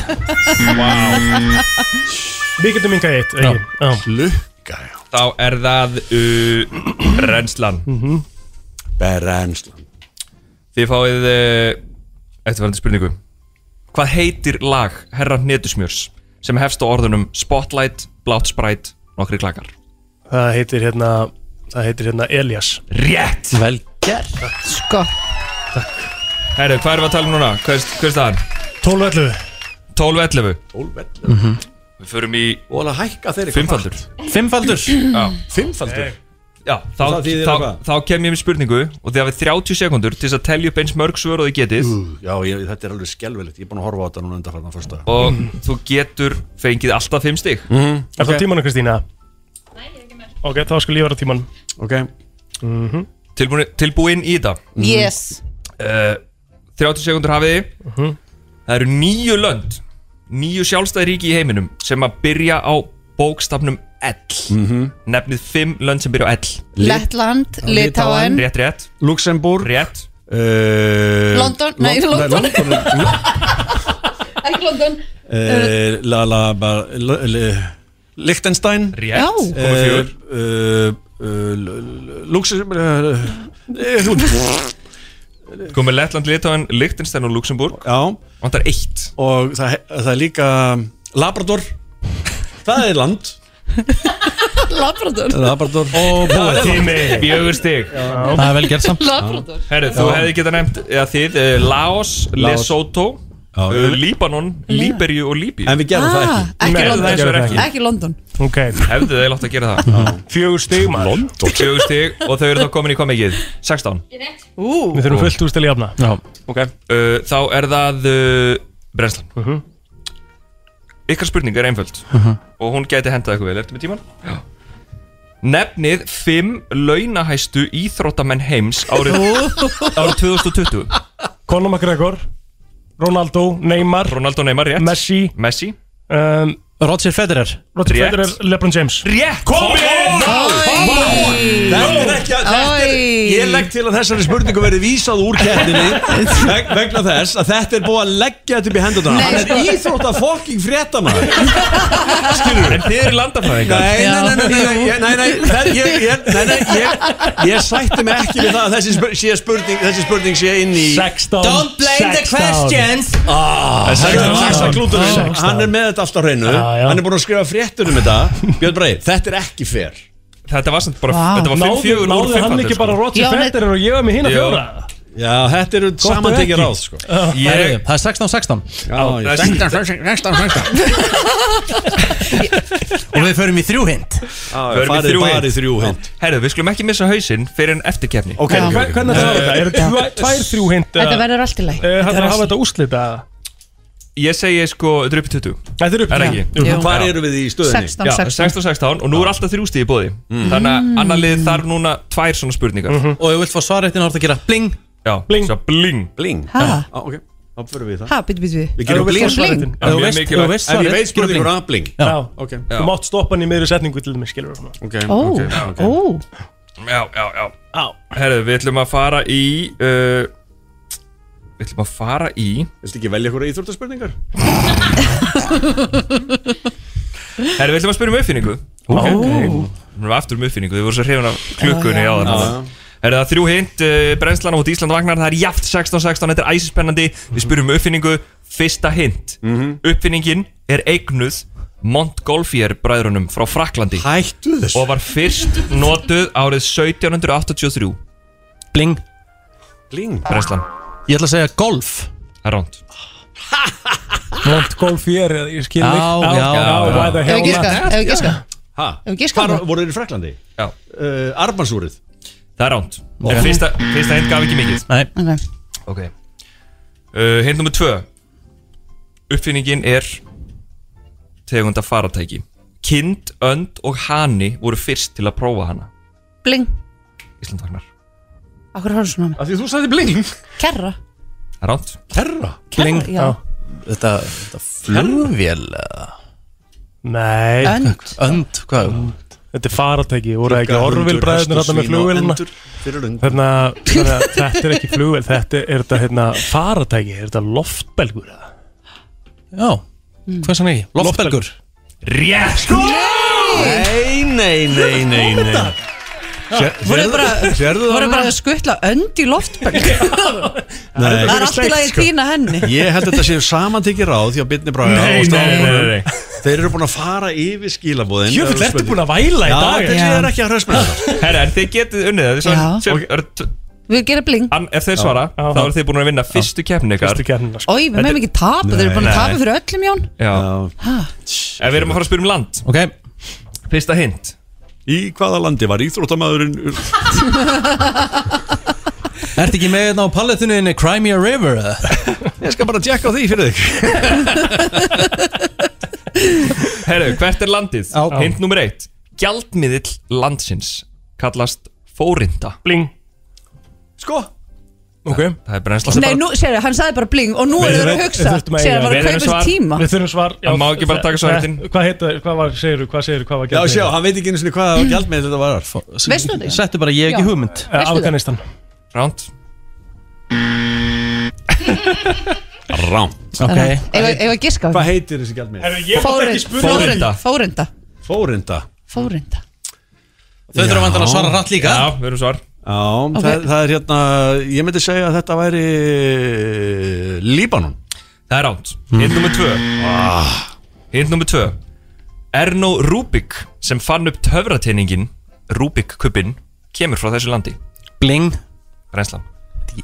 [SPEAKER 4] Við getum yngað eitt, ekki? Já.
[SPEAKER 9] Lukka, já
[SPEAKER 10] Þá er það uh, Renslan
[SPEAKER 4] Mhm.
[SPEAKER 9] Berenslan
[SPEAKER 10] Þið fáið uh, Eftirfærandi spurningu Hvað heitir lag Herra Netusmjörs sem hefst á orðunum Spotlight, Blátt Sprite, Nokkri klakar
[SPEAKER 4] Það heitir hérna, það heitir hérna Elias
[SPEAKER 10] Rétt!
[SPEAKER 2] Vel gert
[SPEAKER 8] sko,
[SPEAKER 10] Herru, hvað erum við að tala um núna? Hvers, hvers það er?
[SPEAKER 4] 12.11
[SPEAKER 10] 12.11
[SPEAKER 9] Tólvell
[SPEAKER 10] Við förum í
[SPEAKER 9] Og alveg hækka þeir eitthvað
[SPEAKER 10] fimmfaldur
[SPEAKER 2] Fimmfaldur
[SPEAKER 9] hratt. Fimmfaldur
[SPEAKER 10] Já, þá,
[SPEAKER 9] Það þýðir
[SPEAKER 10] þá,
[SPEAKER 9] eitthvað?
[SPEAKER 10] þá kem ég með spurningu og þið hafið 30 sekundur til þess að telja upp eins mörg svör og þið getið
[SPEAKER 9] Já, ég, þetta er alveg skelvilegt Ég er búin að horfa á þetta núna undanfarnar fyrst dag
[SPEAKER 10] og þú getur fengið alltaf 5 stig
[SPEAKER 4] Er það tímanu Kristína? Ok, þá skal ég vera Mhm. tíman
[SPEAKER 9] Ok
[SPEAKER 10] Tilbúin, tilbúin í þetta
[SPEAKER 8] yes
[SPEAKER 10] uh, 30 sekundur hafiði Það eru nýju lönd Nýju sjálfstæði ríki í heiminum sem að byrja á bókstafnum L
[SPEAKER 9] Mhm.
[SPEAKER 10] Nefnið fimm lönd sem byrja á L
[SPEAKER 8] Lettland, Litáen
[SPEAKER 10] Rétt, rétt
[SPEAKER 9] Luxemburg
[SPEAKER 10] Rétt
[SPEAKER 9] Eh, uh,
[SPEAKER 8] London, nei, London Ekki London
[SPEAKER 9] Eh, la, la, ba, la, la, Liechtenstein
[SPEAKER 10] Rétt. Já. Komið
[SPEAKER 9] Eh,
[SPEAKER 10] fjögur.
[SPEAKER 9] eh, eh, Lux eh, eh,
[SPEAKER 10] Komið Lettland, Litáin, Liechtenstein og Luxemburg
[SPEAKER 9] Já
[SPEAKER 10] Vantar eitt
[SPEAKER 9] Og það, það er líka Labrador Það er land
[SPEAKER 8] Labrador
[SPEAKER 9] Labrador
[SPEAKER 2] Og
[SPEAKER 10] búið. Tími, fjögur stig
[SPEAKER 2] Það er vel gert samt
[SPEAKER 8] Labrador
[SPEAKER 10] Herru, þú
[SPEAKER 2] Já.
[SPEAKER 10] hefði geta nefnt eða þið eh, Laos,
[SPEAKER 9] Laos.
[SPEAKER 10] Lesotho
[SPEAKER 9] Já.
[SPEAKER 10] eh, Líbanon, Líberju og Líbíu
[SPEAKER 9] En við gerum það
[SPEAKER 8] Ah,
[SPEAKER 9] ekki
[SPEAKER 10] Nei,
[SPEAKER 8] Ekki
[SPEAKER 10] það er svo
[SPEAKER 8] London
[SPEAKER 10] ekki.
[SPEAKER 8] Ekki London
[SPEAKER 4] Ok
[SPEAKER 10] Hefðu þið látt að gera það
[SPEAKER 4] Fjögur stig maður
[SPEAKER 10] Fjögur stig og þau eru þá komin í hvað mikið? 16
[SPEAKER 8] Ú,
[SPEAKER 4] Við þurfum fullt úr stil í afna
[SPEAKER 2] Já,
[SPEAKER 10] okay. uh, Þá er það uh, brennslan
[SPEAKER 4] Mhm.
[SPEAKER 10] Ykkar spurning er einföld Og hún gæti hendað eitthvað vel Ertu með tíman? Já Nefnið fimm launahæstu íþróttamenn heims árið, árið 2020
[SPEAKER 4] Conor McGregor Ronaldo, Neymar,
[SPEAKER 10] Ronaldo Neymar, rétt
[SPEAKER 4] Messi
[SPEAKER 10] Messi
[SPEAKER 4] um,
[SPEAKER 2] Roger Federer
[SPEAKER 4] Roger
[SPEAKER 10] Rétt.
[SPEAKER 4] Federer, LeBron James
[SPEAKER 10] Rétt Komið
[SPEAKER 9] Þetta er ekki að þetta er,
[SPEAKER 8] Æ.
[SPEAKER 9] Ég legg til að þessari spurningu verði vísað úr kettinni veg, vegna þess að þetta er búið að leggja þetta upp í hendurna
[SPEAKER 8] Nei,
[SPEAKER 9] Hann er
[SPEAKER 8] sko.
[SPEAKER 9] íþrótt að fokking frétta maður
[SPEAKER 10] En þið eru landafræðingar
[SPEAKER 9] Nei,
[SPEAKER 8] Já.
[SPEAKER 9] nei, nei, nei, nei, ég- nei, nei, það- ég, ég, nei, nei, ég, ég sætti mig ekki við það að þessi, spur, sé spurning, þessi spurning sé inn í Ah,
[SPEAKER 4] 16
[SPEAKER 9] Saxa
[SPEAKER 4] 16
[SPEAKER 9] klúturinn,
[SPEAKER 4] Sextán.
[SPEAKER 9] hann er með þetta alltaf hreinu
[SPEAKER 4] Já, já.
[SPEAKER 9] Hann er búin að skrifa fréttur um þetta Björn Brei, þetta er ekki fair
[SPEAKER 10] Þetta var samt bara
[SPEAKER 8] Vá.
[SPEAKER 10] Þetta var 5
[SPEAKER 4] Náðu,
[SPEAKER 10] fjögur sko. úr
[SPEAKER 4] náðu
[SPEAKER 10] 5
[SPEAKER 4] hann ekki bara Roger
[SPEAKER 8] Já, nei.
[SPEAKER 4] Federer og ég var með hína
[SPEAKER 10] Jú.
[SPEAKER 4] fjóra
[SPEAKER 9] Já, þetta eru samantekið
[SPEAKER 4] ekki.
[SPEAKER 9] ráð sko.
[SPEAKER 10] Ég
[SPEAKER 2] Það er 16-16
[SPEAKER 9] Já, ég-
[SPEAKER 10] það er-
[SPEAKER 2] Og við förum í þrjú hint
[SPEAKER 10] Förum í
[SPEAKER 9] Farið
[SPEAKER 10] þrjú
[SPEAKER 9] bara í
[SPEAKER 10] hint.
[SPEAKER 9] þrjú hint
[SPEAKER 10] Herru, við skulum ekki missa hausinn fyrir en eftirkefni
[SPEAKER 9] Ok,
[SPEAKER 8] Já.
[SPEAKER 9] ok, ok.
[SPEAKER 4] Hvernig það var þetta? Eru
[SPEAKER 8] Já.
[SPEAKER 4] tvær- tvær þrjú hint Eh,
[SPEAKER 8] Þetta verður allt í læg
[SPEAKER 4] Það þarf að hafa þetta úslita
[SPEAKER 10] Ég segi sko drupi 20
[SPEAKER 4] Þetta er upp
[SPEAKER 10] Er ekki?
[SPEAKER 4] Jú.
[SPEAKER 8] Jú.
[SPEAKER 9] Hvar eru við í stöðinni?
[SPEAKER 8] 16,
[SPEAKER 10] Já,
[SPEAKER 8] 16
[SPEAKER 10] 16 16 og nú er alltaf þrjústi í bóði
[SPEAKER 9] Mm.
[SPEAKER 10] Þannig að annar lið þarf núna tvær svona spurningar
[SPEAKER 9] Mhm.
[SPEAKER 2] Og ef þú vilt fá svara eftir náttúrulega að gera bling
[SPEAKER 10] Já,
[SPEAKER 4] Bling.
[SPEAKER 10] Svo bling
[SPEAKER 9] Bling
[SPEAKER 8] Ha?
[SPEAKER 9] Já, ok, þá fyrir við í það
[SPEAKER 8] Ha, býtu, býtu, býtu
[SPEAKER 9] Við gerum bling
[SPEAKER 8] Bling.
[SPEAKER 10] Já,
[SPEAKER 2] Ef þú
[SPEAKER 10] mjög
[SPEAKER 2] veist- ef
[SPEAKER 10] mikilvægt.
[SPEAKER 2] þú veist
[SPEAKER 9] Ef ég
[SPEAKER 2] svarið,
[SPEAKER 9] veit
[SPEAKER 2] gerðu bling
[SPEAKER 9] spurningur að bling
[SPEAKER 2] Já.
[SPEAKER 4] Já,
[SPEAKER 9] Ok,
[SPEAKER 10] Já.
[SPEAKER 4] þú mátt stoppa hann í miðri setningu til þeim, skilur við
[SPEAKER 9] ok,
[SPEAKER 8] Ó,
[SPEAKER 9] ok, ok
[SPEAKER 8] ó
[SPEAKER 10] Já, já, já
[SPEAKER 4] Já,
[SPEAKER 10] Herðu, við ætlum að fara í uh, Við ætlum að fara í
[SPEAKER 9] Viltu ekki velja eitthvað íþróttaspurningar?
[SPEAKER 10] Herðu, við ætlum að spyrja um uppfinningu Ok, ok Nú erum aftur um uppfinningu, þið voru svo hrifin af klukkunni á
[SPEAKER 9] Já, já.
[SPEAKER 10] þannig Herðu, það þrjú hint, uh, brennslan á móti Ísland vagnar Það er jaft 16-16, þetta er æsispennandi Við spyrjum um uppfinningu, fyrsta hint
[SPEAKER 9] Mhm.
[SPEAKER 10] Uppfinningin er eignuð Montgolfier bræðrunum frá Fraklandi
[SPEAKER 9] Hættu þessu
[SPEAKER 10] og var fyrst notuð árið 1783
[SPEAKER 2] Bling
[SPEAKER 9] Bling
[SPEAKER 10] Breslan,
[SPEAKER 2] Ég ætla að segja golf
[SPEAKER 10] það er ránt
[SPEAKER 4] Mont Golf ég er, ég skil
[SPEAKER 2] Já,
[SPEAKER 4] þig
[SPEAKER 2] já, já.
[SPEAKER 4] why the
[SPEAKER 8] Ef
[SPEAKER 4] hell
[SPEAKER 8] við giska,
[SPEAKER 4] not?
[SPEAKER 8] ef við giska
[SPEAKER 9] Ha?
[SPEAKER 8] Ef við giska
[SPEAKER 9] Hvar
[SPEAKER 8] það?
[SPEAKER 9] voru þeir í Fraklandi?
[SPEAKER 10] Já,
[SPEAKER 9] Uh, Arbansúrið
[SPEAKER 10] það er ránt En fyrsta, fyrsta hint gaf ekki mikið
[SPEAKER 2] Nei
[SPEAKER 8] Ok.
[SPEAKER 10] Ok uh, Hint nummer tvö Uppfinningin er tegunda faratæki Kind, önd og hani voru fyrst til að prófa hana
[SPEAKER 8] Bling
[SPEAKER 10] Íslandvagnar
[SPEAKER 8] Akkur horfður svona á mig
[SPEAKER 9] Af því þú sagði bling
[SPEAKER 8] Kerra
[SPEAKER 10] Það er ránt
[SPEAKER 9] Herra
[SPEAKER 8] Kerra, já
[SPEAKER 2] Þetta, þetta flugvél eða?
[SPEAKER 4] Nei,
[SPEAKER 8] Önd
[SPEAKER 2] Önd, hvað?
[SPEAKER 4] þetta er faratæki voru það ekki orvilbræðurnir þarna með flugvélina
[SPEAKER 9] Fyrir lund
[SPEAKER 4] Þarna, þannig að þetta er ekki flugvél þetta er þetta hérna, faratæki er þetta loftbelgur eða?
[SPEAKER 2] Já, hvað sann ekki? Loftbelgur
[SPEAKER 10] Rétt sko
[SPEAKER 9] Nei, nei, nei, nei, nei
[SPEAKER 8] Voru bara
[SPEAKER 9] Sérðu
[SPEAKER 8] Voru
[SPEAKER 9] það?
[SPEAKER 8] bara að skutla önd í loftberg Það
[SPEAKER 9] Nei,
[SPEAKER 8] er allt í lagi
[SPEAKER 4] sko.
[SPEAKER 8] þína henni
[SPEAKER 9] ég held að þetta séu samantekið ráð því að Byrni Braga
[SPEAKER 4] Nei, nei,
[SPEAKER 9] og Stafan
[SPEAKER 4] nei, nei.
[SPEAKER 9] Þeir eru búin að fara yfir skilabóðin
[SPEAKER 4] Jöfull, ertu búin að væla í
[SPEAKER 9] Já,
[SPEAKER 4] dag?
[SPEAKER 9] þetta
[SPEAKER 8] Já.
[SPEAKER 9] séu ekki að hrausma þetta
[SPEAKER 10] Herra, en þið getið unnið það Þið svara-
[SPEAKER 8] Já.
[SPEAKER 10] sem- er- t-
[SPEAKER 8] Við gerum bling
[SPEAKER 10] ann- Ef þeir svara,
[SPEAKER 4] Já.
[SPEAKER 10] þá eru þið búin að vinna fyrstu keppni ykkar
[SPEAKER 4] Fyrstu keppnina, sko.
[SPEAKER 8] Ói, við meðum ekki tapa Þeir eru búin að
[SPEAKER 10] Nei.
[SPEAKER 8] tapa fyrir öllum Jón
[SPEAKER 10] Já,
[SPEAKER 9] Já.
[SPEAKER 10] en við erum að fara að spyrja um land
[SPEAKER 2] Ok,
[SPEAKER 10] Fyrsta hint
[SPEAKER 9] Í hvaða landi var íþróttamæðurinn
[SPEAKER 2] ertu ekki með þetta á palletunni inni Crimea River? eða?
[SPEAKER 9] Ég skal bara tjekka á því fyrir þig
[SPEAKER 10] Herru, hvert er landið?
[SPEAKER 2] Já.
[SPEAKER 10] Hint nummer eitt Gjaldmiðill landsins kallast fórinda
[SPEAKER 4] Bling,
[SPEAKER 9] Sko
[SPEAKER 4] Ok
[SPEAKER 10] Það er brennsla
[SPEAKER 8] Nei, nú, sér hann sagði bara bling og nú eru
[SPEAKER 4] Við-
[SPEAKER 8] þeir að
[SPEAKER 4] við-
[SPEAKER 8] hugsa
[SPEAKER 4] við þurftum að
[SPEAKER 8] Sér hann
[SPEAKER 4] eiga-
[SPEAKER 8] var að
[SPEAKER 4] við
[SPEAKER 8] kaupa
[SPEAKER 4] þurfum
[SPEAKER 8] sér
[SPEAKER 4] svar-
[SPEAKER 8] tíma
[SPEAKER 4] Við þurfum svar já,
[SPEAKER 10] Hann má ekki bara taka svartin.
[SPEAKER 4] Nei, Hvað heita, hvað var, segir þú, hvað segir þú, hvað var
[SPEAKER 9] Já,
[SPEAKER 4] gjaldmiðill?
[SPEAKER 9] sjá, hann veit ekki einu sinni hvað gjald með þetta var
[SPEAKER 8] Veistu þetta?
[SPEAKER 2] Settu bara ég
[SPEAKER 8] Já.
[SPEAKER 2] ekki hugmynd
[SPEAKER 4] Eh, Afganistan
[SPEAKER 10] Ránt
[SPEAKER 9] Rám
[SPEAKER 2] Ok
[SPEAKER 8] Eða að giska á
[SPEAKER 9] Hvað heitir þessi gjald með?
[SPEAKER 4] Ég mátti ekki
[SPEAKER 8] þetta?
[SPEAKER 9] um
[SPEAKER 4] spurja
[SPEAKER 8] Fórinda Fórinda
[SPEAKER 9] Fórinda
[SPEAKER 8] Fórinda
[SPEAKER 2] Þau þurfum vandan að svara rætt líka
[SPEAKER 10] Já, við erum svar
[SPEAKER 9] Já, það, það er hérna, ég myndi segja að þetta væri Líbanon
[SPEAKER 10] Það er ránt Hint nummer tvö
[SPEAKER 2] Ah.
[SPEAKER 10] Hint nummer tvö Erno Rubik sem fann upp töfrateiningin Rubik-kubin kemur frá þessu landi
[SPEAKER 2] Bling
[SPEAKER 10] Brennslan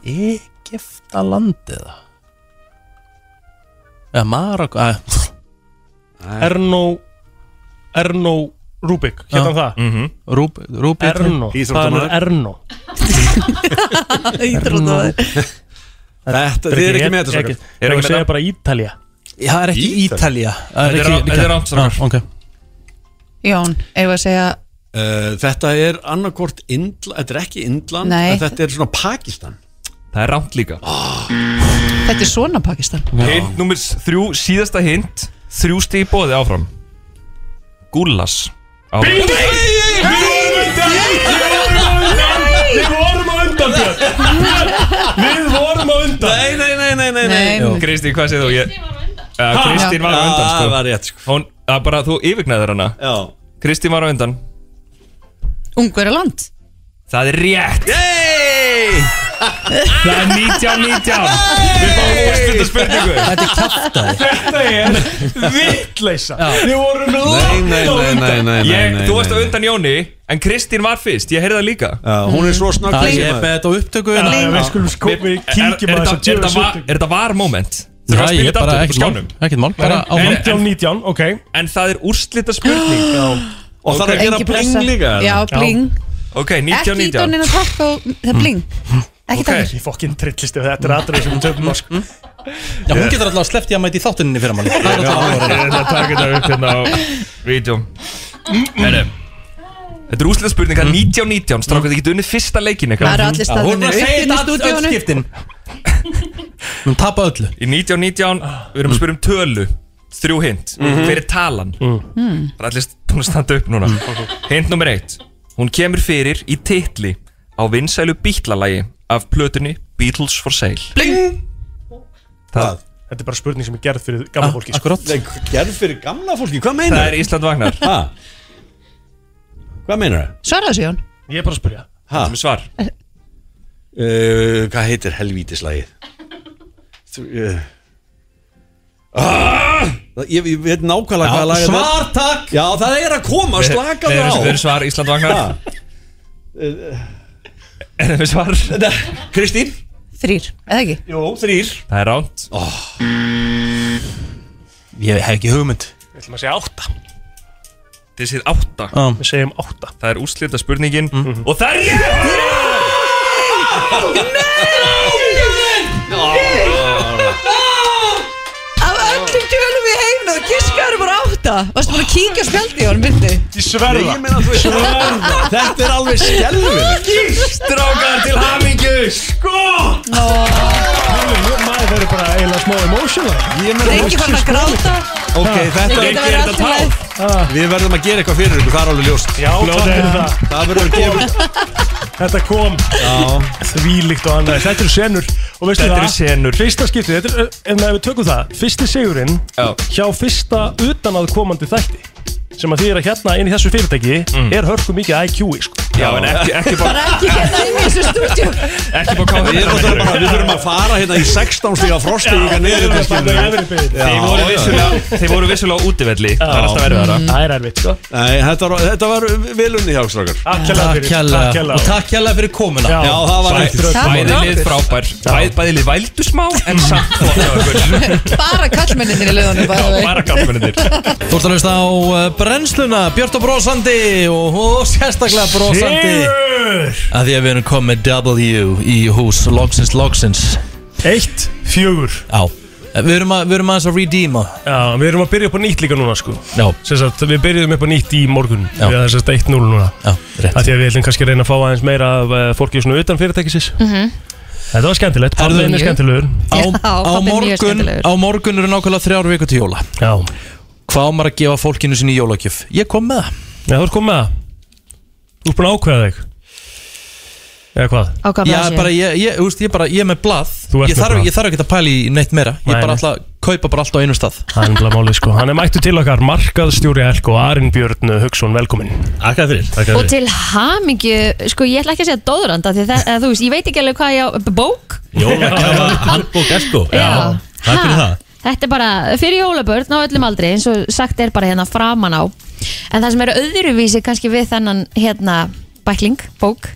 [SPEAKER 2] Egefta landið Eða Marok að-
[SPEAKER 4] Erno Erno Rubik Hérna hann það
[SPEAKER 10] mm -hmm.
[SPEAKER 2] Rúb, Rúb
[SPEAKER 4] Erno Hvaðan
[SPEAKER 9] Íþróttamaður.
[SPEAKER 4] er Erno
[SPEAKER 8] Íþróttamaður
[SPEAKER 9] Þetta, þið er ekki með
[SPEAKER 4] Ég
[SPEAKER 9] þetta
[SPEAKER 10] Eru
[SPEAKER 4] er
[SPEAKER 9] svakar
[SPEAKER 10] ekki
[SPEAKER 4] að
[SPEAKER 10] með
[SPEAKER 4] segja
[SPEAKER 10] það?
[SPEAKER 4] bara Ítalja
[SPEAKER 2] Það er ekki Ítalja
[SPEAKER 10] Þetta er rá- þetta er rámt, strákar.
[SPEAKER 2] Ah, Ok
[SPEAKER 8] Jón, eða að segja
[SPEAKER 9] uh, Þetta er annarkort Indla, þetta er ekki Indland
[SPEAKER 8] Nei.
[SPEAKER 9] en Þetta er svona Pakistan Ah.
[SPEAKER 10] Það er rámt líka
[SPEAKER 8] Þetta er svona Pakistan
[SPEAKER 10] Ah. Hint nummer þrjú, síðasta hint Þrjú stig í bóði áfram Gúlas á
[SPEAKER 4] Við vorum á undan Björn Björn, Við vorum á undan
[SPEAKER 9] Nei, nei, nei, nei, nei,
[SPEAKER 8] Nei,
[SPEAKER 10] Kristín, hvað segir þú? Ég- Ja, Kristín var á undan
[SPEAKER 9] Það
[SPEAKER 10] sko.
[SPEAKER 9] var rétt sko
[SPEAKER 10] Hún, að bara þú yfirgnæðir hana
[SPEAKER 9] Já
[SPEAKER 10] Kristín var á undan
[SPEAKER 8] Ungverjaland
[SPEAKER 10] Það er rétt Yay! Það er 19, 19 Við fáum úrsluta spurningu
[SPEAKER 2] Þetta er kæftæði
[SPEAKER 4] Þetta er vittleysa Við vorum
[SPEAKER 9] Nei,
[SPEAKER 4] langt á
[SPEAKER 9] nei, nei,
[SPEAKER 4] undan
[SPEAKER 9] nei, nei, nei,
[SPEAKER 10] ég,
[SPEAKER 9] nei
[SPEAKER 10] Þú varst á
[SPEAKER 9] nei, nei.
[SPEAKER 10] undan Jóni En Kristín var fyrst, ég heyrði það líka
[SPEAKER 9] Já, Hún er svo snögg
[SPEAKER 2] Það
[SPEAKER 9] þessi
[SPEAKER 2] er
[SPEAKER 9] maður.
[SPEAKER 2] með þetta á upptöku
[SPEAKER 4] Já, já, Við
[SPEAKER 2] hérna.
[SPEAKER 4] skulum sko Við
[SPEAKER 10] Er,
[SPEAKER 4] kíkjum
[SPEAKER 10] er,
[SPEAKER 4] að
[SPEAKER 10] er,
[SPEAKER 4] þess að
[SPEAKER 10] er, er, var, er það var moment? Þú var að
[SPEAKER 2] ég
[SPEAKER 10] spila þetta
[SPEAKER 2] bara
[SPEAKER 10] aftur upp á
[SPEAKER 2] ekkert mál
[SPEAKER 10] skjánum
[SPEAKER 2] Ekkert mál, bara áfram
[SPEAKER 4] 19, 19, ok
[SPEAKER 10] En það er úrslita spurning
[SPEAKER 9] Og það er að
[SPEAKER 8] Engi
[SPEAKER 9] gera bling
[SPEAKER 8] pressa.
[SPEAKER 9] líka
[SPEAKER 8] Já, bling
[SPEAKER 10] Ok, 19,
[SPEAKER 8] Ekki
[SPEAKER 10] 19
[SPEAKER 8] ídónin að takka og það er bling Ekki
[SPEAKER 10] Ok.
[SPEAKER 8] takka
[SPEAKER 4] Ég fokkin trillist ef þetta er aðrið sem við töfum á sko
[SPEAKER 2] Já, hún getur alltaf sleppt ég að mæti í þáttuninni fyrir manni Það er alltaf áhugaverð.
[SPEAKER 10] Ég ætla að taka þetta upp hérna á Vídeum Herri Þetta er úrslega spurning, það er 19-19 Strákvæði, þið getur unnið fyrsta leikin
[SPEAKER 8] Það eru allir
[SPEAKER 10] eitthvað
[SPEAKER 2] Já, Mm. Hún er
[SPEAKER 8] staðinni
[SPEAKER 2] bara að
[SPEAKER 8] upp inn í
[SPEAKER 2] segja þetta öll- öll
[SPEAKER 8] stúdíónu
[SPEAKER 2] skiptin Hún tapa öllu
[SPEAKER 10] Í 19-19, við erum að spyrja um tölu Þrjú hint,
[SPEAKER 2] Mhm.
[SPEAKER 10] hver er talan
[SPEAKER 2] Mm.
[SPEAKER 8] Mm.
[SPEAKER 10] Það er allir st- búin að standa upp núna Hint nummer eitt Hún kemur fyrir í titli Á vinsælu bítlalagi Af plötunni Beatles for Sale
[SPEAKER 9] Það
[SPEAKER 4] Þetta er bara spurning sem er gerð fyrir
[SPEAKER 10] Ah,
[SPEAKER 4] gamla fólki sko.
[SPEAKER 2] Akkurát
[SPEAKER 9] Gerð fyrir gamla fólki, hvað meinar
[SPEAKER 10] Það er Ísland Vagnar
[SPEAKER 9] Ha? Hvað meinar það?
[SPEAKER 8] Svaraðu þessu Jón
[SPEAKER 4] Ég er bara að spyrja
[SPEAKER 9] Ha?
[SPEAKER 10] Sem er svar
[SPEAKER 9] Uh, hvað heitir helvítislægið? Þú- Uh, ah, ég, ég veit nákvæmlega hvaða lag þetta er
[SPEAKER 2] Svar takk
[SPEAKER 9] Já, það er að koma, slaka
[SPEAKER 10] Við
[SPEAKER 9] það á
[SPEAKER 10] erum- við erum svar Ísland Vagnar Erum við svar?
[SPEAKER 9] Kristín
[SPEAKER 8] Þrýr, eða ekki?
[SPEAKER 9] Jó, þrýr
[SPEAKER 10] Það er ránt
[SPEAKER 2] Oh. Ég hef ekki hugmynd
[SPEAKER 4] Við ætlum að segja átta
[SPEAKER 10] Þið séð átta
[SPEAKER 4] Við segjum átta
[SPEAKER 10] Það er úrslita spurningin
[SPEAKER 2] Mhm.
[SPEAKER 10] Og það er rétt
[SPEAKER 8] Af öllum tölum í heiminu og giskaður bara átta Varstu bara að kíkja á spjaldi Jón, myndi
[SPEAKER 4] Ég sverða
[SPEAKER 9] Þetta er alveg skelvin
[SPEAKER 10] Strákar til hamingju
[SPEAKER 4] Sko! Maður verður bara eiginlega smá emotional
[SPEAKER 8] Reyngi fann að gráta
[SPEAKER 9] Ok, þetta
[SPEAKER 10] Ég
[SPEAKER 9] er,
[SPEAKER 8] Þetta
[SPEAKER 10] gerði
[SPEAKER 8] verður
[SPEAKER 10] þetta
[SPEAKER 8] allt í lagi.
[SPEAKER 10] tál
[SPEAKER 9] við verðum að gera eitthvað fyrir ykkur, það er alveg ljóst
[SPEAKER 4] Já, klart er það
[SPEAKER 9] Það verður að gefa
[SPEAKER 4] Þetta kom Þvílíkt og annað Þetta eru senur Og veistu
[SPEAKER 10] Þetta
[SPEAKER 4] það
[SPEAKER 10] eru senur.
[SPEAKER 4] Fyrsta skiptið Þetta er, ef maður við tökum það Fyrsti sigurinn
[SPEAKER 10] Já.
[SPEAKER 4] Hjá fyrsta utan að komandi þætti Sem að því er að hérna inn í þessu fyrirtæki Er hörku mikið IQ í sko
[SPEAKER 10] Já, en ekki, ekki bara
[SPEAKER 8] Bara ekki hérna inn í þessu stúdíu
[SPEAKER 10] Ekki bara káða
[SPEAKER 9] Við þurfum bara, við þurfum að fara hérna í 16 stíga frosti líka niður þetta
[SPEAKER 4] Þetta
[SPEAKER 9] skilur
[SPEAKER 4] er
[SPEAKER 9] við.
[SPEAKER 4] efri byggð.
[SPEAKER 9] Já,
[SPEAKER 10] Þeir voru
[SPEAKER 9] já.
[SPEAKER 10] vissulega Þeir voru vissulega á útivelli Það er alltaf verið
[SPEAKER 9] Mm.
[SPEAKER 10] það
[SPEAKER 4] Það er erfitt sko
[SPEAKER 9] Nei, þetta var- þetta var velunni hjá strákar
[SPEAKER 4] Takk Takk
[SPEAKER 2] Takk kjalla Og
[SPEAKER 4] hella
[SPEAKER 2] takk kjalla fyrir komuna
[SPEAKER 9] Já, það var
[SPEAKER 10] Bæ-
[SPEAKER 9] ekkert
[SPEAKER 10] Bæði lið frábær Bæði, bæði lið vældu smá En samt flott hjá ykkur.
[SPEAKER 8] Bara kallmenninir í leiðunum
[SPEAKER 10] Já,
[SPEAKER 8] bara
[SPEAKER 10] Bara kaffmennir
[SPEAKER 2] Þú ert að hlusta á uh, brennsluna Björt og brosandi Og og sérstaklega brosandi
[SPEAKER 4] Sigur
[SPEAKER 2] Að því að við erum komið W í hús Logsins, logsins
[SPEAKER 4] Eitt, fjögur
[SPEAKER 2] Já Við erum, að, við erum aðeins að redeema
[SPEAKER 4] Já, við erum að byrja upp á nýtt líka núna sko
[SPEAKER 2] Já,
[SPEAKER 4] Sem sagt, við byrjuðum upp á nýtt í morgun
[SPEAKER 2] Já.
[SPEAKER 4] Við erum þess að 1-0 núna
[SPEAKER 2] já, rétt
[SPEAKER 4] eh,
[SPEAKER 11] Mhm.
[SPEAKER 4] Af því að við ætlum kannski að reyna að fá aðeins meira af uh, fólki svona utan fyrirtækisins mm Þetta var skemmtilegt,
[SPEAKER 2] Herðu,
[SPEAKER 4] pabbiðin er
[SPEAKER 2] mjög.
[SPEAKER 4] skemmtilegur
[SPEAKER 2] á, á, morgun, á morgun eru nákvæmlega þrjár viku til jóla
[SPEAKER 4] Já.
[SPEAKER 2] Hvað á maður að gefa fólkinu sinni í jólagjöf? Ég kom með það
[SPEAKER 4] Já, þú ert komið með það Þú ert búin að ákveða þig Eða hvað?
[SPEAKER 3] Á hvað
[SPEAKER 2] Já,
[SPEAKER 3] blaðsíðu?
[SPEAKER 2] bara, ég, ég, úst, ég, bara, ég er með blað
[SPEAKER 4] Þú ert
[SPEAKER 2] ég
[SPEAKER 4] með
[SPEAKER 2] þarf,
[SPEAKER 4] blað.
[SPEAKER 2] ég þarf ekki að pæla í neitt meira Ég
[SPEAKER 4] Nei,
[SPEAKER 2] bara
[SPEAKER 4] nei.
[SPEAKER 2] ætla að kaupa bara allt á einu stað
[SPEAKER 4] Það er nefnilega málið sko Hann er mættu til okkar markaðstjóri Elko Arin Björn Hugson, velkomin Takk fyrir
[SPEAKER 3] Og til hamingju, sko ég ætla ekki að segja dóðranda því það, eða, þú veist, ég veit ekki alveg hvað ég á bók,
[SPEAKER 12] Jólakjafa handbók Esko
[SPEAKER 3] Já.
[SPEAKER 12] Takk fyrir
[SPEAKER 3] Ha.
[SPEAKER 12] það
[SPEAKER 3] þetta er bara fyrir jólabörn á öllum aldri, eins og sagt er bara hérna framan á, en það sem er öðruvísi kannski við þennan hérna bækling, bók,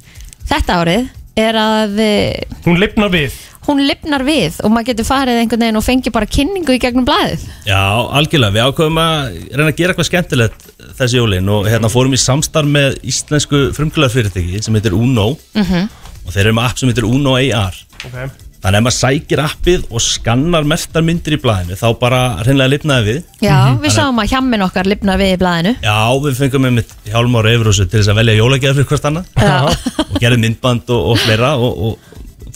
[SPEAKER 3] þetta árið er að eh,
[SPEAKER 4] Hún lifnar við
[SPEAKER 3] hún lifnar við og maður getur farið einhvern veginn og fengi bara kynningu í gegnum blaðið
[SPEAKER 12] Já, algjörlega, við ákveðum að reyna að gera eitthvað skemmtilegt þessi jólin og hérna fórum í samstarf með íslensku frumkjölarfyrirtæki sem heitir Uno
[SPEAKER 3] Mhm.
[SPEAKER 12] og þeir eru með app sem heitir Uno AR
[SPEAKER 4] Ok.
[SPEAKER 12] Þannig að ef maður sækir appið og skannar mertar myndir í blæðinu þá bara hreinlega lifnaði við
[SPEAKER 3] Já, Mhm, við sáum að hjammin okkar lifna við í blaðinu
[SPEAKER 12] Já, við fengum með mitt hjálmar Eifrósu til þess að velja jólagjafir fyrir hvort annað og gerðum myndband og, og fleira og, og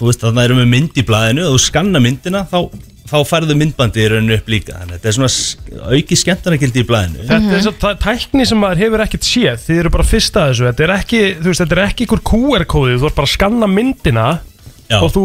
[SPEAKER 12] þú veist að það eru með mynd í blæðinu og þú skanna myndina þá, þá færðu myndbandi í rauninu upp líka þannig að þetta er svona s- aukið skemmtarnagildi í blæðinu
[SPEAKER 4] Þetta er þess að tækni sem maður hefur ekkert séð Þið eru bara fyrst að þessu Þetta er ekki, þú veist, þetta er ekki ykkur QR-kóði Þú ert bara að skanna myndina
[SPEAKER 12] Já.
[SPEAKER 4] og, þú,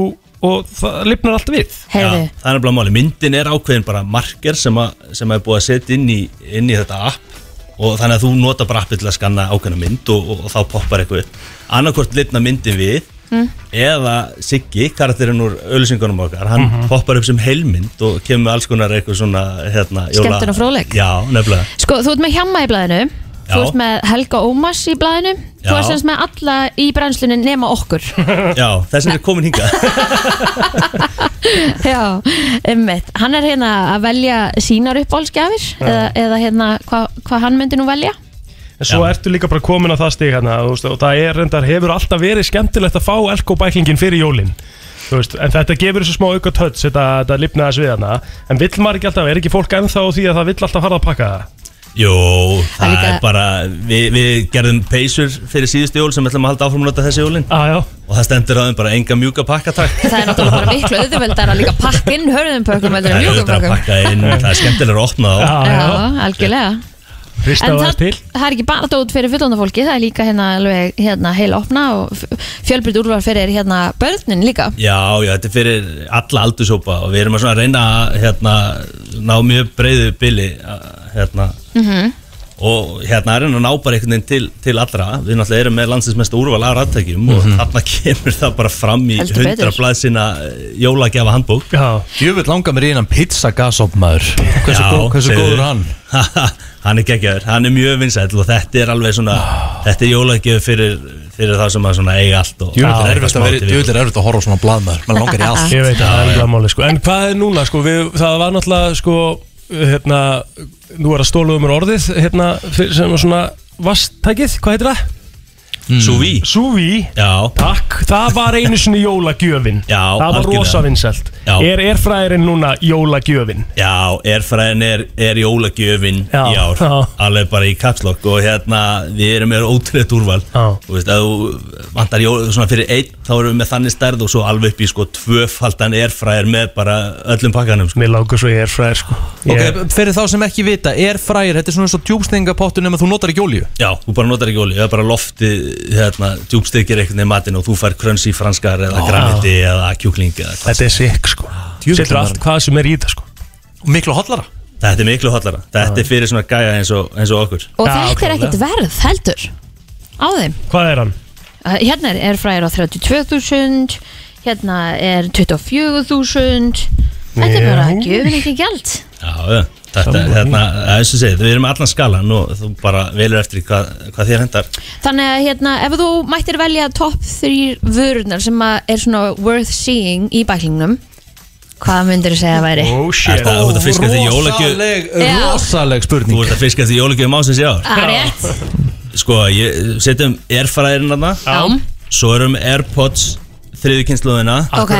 [SPEAKER 4] og það lifnar allt við
[SPEAKER 12] Já, það er bara máli, myndin er ákveðin bara marker sem, að, sem er búið að setja inn í, inn í þetta app og þannig að þú nota bara appið til að skanna ákveðna mynd og, og, og þá poppar eitthvað upp. annarkvort litna myndin við
[SPEAKER 11] Mm.
[SPEAKER 12] eða Siggi, karakterinn úr öllusingunum okkar, hann
[SPEAKER 11] Mhm.
[SPEAKER 12] poppar upp sem heilmynd og kemur með alls konar eitthvað svona hérna, jóla-
[SPEAKER 3] Skemmtun og fróðleik.
[SPEAKER 12] Já, nefnilega
[SPEAKER 3] Sko, þú ert með hjamma í blaðinu Þú ert með Helga Ómas í blaðinu Þú
[SPEAKER 12] Já.
[SPEAKER 3] ert semst með alla í brennslunni nema okkur
[SPEAKER 12] Já, þess vegna er komin hingað
[SPEAKER 3] Já, ummitt Hann er hérna að velja sínar uppáhaldsgjafir
[SPEAKER 4] Já.
[SPEAKER 3] eða, eða hérna hvað hva hann myndi nú velja
[SPEAKER 4] En svo ertu líka bara komin á það stig hérna, þú veist, og það er reyndar, hefur alltaf verið skemmtilegt að fá elko bæklingin fyrir jólin Þú veist, en þetta gefur þessu smá auka töts þetta, þetta lifnaði þessu við hana en vill maður ekki alltaf, er ekki fólk ennþá á því að það vill alltaf fara að pakka það
[SPEAKER 12] Jó, það
[SPEAKER 4] líka-
[SPEAKER 12] er bara við, við gerðum peysur fyrir síðustu jól sem við ætlum að halda áfram að nota þessi jólin
[SPEAKER 4] ah,
[SPEAKER 12] og það stendur á þeim bara enga mjúka pakka takk
[SPEAKER 3] Það er náttúrulega bara miklu auðveldar að líka pakka inn hörðum pökkum
[SPEAKER 12] Það
[SPEAKER 3] heldur
[SPEAKER 12] er
[SPEAKER 3] en mjúkum
[SPEAKER 12] auðvitað að
[SPEAKER 3] pökkum
[SPEAKER 12] pakka inn, það er skemmtilega að opna þá
[SPEAKER 3] Já, algjörlega En það, það er ekki bara dót fyrir fullanda fólki það er líka hérna, alveg, hérna heila opna og fjölbryt úrvar fyrir hérna börnin líka
[SPEAKER 12] Já, já, þetta er fyrir alla aldurshópa og við erum að svona reyna að hérna, ná mjög breyðu bili að, hérna,
[SPEAKER 3] Mhm.
[SPEAKER 12] og hérna er hann að ná bara einhvern veginn til, til allra við náttúrulega erum með landsins mest úrval að rattækjum
[SPEAKER 2] Mhm.
[SPEAKER 12] og þarna kemur það bara fram í
[SPEAKER 2] Heldur betur.
[SPEAKER 12] 100 blaðsina jólagjafa handbók
[SPEAKER 2] Jöfull langar mér í innan pizzagasoppmaður Hversu,
[SPEAKER 12] Já,
[SPEAKER 2] gó, hversu
[SPEAKER 12] segðu.
[SPEAKER 2] góður er hann?
[SPEAKER 12] hann er geggjaður, hann er mjög vinsæll og þetta er alveg svona þetta er jólagjöf fyrir, fyrir það sem að svona eiga allt og
[SPEAKER 2] Jöfull
[SPEAKER 12] og
[SPEAKER 2] er erfitt
[SPEAKER 12] smá
[SPEAKER 2] að vera-
[SPEAKER 12] til við.
[SPEAKER 2] jöfull er erfitt að horfa á svona blaðmaður Maður langar í allt
[SPEAKER 4] Ég veit að það er
[SPEAKER 2] Já, já.
[SPEAKER 4] alveg máli sko. En hvað er núna sko, við, það var náttúrulega sko, hérna, nú er að stóluðu mér orðið hérna, fyrir- sem var svona vastækið, hvað heitir það?
[SPEAKER 12] Súví
[SPEAKER 4] Súví,
[SPEAKER 12] Já
[SPEAKER 4] Takk, það var einu sinni jólagjöfin Já, Það var
[SPEAKER 12] algjörlega.
[SPEAKER 4] rosa vinsælt
[SPEAKER 12] Já.
[SPEAKER 4] Er erfræðirinn núna jólagjöfin?
[SPEAKER 12] Já, erfræðin er, er jólagjöfin
[SPEAKER 4] Já,
[SPEAKER 12] í ár,
[SPEAKER 4] já.
[SPEAKER 12] alveg bara í kapslokk og hérna, við erum með ótrúleitt úrval
[SPEAKER 4] Já.
[SPEAKER 12] Þú veist, ef þú vantar jól, svona fyrir einn, þá erum við með þannig stærð og svo alveg upp í sko tvöfaldan erfræðir með bara öllum pakkanum sko.
[SPEAKER 4] Mér lágur svo í erfræðir sko
[SPEAKER 2] Ok, fyrir þá sem ekki vita, er frægir, þetta er svona eins og djúbstingapottur nema þú notar ekki olíu
[SPEAKER 12] Já, þú bara notar ekki olíu, það er bara lofti hérna, djúbstyrkir einhvern veginn í matinn og þú fær krönsi franskar eða
[SPEAKER 4] Já.
[SPEAKER 12] graniti eða kjúkling eða hvað
[SPEAKER 4] Þetta er sikk sko Setur allt hvað sem er í þetta sko
[SPEAKER 2] Miklu hotlara
[SPEAKER 12] Þetta er miklu hotlara, þetta er fyrir svona gæja eins og, eins og okkur
[SPEAKER 3] og þetta er ekkert verð heldur á þeim
[SPEAKER 4] Hvað er hann?
[SPEAKER 3] Uh, hérna er Airfryer á 32.000 hérna er 24.000 þetta er bara
[SPEAKER 12] Já.
[SPEAKER 3] gjöfin ekki gjald
[SPEAKER 12] Já, já, þetta, hérna, það er eins og segið, við erum með allan skalan og þú bara velur eftir því hvað, hvað þér hendar
[SPEAKER 3] þannig að hérna ef þú mættir velja top 3 vörunar sem að er svona worth seeing í bæklingnum hvað myndir þú segja að væri?
[SPEAKER 4] Oh,
[SPEAKER 12] shit Það er út að fiska því
[SPEAKER 2] Rosaleg-
[SPEAKER 12] jólagjöf
[SPEAKER 3] Já.
[SPEAKER 2] Rosaleg spurning
[SPEAKER 12] Þú ert að fiska því jólagjöf másins í ár
[SPEAKER 3] Það er rétt
[SPEAKER 12] Sko, ég setjum airfræðirinn aðna
[SPEAKER 3] Já.
[SPEAKER 12] Svo erum Airpods þriðu kynsluðina
[SPEAKER 3] ok,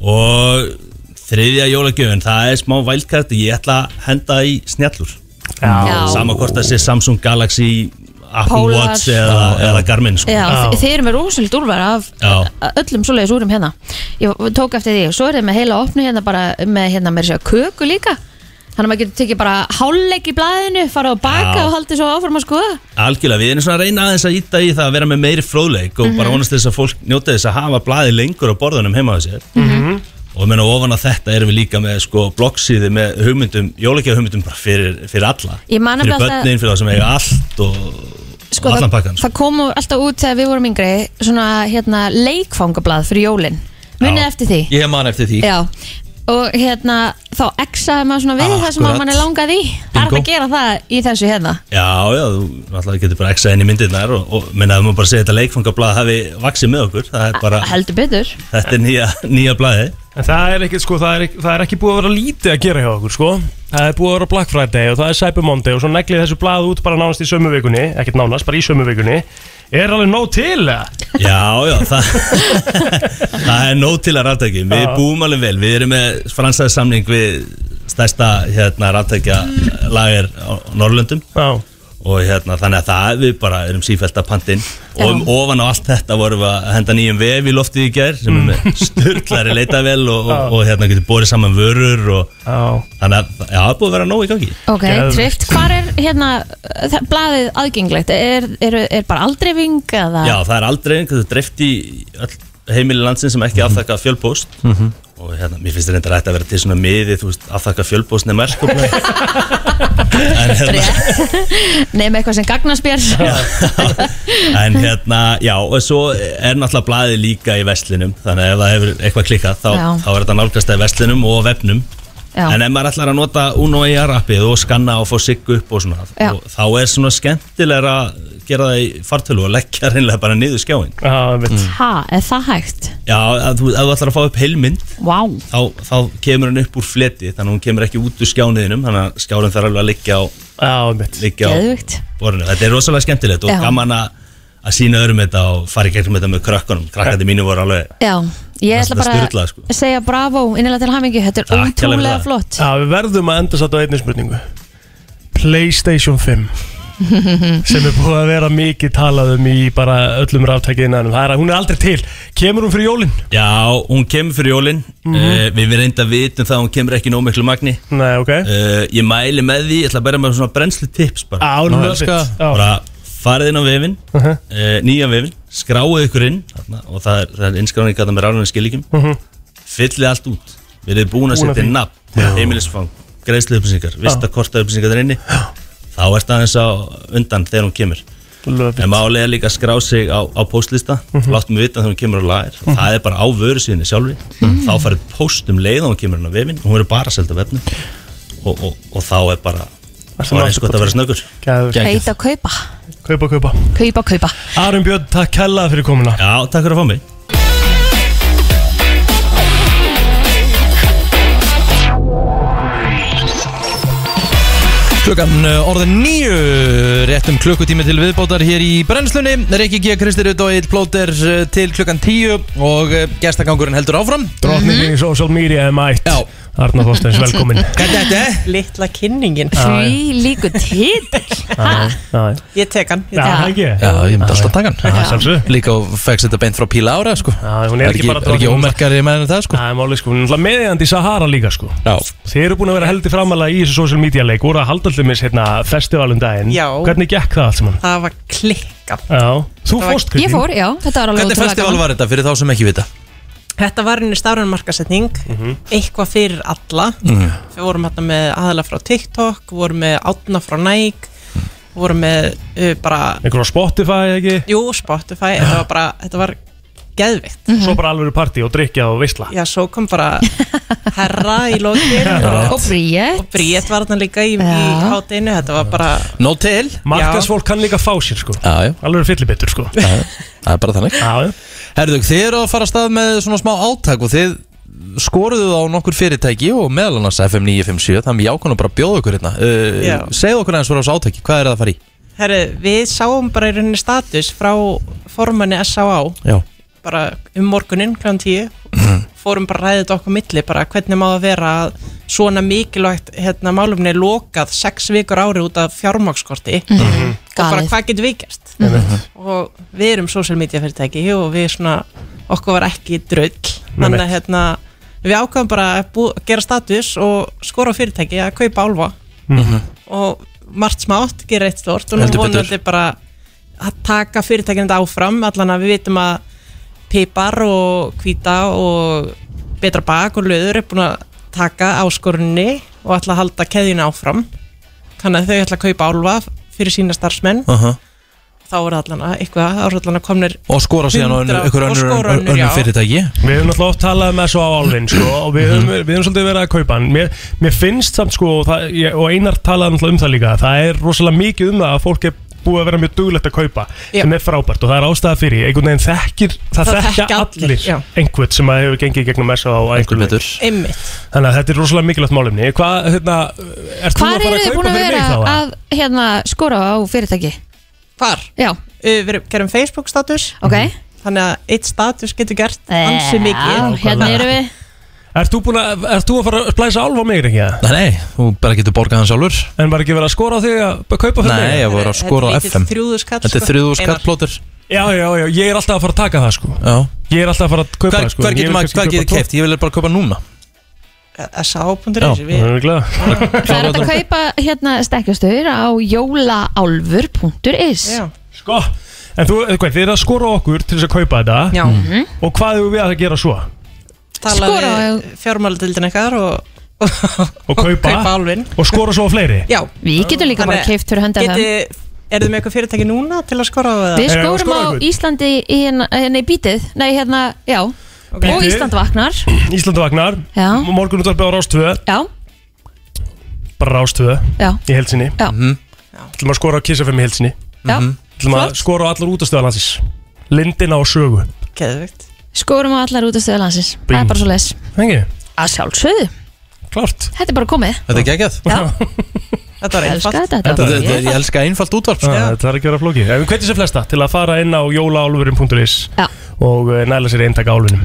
[SPEAKER 12] Og þriðja jólagjöfin, það er smá vælkart Ég ætla að henda í snjallur
[SPEAKER 4] Já.
[SPEAKER 12] Sama hvort það sé Samsung Galaxy Apple
[SPEAKER 3] Polar.
[SPEAKER 12] Watch eða, eða Garmin sko.
[SPEAKER 3] Já, þi- Þið eru með rúsild úlvar af
[SPEAKER 12] Já.
[SPEAKER 3] a- öllum svoleiðis úrum hérna Ég tók eftir því, svo er þið með heila opnu hérna bara með hérna með sér köku líka Þannig að maður getur tekið bara hálfleik í blaðinu, fara og baka
[SPEAKER 12] Já.
[SPEAKER 3] og haldið svo áfram að skoða
[SPEAKER 12] Algjörlega, við erum svona að reyna aðeins að íta í það að vera með meiri fróðleik og
[SPEAKER 3] Mhm.
[SPEAKER 12] bara vonast til þess að fólk njóta þess að hafa blaði lengur á borðunum heima á sér
[SPEAKER 3] Mhm.
[SPEAKER 12] og ég meina ofan að þetta erum við líka með sko bloggsíði með hugmyndum, jólagjöf hugmyndum bara fyrir, fyrir alla
[SPEAKER 3] Ég man
[SPEAKER 12] fyrir
[SPEAKER 3] nefnilega að það-
[SPEAKER 12] börnin, fyrir það sem eiga allt og
[SPEAKER 3] sko,
[SPEAKER 12] allan
[SPEAKER 3] það,
[SPEAKER 12] pakkan sko.
[SPEAKER 3] það kom alltaf út þegar við vorum yngri svona hérna, leikfangablað fyrir jólin munið eftir því
[SPEAKER 2] Ég man eftir því
[SPEAKER 3] Já. og hérna þá exaði maður svona við það sem
[SPEAKER 12] Akkurat.
[SPEAKER 3] að mann er langað í það er
[SPEAKER 12] Bingo.
[SPEAKER 3] hægt að gera það í þessu hérna
[SPEAKER 12] Já, já, þú náttúrulega getur bara exað inn í myndirnar og, og minna að maður bara segja þetta leikfangablað hafi vaksið með okkur, það er bara
[SPEAKER 3] heldur betur
[SPEAKER 12] þetta er nýja, nýja blaði
[SPEAKER 4] En það er, ekki, sko, það, er, ekki- það er ekki búið að vera lítið að gera hjá okkur sko. Það er búið að vera Black Friday og það er Cyber Monday og svo neglið þessu blað út bara nánast í sömu vikunni ekkert nánast, bara í sömu vikunni Er alveg nóg til eða?
[SPEAKER 12] Já, já, það, það er nóg til að ráttæki Við
[SPEAKER 4] Já.
[SPEAKER 12] búum alveg vel, við erum með fransaði samning við stærsta hérna, ráttækja lager á Norrlöndum
[SPEAKER 4] já.
[SPEAKER 12] og hérna, þannig að það við bara erum sífælt að pantinn
[SPEAKER 4] Já.
[SPEAKER 12] og um ofan á allt þetta vorum við að henda nýjum vef í loftið í gær sem er
[SPEAKER 4] Mm.
[SPEAKER 12] með sturglari leitavel og, og, og hérna getur borið saman vörur og, þannig að já, það er búið að vera nóg í gangi
[SPEAKER 3] ok, tryggt, hvar er hérna það, blaðið aðgengilegt er, er, er bara aldreifing eða
[SPEAKER 12] Já, það er aldrei einhvern veginn dreift í öll heimili landsin sem ekki aftakka fjölbóst
[SPEAKER 2] Mhm.
[SPEAKER 12] og hérna, mér finnst þetta að vera til svona miði, þú veist, aftakka fjölbóst nema sko. erskopna en, hérna,
[SPEAKER 3] nefn eitthvað sem gagnarspjör
[SPEAKER 12] en hérna, já, og svo er náttúrulega blaðið líka í veslinum þannig að ef það hefur eitthvað klikkað þá,
[SPEAKER 3] Já.
[SPEAKER 12] þá er þetta nálgast að veslinum og vefnum en ef maður ætlar að nota Uno AR appið og skanna og fá sigg upp og svona
[SPEAKER 3] Já.
[SPEAKER 12] og þá er svona skemmtilegra að gera það í fartölu og leggja reynilega bara niður skjáin
[SPEAKER 4] Já, mm.
[SPEAKER 3] ha, er það hægt?
[SPEAKER 12] Já, að þú, að þú ætlar að fá upp heilmynd
[SPEAKER 3] Vá
[SPEAKER 12] þá, þá kemur hann upp úr fleti þannig að hún kemur ekki út úr skjániðinum þannig að skjárin þarf alveg að liggja á,
[SPEAKER 4] Já,
[SPEAKER 12] liggja á
[SPEAKER 3] Geðveikt.
[SPEAKER 12] borðinu Þetta er rosalega skemmtilegt og
[SPEAKER 3] Já.
[SPEAKER 12] gaman að að sína öðrum þetta og fara í gegnum þetta með krökkunum krakkandi mínu voru alveg
[SPEAKER 3] já, ég
[SPEAKER 12] Mest
[SPEAKER 3] ætla
[SPEAKER 12] að
[SPEAKER 3] bara
[SPEAKER 12] sturla, sko.
[SPEAKER 3] að segja bravo innilega til hamingi, þetta er
[SPEAKER 4] Takk hérlega fyrir
[SPEAKER 3] ótrúlega
[SPEAKER 4] það.
[SPEAKER 3] flott
[SPEAKER 4] Já, við verðum að enda satt á einni spurningu Playstation 5 sem er búið að vera mikið talað um í bara öllum ráttækiðinanum Það er að hún er aldrei til Kemur hún fyrir jólin?
[SPEAKER 12] Já, hún kemur fyrir jólin mm
[SPEAKER 4] Mhm.
[SPEAKER 12] Við við reynda vitum það að hún kemur ekki nóg miklu magni
[SPEAKER 4] Nei, ok
[SPEAKER 12] uh, Ég mæli með því, ég ætla að bæra með svona brennslu tips bara
[SPEAKER 4] Á,
[SPEAKER 12] Nú,
[SPEAKER 4] love
[SPEAKER 12] elska.
[SPEAKER 4] it. Já. Mhm.
[SPEAKER 12] Bara farið inn á vefin, uh nýja vefin Skráið ykkur inn þarna, Og það er, það er innskráning að það með ráðunum skilíkjum
[SPEAKER 4] Mhm.
[SPEAKER 12] fyllið allt út verið búin að
[SPEAKER 4] Búin að
[SPEAKER 12] setja
[SPEAKER 4] því.
[SPEAKER 12] nafn heimilisfang, greiðslu upplýsingar, vistakorta upplýsingar þar inni þá er það eins á undan þegar hún kemur
[SPEAKER 4] Love
[SPEAKER 12] en málega líka að skrá sig á, á postlista
[SPEAKER 4] Mhm.
[SPEAKER 12] láttum við vita þegar hún kemur á lager og það er bara á vöru síðinni sjálfri þá farið postum leið og hún kemur hann á vefin hún verður bara selt á vefnum og, og, og þá er bara þá er eins gott að vera snöggur Geggjað.
[SPEAKER 3] Heita að kaupa,
[SPEAKER 4] Kaupa, kaupa
[SPEAKER 3] kaupa, kaupa
[SPEAKER 4] Arum Björn, takk hella fyrir komuna
[SPEAKER 12] Já, takk fyrir að fá mig
[SPEAKER 2] Klukkan uh, orðin nýju, réttum klukkutími til viðbótar hér í brennslunni Rikki G. Kristir Ut og Eil Plóter uh, til klukkan tíu og uh, gestagangurinn heldur áfram
[SPEAKER 11] Mhm.
[SPEAKER 4] Drottningin í social media er mætt Já Arna Þorsteins, velkomin
[SPEAKER 11] Littla kynningin
[SPEAKER 4] Já, já.
[SPEAKER 11] Því líku títill
[SPEAKER 4] Já,
[SPEAKER 11] Ég tek hann
[SPEAKER 4] Já, það ekki?
[SPEAKER 2] Já, ég myndi alltaf taka
[SPEAKER 4] Já,
[SPEAKER 2] hann Líka og fegst þetta beint frá Píla Ára sko.
[SPEAKER 4] Já, hún er ekki bara
[SPEAKER 2] er ekki
[SPEAKER 4] drottning.
[SPEAKER 2] ómerkari með það sko.
[SPEAKER 4] Það er málið sko, hún er náttúrulega meðjandi í Sahara líka sko
[SPEAKER 2] Já
[SPEAKER 4] Þið eru búin að vera heldur framalega í þessu social media leik voru að halda allir mis hérna festivalum daginn
[SPEAKER 11] Já.
[SPEAKER 4] Hvernig gekk það allt saman?
[SPEAKER 11] Það var klikka
[SPEAKER 4] Já, þú fórst Kristín
[SPEAKER 11] Ég fór, já, þetta var alveg
[SPEAKER 2] Hvernig
[SPEAKER 11] ótrúlega
[SPEAKER 2] festival
[SPEAKER 11] gaman.
[SPEAKER 2] var þetta fyrir þá sem ekki vita?
[SPEAKER 11] Þetta var henni stafræn markasetning Eitthvað fyrir alla
[SPEAKER 2] Mhm.
[SPEAKER 11] Við vorum hérna með aðala frá TikTok Vorum með átna frá Nike Vorum með uh, bara
[SPEAKER 4] Einhver á Spotify ekki?
[SPEAKER 11] Jú, Spotify, þetta var bara Þetta var geðvikt
[SPEAKER 4] Svo bara alveg partí og drikja og veistla
[SPEAKER 11] Já, svo kom bara herra í lokin
[SPEAKER 4] Herra. Og
[SPEAKER 3] Bríett
[SPEAKER 11] Og Bríett var þarna líka í, í
[SPEAKER 4] Já.
[SPEAKER 11] hátinu Þetta var bara
[SPEAKER 2] No til
[SPEAKER 4] Markasfólk kann líka fá sér sko
[SPEAKER 2] Já, já
[SPEAKER 4] Alveg fyllibittur sko
[SPEAKER 2] Já, já. Það er bara þannig
[SPEAKER 4] Já,
[SPEAKER 2] Herðu, þið eru að fara að stað með svona smá átak og þið skoruðu á nokkur fyrirtæki og meðal annars FM 957 þannig ég ákvæmna bara að bjóða ykkur hérna uh,
[SPEAKER 11] Já.
[SPEAKER 2] Segðu okkur aðeins frá þessu átaki, hvað er það að fara í?
[SPEAKER 11] Herri, við sáum bara í rauninni status frá formanni S.A.A.
[SPEAKER 2] Já.
[SPEAKER 11] bara um morgunin kl. 10
[SPEAKER 2] Mhm.
[SPEAKER 11] fórum bara að ræða þetta okkur á milli bara hvernig má það vera að svona mikilvægt hérna, málumni er lokað sex vikur ári út af fjármákskorti
[SPEAKER 3] Mhm.
[SPEAKER 11] og bara
[SPEAKER 3] Galið.
[SPEAKER 11] hvað getur við gert
[SPEAKER 2] Mhm.
[SPEAKER 4] Einmitt.
[SPEAKER 11] og við erum social media fyrirtæki og við svona, okkur var ekki draull þannig að
[SPEAKER 4] Einmitt.
[SPEAKER 11] hérna, við ákvæðum bara að bú, gera status og skora á fyrirtæki að kaupa álfa
[SPEAKER 4] Mhm.
[SPEAKER 11] og margt smátt gera eitt stort og nú
[SPEAKER 4] Heldur betur.
[SPEAKER 11] vonandi bara að taka fyrirtækinu þetta áfram allan að við vitum að pipar og hvíta og betra bak og löður er búin að taka áskorunni og ætla að halda keðjunu áfram þannig að þau ætla að kaupa álfa fyrir sína starfsmenn
[SPEAKER 2] Aha.
[SPEAKER 11] þá er allan að eitthvað, þá er allan að komnir
[SPEAKER 2] Og skora síðan á önnur-
[SPEAKER 11] 100
[SPEAKER 2] einhver
[SPEAKER 11] og
[SPEAKER 2] önnur-
[SPEAKER 11] skora önnur,
[SPEAKER 2] önnur
[SPEAKER 11] já.
[SPEAKER 2] fyrirtæki. Mhm.
[SPEAKER 4] Við höfum náttúrulega oft talað með svo á álfin sko, og við höfum, við höfum svolítið verið að kaupa hann Mér, mér finnst samt sko, og, það, ég, og Einar talaði náttúrulega um það líka Það er rosalega mikið um það að fólk er búið að vera mjög duglegt að kaupa
[SPEAKER 11] Já.
[SPEAKER 4] sem er frábært og það er ástæða fyrir einhvern veginn þekkir, það,
[SPEAKER 11] Það
[SPEAKER 4] þekkja
[SPEAKER 11] þekkja allir,
[SPEAKER 4] allir,
[SPEAKER 11] já.
[SPEAKER 4] einhvern sem að hefur gengið í gegnum SO á einhvern veginn
[SPEAKER 11] Einmitt.
[SPEAKER 4] Þannig að þetta er rosalega mikilvægt málumni Hvað, hérna, ert þú
[SPEAKER 3] Hvar
[SPEAKER 4] að
[SPEAKER 3] eru
[SPEAKER 4] fara að
[SPEAKER 3] þið
[SPEAKER 4] kaupa
[SPEAKER 3] búin að
[SPEAKER 4] fyrir
[SPEAKER 3] vera
[SPEAKER 4] mig þá? eða?
[SPEAKER 3] að hérna, skora á fyrirtæki?
[SPEAKER 11] Hvar?
[SPEAKER 3] Já
[SPEAKER 11] Uh, Við gerum Facebook status
[SPEAKER 3] okay.
[SPEAKER 11] Þannig að eitt status getur gert ansi
[SPEAKER 3] Já,
[SPEAKER 11] mikið
[SPEAKER 3] hérna erum við.
[SPEAKER 4] Ert þú, búin að, ert þú að fara að splæsa álf á mig ekki? eða?
[SPEAKER 2] Nei, nei, þú bara getur borgað hann sjálfur
[SPEAKER 4] En var ekki verið að skora á þig að kaupa fyrir
[SPEAKER 2] Nei,
[SPEAKER 4] mig?
[SPEAKER 2] ég voru að skora á FM Þetta er þrjúðu skatt plótur
[SPEAKER 4] Já, já, já, ég er alltaf að fara að taka það sko
[SPEAKER 2] Já
[SPEAKER 4] Ég er alltaf að fara að kaupa
[SPEAKER 2] Hvar-
[SPEAKER 4] það sko
[SPEAKER 2] hvar getur maður- hvað getur keypt? Ég vil bara kaupa núna
[SPEAKER 11] SA.is
[SPEAKER 2] Já,
[SPEAKER 11] við-
[SPEAKER 2] það er
[SPEAKER 4] glæða
[SPEAKER 3] Það er hægt að kaupa hérna stekkjastöður á jólaálfur.is
[SPEAKER 4] Sko, en þú, eh, hvað, þið eru að skora á okkur til þess að kaupa þetta Mm.
[SPEAKER 11] Já. Mhm.
[SPEAKER 4] Og hvað hefur við að gera svo?
[SPEAKER 11] Tala
[SPEAKER 3] Skora
[SPEAKER 11] við fjármálutildin eitthvað og,
[SPEAKER 4] Og kaupa,
[SPEAKER 11] kaupa álfin
[SPEAKER 4] Og skora svo á fleiri
[SPEAKER 11] Já
[SPEAKER 3] Við getum líka bara keypt fyrir hönd af
[SPEAKER 11] þeim Er þið með eitthvað fyrirtæki núna til að skora á það?
[SPEAKER 3] Við skórum á Íslandi í, hérna- nei, bítið, nei, hérna, já Og
[SPEAKER 4] Bítið.
[SPEAKER 3] Ísland vaknar
[SPEAKER 4] Íslandu vagnar
[SPEAKER 3] Já.
[SPEAKER 4] Morgun útvarpi á Rástvö
[SPEAKER 3] Já,
[SPEAKER 4] Bara Rástvö
[SPEAKER 3] Já.
[SPEAKER 4] Í heilsinni
[SPEAKER 3] Já
[SPEAKER 4] Þú maður skora á Kiss FM í heilsinni
[SPEAKER 3] Mhm. Já.
[SPEAKER 4] Þú maður skora á allar útastöðan hansins Lindina og sögu
[SPEAKER 11] Geðvikt
[SPEAKER 3] skórum á allar útastöðu landsins Það
[SPEAKER 4] Bing.
[SPEAKER 3] er bara svo les
[SPEAKER 4] Þengi
[SPEAKER 3] Að sjálfsögðu
[SPEAKER 4] Klart
[SPEAKER 3] Þetta er bara komið
[SPEAKER 2] Þetta er geggjað
[SPEAKER 11] Þetta var
[SPEAKER 3] Elska
[SPEAKER 11] einfalt.
[SPEAKER 3] þetta, þetta var
[SPEAKER 2] Þetta er- ég elska einfalt útvarp sko.
[SPEAKER 4] Það er ekki verið að flóki En við hvetjum sér flesta til að fara inn á jólaálfurinn.is
[SPEAKER 3] Já.
[SPEAKER 4] Og eh, næla sér eintaka álfinum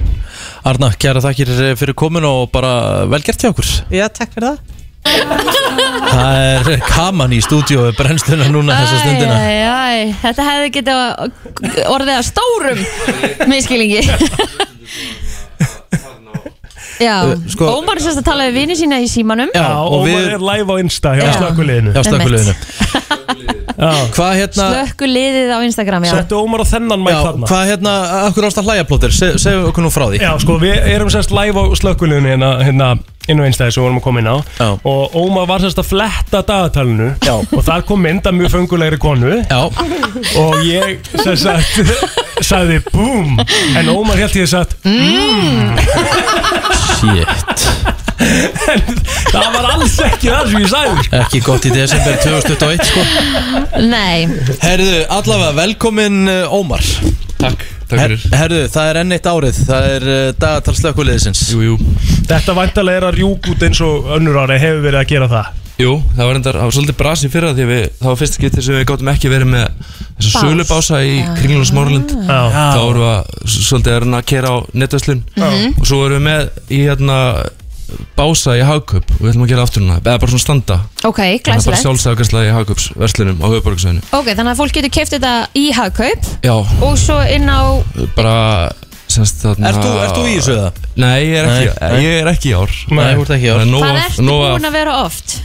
[SPEAKER 2] Arna, kæra þakkir eh, fyrir komin og bara velgert hjá okkur
[SPEAKER 11] Já, takk fyrir það
[SPEAKER 2] Það er kaman í stúdíu brennsluna núna þessa stundina
[SPEAKER 3] Æ, æ, æ, þetta hefði getið að- orðið að stórum miskilingi Já,
[SPEAKER 4] Uh, sko-
[SPEAKER 3] Ómar sérst að tala við vini sína í símanum
[SPEAKER 4] og, og maður er live á Insta hjá
[SPEAKER 3] Já.
[SPEAKER 4] slökkuleginu
[SPEAKER 2] Hjá slökkviliðinu. Hvað hérna
[SPEAKER 3] Slökku liðið á Instagram, já
[SPEAKER 4] Settu Ómar á þennan mæk
[SPEAKER 2] Já,
[SPEAKER 4] þarna
[SPEAKER 2] hvað hérna, okkur ást að hlæja plótir Seg, Segðu okkur nú frá því
[SPEAKER 4] Já, sko, við erum sérst live á slökkuleginu hérna, hérna inn á einstæði sem við vorum að koma inn á Já. og Ómar var sérst að fletta dagatalinu Já. og þar kom mynd af mjög fengulegri konu
[SPEAKER 2] Já.
[SPEAKER 4] og ég sérst að sagði boom en Ómar held ég satt mmm
[SPEAKER 13] Mm.
[SPEAKER 2] Shit
[SPEAKER 4] það var alls ekki það sem ég sagði
[SPEAKER 2] Ekki gott í desember 2021 sko
[SPEAKER 3] Nei,
[SPEAKER 2] Herðu, allavega, velkomin eh, Ómar Takk, takk fyrir Herðu, það er enn eitt árið, það er uh, dagatal slökkuliðisins Jú, jú
[SPEAKER 4] Þetta væntalega er að rjúk út eins og önnur ári hefur verið að gera það
[SPEAKER 13] Jú, það var endar, það var svolítið brasi fyrir það því að við, það var fyrsta getur sem við gáttum ekki verið með þessu
[SPEAKER 4] Bás.
[SPEAKER 13] sölubása í
[SPEAKER 4] Já.
[SPEAKER 13] kringlun og smáralind
[SPEAKER 4] Já.
[SPEAKER 13] þá vorum við að, s- svolítið að reyna að kera á netvæslun
[SPEAKER 4] Mhm.
[SPEAKER 13] og svo vorum við með í hérna bása í hagkaup og við ætlum að gera aftur hana, eða bara svona standa
[SPEAKER 3] ok,
[SPEAKER 13] það er bara
[SPEAKER 3] glæsilegt
[SPEAKER 13] sjálfsafgærsla í hagkaupsverslunum á höfuborgsveðinu
[SPEAKER 3] Ok, þannig að fólk getur keft þetta í hagkaup
[SPEAKER 13] Já,
[SPEAKER 3] og svo inn á
[SPEAKER 13] bara semst þarna
[SPEAKER 2] Ert þú- ert þú í þessu eða?
[SPEAKER 13] Nei, ég er ekki,
[SPEAKER 2] Nei, nei.
[SPEAKER 13] Ég er ekki í ár
[SPEAKER 2] Nei, þú ert ekki í ár.
[SPEAKER 13] Það er nóg
[SPEAKER 3] Hvað
[SPEAKER 13] af-
[SPEAKER 3] ertu
[SPEAKER 13] nóg af-
[SPEAKER 3] búin að vera oft?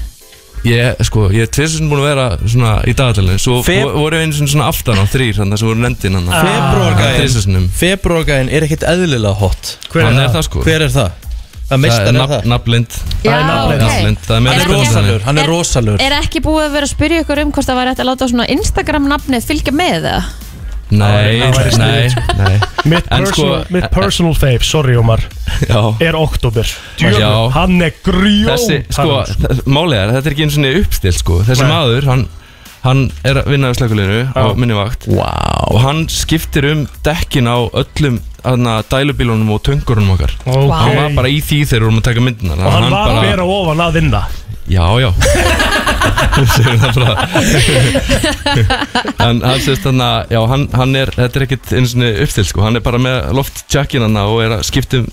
[SPEAKER 13] Ég, sko, ég er tvisinn búin að vera svona í dagatælinu Svo
[SPEAKER 2] Feb-
[SPEAKER 13] Feb... voru einu sinni svona aftan á þrýr Þannig að sem voru nefndin hann
[SPEAKER 2] Febrúargæðin Febrúargæðin er ekkit eðlilega hot
[SPEAKER 13] Hver er Hann er það? það, sko.
[SPEAKER 2] Hver er það? Það meistar er
[SPEAKER 13] nafn-
[SPEAKER 2] það
[SPEAKER 13] Nafnlind
[SPEAKER 3] Já, Það er nafnlind. ok.
[SPEAKER 13] Það er með
[SPEAKER 2] Hann er
[SPEAKER 13] nafnlind.
[SPEAKER 2] rosalur, hann er rosalur
[SPEAKER 3] Er ekki búið að vera að spyrja ykkur um hvort það væri hægt að láta svona Instagram nafnið fylgja með það?
[SPEAKER 13] Nei,
[SPEAKER 4] Það væri
[SPEAKER 13] nei,
[SPEAKER 4] sniðugt,
[SPEAKER 13] nei
[SPEAKER 4] Mitt
[SPEAKER 13] En sko-
[SPEAKER 4] personal, mitt personal fave, sorry Ómar
[SPEAKER 13] Já.
[SPEAKER 4] Er oktober
[SPEAKER 13] Já.
[SPEAKER 4] Djöfn, hann er grjón
[SPEAKER 13] Þessi, sko, þ- málið er, að þetta er ekki einu sinni uppstilt, sko Þessi
[SPEAKER 4] Nei.
[SPEAKER 13] maður, hann, hann er að vinna á slökuleginu á
[SPEAKER 4] Já.
[SPEAKER 13] minni vakt wow. Og hann skiptir um dekkin á öllum þarna, dælubílunum og töngurunum okkar
[SPEAKER 4] Ok.
[SPEAKER 13] Hann var bara í því þegar við vorum að taka myndina
[SPEAKER 4] Og hann var að vera ofan að vinna
[SPEAKER 13] Já, já Segum það bara En hann sést hann að Já, hann, hann er, þetta er ekkit einu sinni uppstilt sko Hann er bara með loftjakkin hann og er að skipta um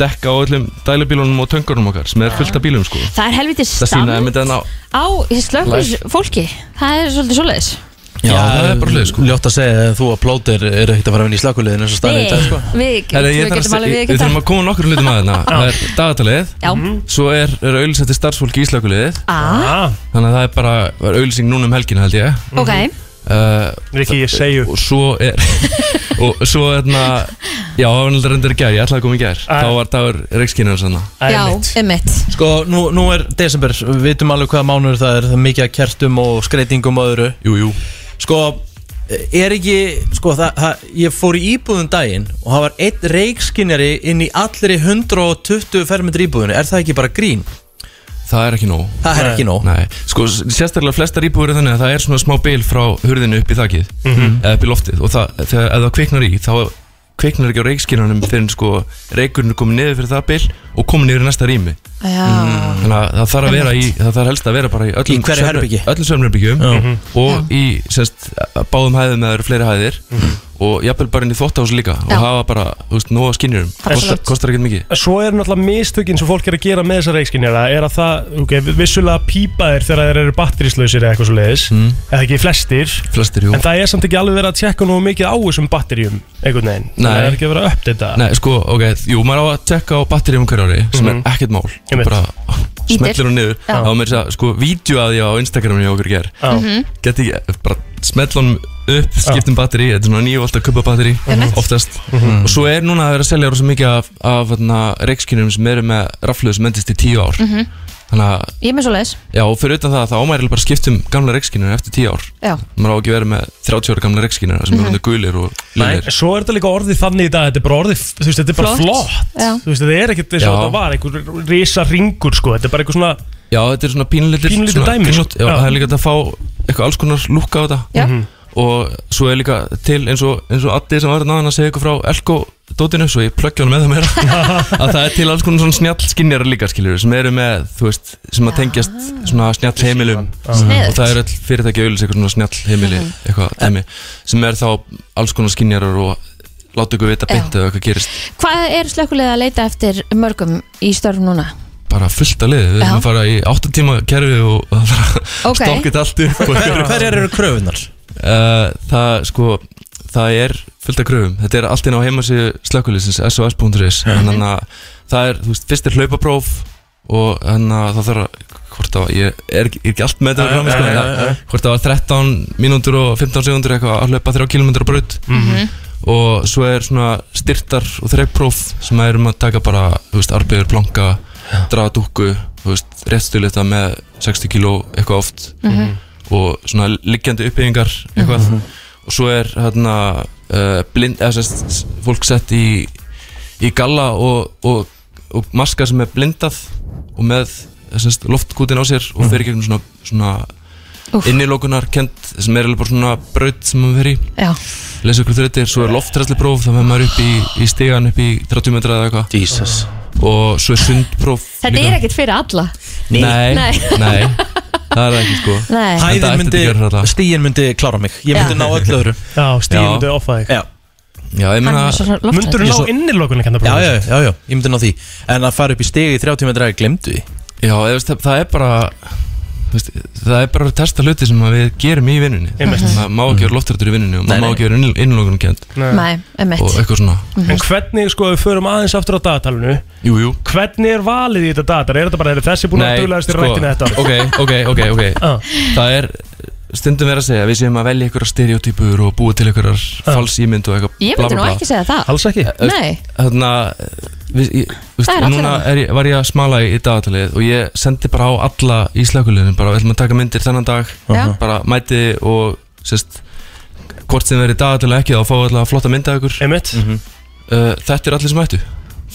[SPEAKER 13] dekka á öllum dælubílunum og töngunum okkar sem er fullt af bílum sko
[SPEAKER 3] Það er helviti
[SPEAKER 13] Það sýna að
[SPEAKER 3] stand
[SPEAKER 13] myndi hann á
[SPEAKER 3] á slökkus
[SPEAKER 13] Live.
[SPEAKER 3] fólki Það er svolítið svoleiðis
[SPEAKER 2] Já, það er
[SPEAKER 13] mm.
[SPEAKER 2] bara hlutið sko Ljótt að segja að þú að plótir eru ekkert að fara að vinna í slakulegin eins og staðið í dag sko
[SPEAKER 3] Nei, við,
[SPEAKER 13] Herra,
[SPEAKER 3] við
[SPEAKER 13] ég þarf
[SPEAKER 3] getum
[SPEAKER 13] að-
[SPEAKER 3] alveg
[SPEAKER 13] Við
[SPEAKER 3] við
[SPEAKER 13] þurfum að koma nokkur hlutum að hérna Það er dagatalið
[SPEAKER 3] Já.
[SPEAKER 4] Mhm.
[SPEAKER 13] Svo er, er auðlýsætti starfsfólki í Íslakuliðið
[SPEAKER 3] Ah.
[SPEAKER 13] Þannig að það er bara var auðlýsing núna um helgina held ég
[SPEAKER 3] Ok,
[SPEAKER 4] Mhm.
[SPEAKER 13] uh,
[SPEAKER 4] Riki, ég segju
[SPEAKER 13] Og svo er Og svo er þarna Já, það var náttúrulega reyndir í gær, ég ætlaði að koma í gær Þá var dagur reikskinnur sann
[SPEAKER 3] já, emitt
[SPEAKER 2] Sko, nú, nú er desember, við vitum alveg hvaða mánuður það er, það er mikið að kertum og skreitingum og öðru
[SPEAKER 13] Jú, jú
[SPEAKER 2] Sko, er ekki, sko, það, það, ég fór í íbúðum daginn og það var einn reikskinjari inn í allri 120 fermetri íbúðinu, er það ekki bara grín?
[SPEAKER 13] Það er ekki nóg
[SPEAKER 2] Það er ekki nóg
[SPEAKER 13] Nei, sko s- sérstaklega flestar íbúður er þannig að það er svona smá bil frá hurðinu upp í þakið
[SPEAKER 2] Mhm.
[SPEAKER 13] eða upp í loftið og það, þegar ef það kviknar í þá kviknar ekki á reikskinnanum fyrir sko reikurinn er komið niður fyrir það bil og komið niður í næsta rými
[SPEAKER 3] Já.
[SPEAKER 13] þannig að það þarf að vera í það þarf helst að vera bara í öllum
[SPEAKER 2] Í hverju
[SPEAKER 13] svefnher-
[SPEAKER 2] herbergi?
[SPEAKER 13] öllum sömnherbyggjum
[SPEAKER 2] Já. Mhm.
[SPEAKER 13] og í semst báðum hæðum eða eru fleiri hæðir og jafnvel bara inn í þóttahús líka og hafa bara, þú veist, nóga skinnjurum kostar, kostar ekkert mikið
[SPEAKER 4] Svo er náttúrulega mistökin sem fólk er að gera með þessar reikskinnjara er að það, ok, vissulega pípa þeir þegar þeir eru batteríslausir eða eitthvað svo leiðis eða ekki flestir
[SPEAKER 13] Flestir, Mhm. jú
[SPEAKER 4] en það er samt ekki alveg verið að tjekka nú mikið á þessum batteríum einhvern veginn
[SPEAKER 13] Nei.
[SPEAKER 4] það er ekki að vera að uppdata
[SPEAKER 13] Nei, sko, ok, jú, maður á að tekka á batteríum hverju ári sem
[SPEAKER 4] Mhm.
[SPEAKER 13] er ekkert mál
[SPEAKER 4] Einmitt.
[SPEAKER 13] bara
[SPEAKER 4] Ítir.
[SPEAKER 13] smetlir hún niður
[SPEAKER 4] Já.
[SPEAKER 13] þá er mér að segja, sko, vídeo að ég á Instagraminu hjá okkur ger
[SPEAKER 4] Já. Mhm.
[SPEAKER 13] geti ekki, bara smetla honum upp skiptum batteri, þetta er svona 9 volt að kubba batteri
[SPEAKER 4] Einmitt.
[SPEAKER 13] oftast
[SPEAKER 4] Mhm.
[SPEAKER 13] og svo er núna að vera að selja rosa mikið af, af reikskinum sem eru með rafluðu sem endist í 10 ár
[SPEAKER 3] Mhm.
[SPEAKER 13] þannig að,
[SPEAKER 3] Ég er með svoleiðis
[SPEAKER 13] já, og fyrir utan það þá ámærið bara að skipta um gamla reikskinnum eftir 10 ár
[SPEAKER 3] Já.
[SPEAKER 13] maður á ekki að vera með 30 ára gamla reikskinnum sem
[SPEAKER 3] Mhm.
[SPEAKER 13] eru undir gulir og
[SPEAKER 4] Nei,
[SPEAKER 13] liðir
[SPEAKER 4] svo er þetta líka orðið þannig í dag Þetta er bara orðið, þú veist, þetta er bara
[SPEAKER 13] Flott.
[SPEAKER 4] flott,
[SPEAKER 3] Já.
[SPEAKER 4] Þú veist, þetta er ekkert eins og
[SPEAKER 13] Já.
[SPEAKER 4] þetta var einhver risa ringur, sko Þetta er bara eitthvað svona
[SPEAKER 13] Já, þetta er svona pínlítil
[SPEAKER 4] Pínlítið
[SPEAKER 13] svona
[SPEAKER 4] dæmi,
[SPEAKER 13] pínlótt,
[SPEAKER 4] sko.
[SPEAKER 13] já,
[SPEAKER 4] Já.
[SPEAKER 13] Það er líka hægt að fá eitthvað alls konar lúkka á þetta
[SPEAKER 4] Já. Mhm.
[SPEAKER 13] Og svo er líka til eins og, eins og Addi sem var náðan að segja ykkur frá Elko dótinu Svo ég plöggja hann með það meira Að það er til alls konar svona snjall skinnjar líka skiljur Sem eru með, þú veist, sem að tengjast svona snjall heimilum
[SPEAKER 2] Sniðugt.
[SPEAKER 13] Og það er all fyrirtæki auðlis eitthvað svona snjall heimili
[SPEAKER 2] Mhm.
[SPEAKER 13] Eitthvað dæmi Sem er þá alls konar skinnjarar og Láta ykkur vita beint eða hvað gerist
[SPEAKER 3] Hvað er slökkulega að leita eftir mörgum í störf núna?
[SPEAKER 13] bara fullt að liði, við
[SPEAKER 3] Já.
[SPEAKER 13] erum að fara í 8 tíma kerfi og það þarf að
[SPEAKER 3] Ok.
[SPEAKER 13] stokkið allt upp
[SPEAKER 2] Hver- hverjar eru kröfunar?
[SPEAKER 13] það sko, það er fullt af kröfum, þetta er allt inn á heimasíðu slökkulísins, sos.is
[SPEAKER 3] Mhm.
[SPEAKER 13] þannig að það er, þú veist, fyrst er hlaupapróf og þannig að það þarf að hvort það var, ég er, ekki- er ekki allt með þetta
[SPEAKER 4] Nei,
[SPEAKER 13] fram, sko,
[SPEAKER 4] nei,
[SPEAKER 13] en
[SPEAKER 4] nei,
[SPEAKER 13] það-
[SPEAKER 4] nei.
[SPEAKER 13] hvort það var 13 mínútur og 15 sekundur eitthvað að hlaupa 3 km á braut
[SPEAKER 4] Mhm.
[SPEAKER 13] og svo er svona styrtar og þreipróf sem er um að taka bara, þú veist, arbegur, blanka draga dúkku, þú veist, réttstulita með 60 kg eitthvað oft
[SPEAKER 4] Mhm.
[SPEAKER 13] og svona liggjandi uppbyggingar eitthvað
[SPEAKER 3] Mhm.
[SPEAKER 13] og svo er hérna uh, blind, eða sérst fólk sett í, í galla og, og, og maska sem er blindað og með sérst, loftkútin á sér og fer í gegnum svona, svona
[SPEAKER 3] Mhm. Úff.
[SPEAKER 13] innilokunar kent sem er alveg bara svona braut sem maður fer í
[SPEAKER 3] Já.
[SPEAKER 13] lesa ykkur þrautir, svo er loftræslipróf þá fer maður upp í, í stegan upp í 30 metra eða eitthvað Jesus. og svo er sundpróf
[SPEAKER 3] Þetta
[SPEAKER 13] líka.
[SPEAKER 3] er ekkert fyrir alla
[SPEAKER 13] Nei,
[SPEAKER 3] Nei.
[SPEAKER 13] nei, það er það ekki sko
[SPEAKER 3] Nei.
[SPEAKER 13] Þetta ætti
[SPEAKER 2] Hæðin
[SPEAKER 13] að
[SPEAKER 2] myndi,
[SPEAKER 13] gera þetta.
[SPEAKER 2] stíin myndi klára mig Ég myndi
[SPEAKER 13] Já.
[SPEAKER 2] ná öllu öðru
[SPEAKER 4] Já, stíin myndi offa þig
[SPEAKER 2] Já,
[SPEAKER 13] já ég meina
[SPEAKER 4] Mundur ná innilokun ekki
[SPEAKER 2] já, já, já, já, ég myndi ná því En að fara upp í stig í 30 metra, ég glemdu því
[SPEAKER 13] Já, eða, veist, það- það er bara þú veist, það er bara að testa hluti sem að við gerum í vinnunni
[SPEAKER 4] Einmitt.
[SPEAKER 13] maður má ekki vera loftrættur í vinnunni og maður má ekki vera innlokunum kent
[SPEAKER 3] Nei, emitt
[SPEAKER 13] og eitthvað svona
[SPEAKER 4] En hvernig, sko, við förum aðeins aftur á dagatalinu
[SPEAKER 13] Mhm. Jú, jú
[SPEAKER 4] Hvernig er valið í þetta dagatal? Er þetta bara, er þessi búin að duglaðast í rættinu þetta? Ah. árið?
[SPEAKER 13] Ok, sko, ok, ok, ok Það er stundum verið að segja að við séum að velja ykkur stereotypur og búa til ykkur
[SPEAKER 4] Ah.
[SPEAKER 13] falsýmynd og eitthvað
[SPEAKER 3] Ég
[SPEAKER 13] bla,
[SPEAKER 3] myndi
[SPEAKER 13] bla,
[SPEAKER 3] nú
[SPEAKER 13] bla.
[SPEAKER 3] ekki segja það. Alls ekki? Nei.
[SPEAKER 13] Þannig
[SPEAKER 3] Það er
[SPEAKER 13] að
[SPEAKER 3] allir
[SPEAKER 13] Núna
[SPEAKER 3] þarna.
[SPEAKER 13] er, ég- var ég að smala í dagatalið og ég sendi bara á alla í slökuleginu bara, við ætlum að taka myndir þennan dag
[SPEAKER 3] Já.
[SPEAKER 13] bara mæti og sérst hvort sem verið dagatalið ekki þá fá alla flotta mynda ykkur
[SPEAKER 4] mm
[SPEAKER 13] -hmm. uh, Þetta er allir sem mættu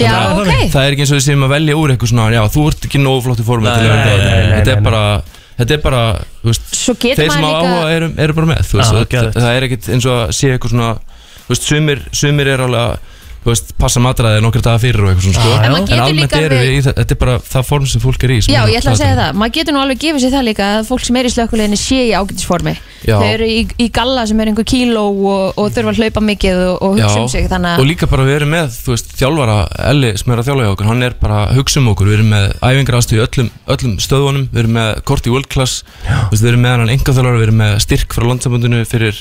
[SPEAKER 3] Já,
[SPEAKER 13] Þannig að
[SPEAKER 3] ok.
[SPEAKER 13] Það er ekki eins og við séum að velja úr eitthvað svona Já, þú ert ekki nógu flott í formi til að vera
[SPEAKER 4] nei,
[SPEAKER 13] í dagatalið.
[SPEAKER 4] nei, nei,
[SPEAKER 13] Þetta er
[SPEAKER 4] nei, nei.
[SPEAKER 13] bara Þetta er bara, þú veist
[SPEAKER 3] Svo getur
[SPEAKER 13] Þeir sem
[SPEAKER 3] maður
[SPEAKER 13] á
[SPEAKER 3] líka-
[SPEAKER 13] áhuga eru, eru bara með þú veist,
[SPEAKER 4] Já,
[SPEAKER 13] það,
[SPEAKER 4] geðveikt.
[SPEAKER 13] það er ekkit eins og að sé eitthvað svona Þú veist, sumir, sumir er alveg að þú veist, passa matræði nokkra daga fyrir og eitthvað svona sko.
[SPEAKER 3] Ah, En já. maður getur
[SPEAKER 13] almennt
[SPEAKER 3] líka
[SPEAKER 13] eru við
[SPEAKER 3] alveg-
[SPEAKER 13] í það, þetta er bara það form sem fólk er í sem
[SPEAKER 3] Já,
[SPEAKER 13] er
[SPEAKER 3] ég ætla að segja
[SPEAKER 13] platin.
[SPEAKER 3] það, maður getur nú alveg gefið sér það líka að fólk sem er í slökkuleginni sé í ágætisformi
[SPEAKER 13] Já.
[SPEAKER 3] Þau eru í, í galla sem er einhver kíló og, og þurfa að hlaupa mikið og, og hugsa um sig þannig
[SPEAKER 13] og
[SPEAKER 3] að
[SPEAKER 13] líka bara við erum með, þú veist, þjálfara Elli sem er að þjálfa hjá okkur, hann er bara að hugsa um okkur, við erum með æfingar aðstu í öllum, öllum stöðunum, við erum með Korti World Class, þú veist, við erum með hann engaþjálfara, við erum með styrk frá landsambundinu fyrir,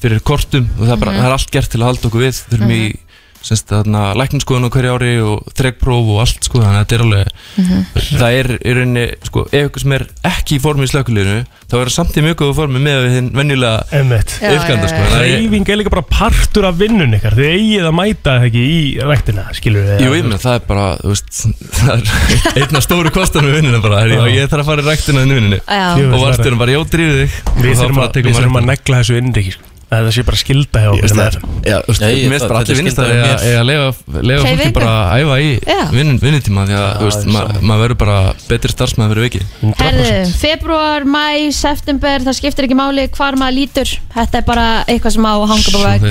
[SPEAKER 13] fyrir Kortum og það er, bara,
[SPEAKER 12] Mhm.
[SPEAKER 13] það er allt gert til að halda okkur við, við erum mm
[SPEAKER 3] Mhm.
[SPEAKER 13] -hmm. í semst, þarna, lækninskoðun á hverju ári og þregpróf og allt sko, þannig að þetta er alveg
[SPEAKER 12] Mhm.
[SPEAKER 13] það er í rauninni, sko, ef ykkur sem er ekki í formi í slökuleginu, þá er það samt í mjög góðu formi með við þinn venjulega
[SPEAKER 4] Emmett
[SPEAKER 13] yfganda, sko, þannig að ég-
[SPEAKER 4] Hreyfing er líka bara partur af vinnun ykkar Þið eigið að mæta það ekki í ræktina Skilur við
[SPEAKER 13] Jú, ég meina, það er bara, þú veist, það er einn af stóru kostanum við vinnina bara, herri, já, ég þarf að fara í ræktina þinn vinninni
[SPEAKER 4] Já.
[SPEAKER 13] og varturum bara, já, drífið þig
[SPEAKER 4] Við þurfum að, við þurfum að negla þessu inn ekki, sko. Að Það sé bara skilda hjá okkur sem er.
[SPEAKER 13] Já, þú veist, mér finnst bara allir vinnist að eiga að lega fólki
[SPEAKER 4] Hreyfingu.
[SPEAKER 13] bara að æfa í
[SPEAKER 3] Já.
[SPEAKER 13] vinn- vinnutíma því að, þú veist, ma- maður verður bara betri starfsmæður verður vikið
[SPEAKER 3] Herðu, februar, mæ, september, það skiptir ekki máli hvar maður lítur Þetta er bara eitthvað sem á að hanga upp á veg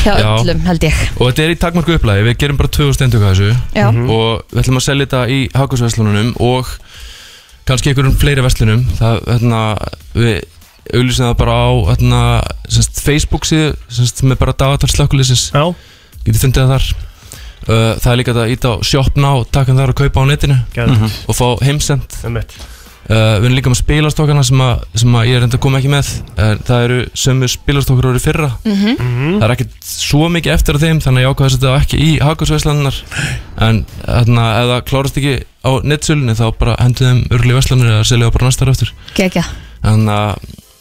[SPEAKER 3] hjá
[SPEAKER 13] Já.
[SPEAKER 3] öllum, held ég
[SPEAKER 13] Og þetta er í takmarku upplæði, við gerum bara 2000 endöku að þessu Mhm.
[SPEAKER 3] Já. Mhm.
[SPEAKER 13] og við ætlum að selja þetta í hagkvæmsverslununum og kannski einhverjum fleiri verslunum það, hérna, við auglýsum það bara á hérna, semst, Facebook síðu semst, með bara dagatar slökkulísins getur fundið það þar Uh, það er líka þetta að íta á shopna og taka hann þar og kaupa á netinu
[SPEAKER 4] Geðveikt.
[SPEAKER 13] Mhm. og fá heimsend
[SPEAKER 4] uh,
[SPEAKER 13] við erum líka með spilastokkana sem, að- sem að ég er enda að koma ekki með uh, það eru sömu spilastokkar og eru í fyrra
[SPEAKER 3] Mhm.
[SPEAKER 13] það er ekkert svo mikið eftir af þeim þannig að ég ákvaði að setja það ekki í hagkvæmsveslanar en þarna ef það klárast ekki á nettsölunni þá bara hendur þeim örli veslanir eða selja það bara næstar eftir
[SPEAKER 3] Gekja
[SPEAKER 13] þannig að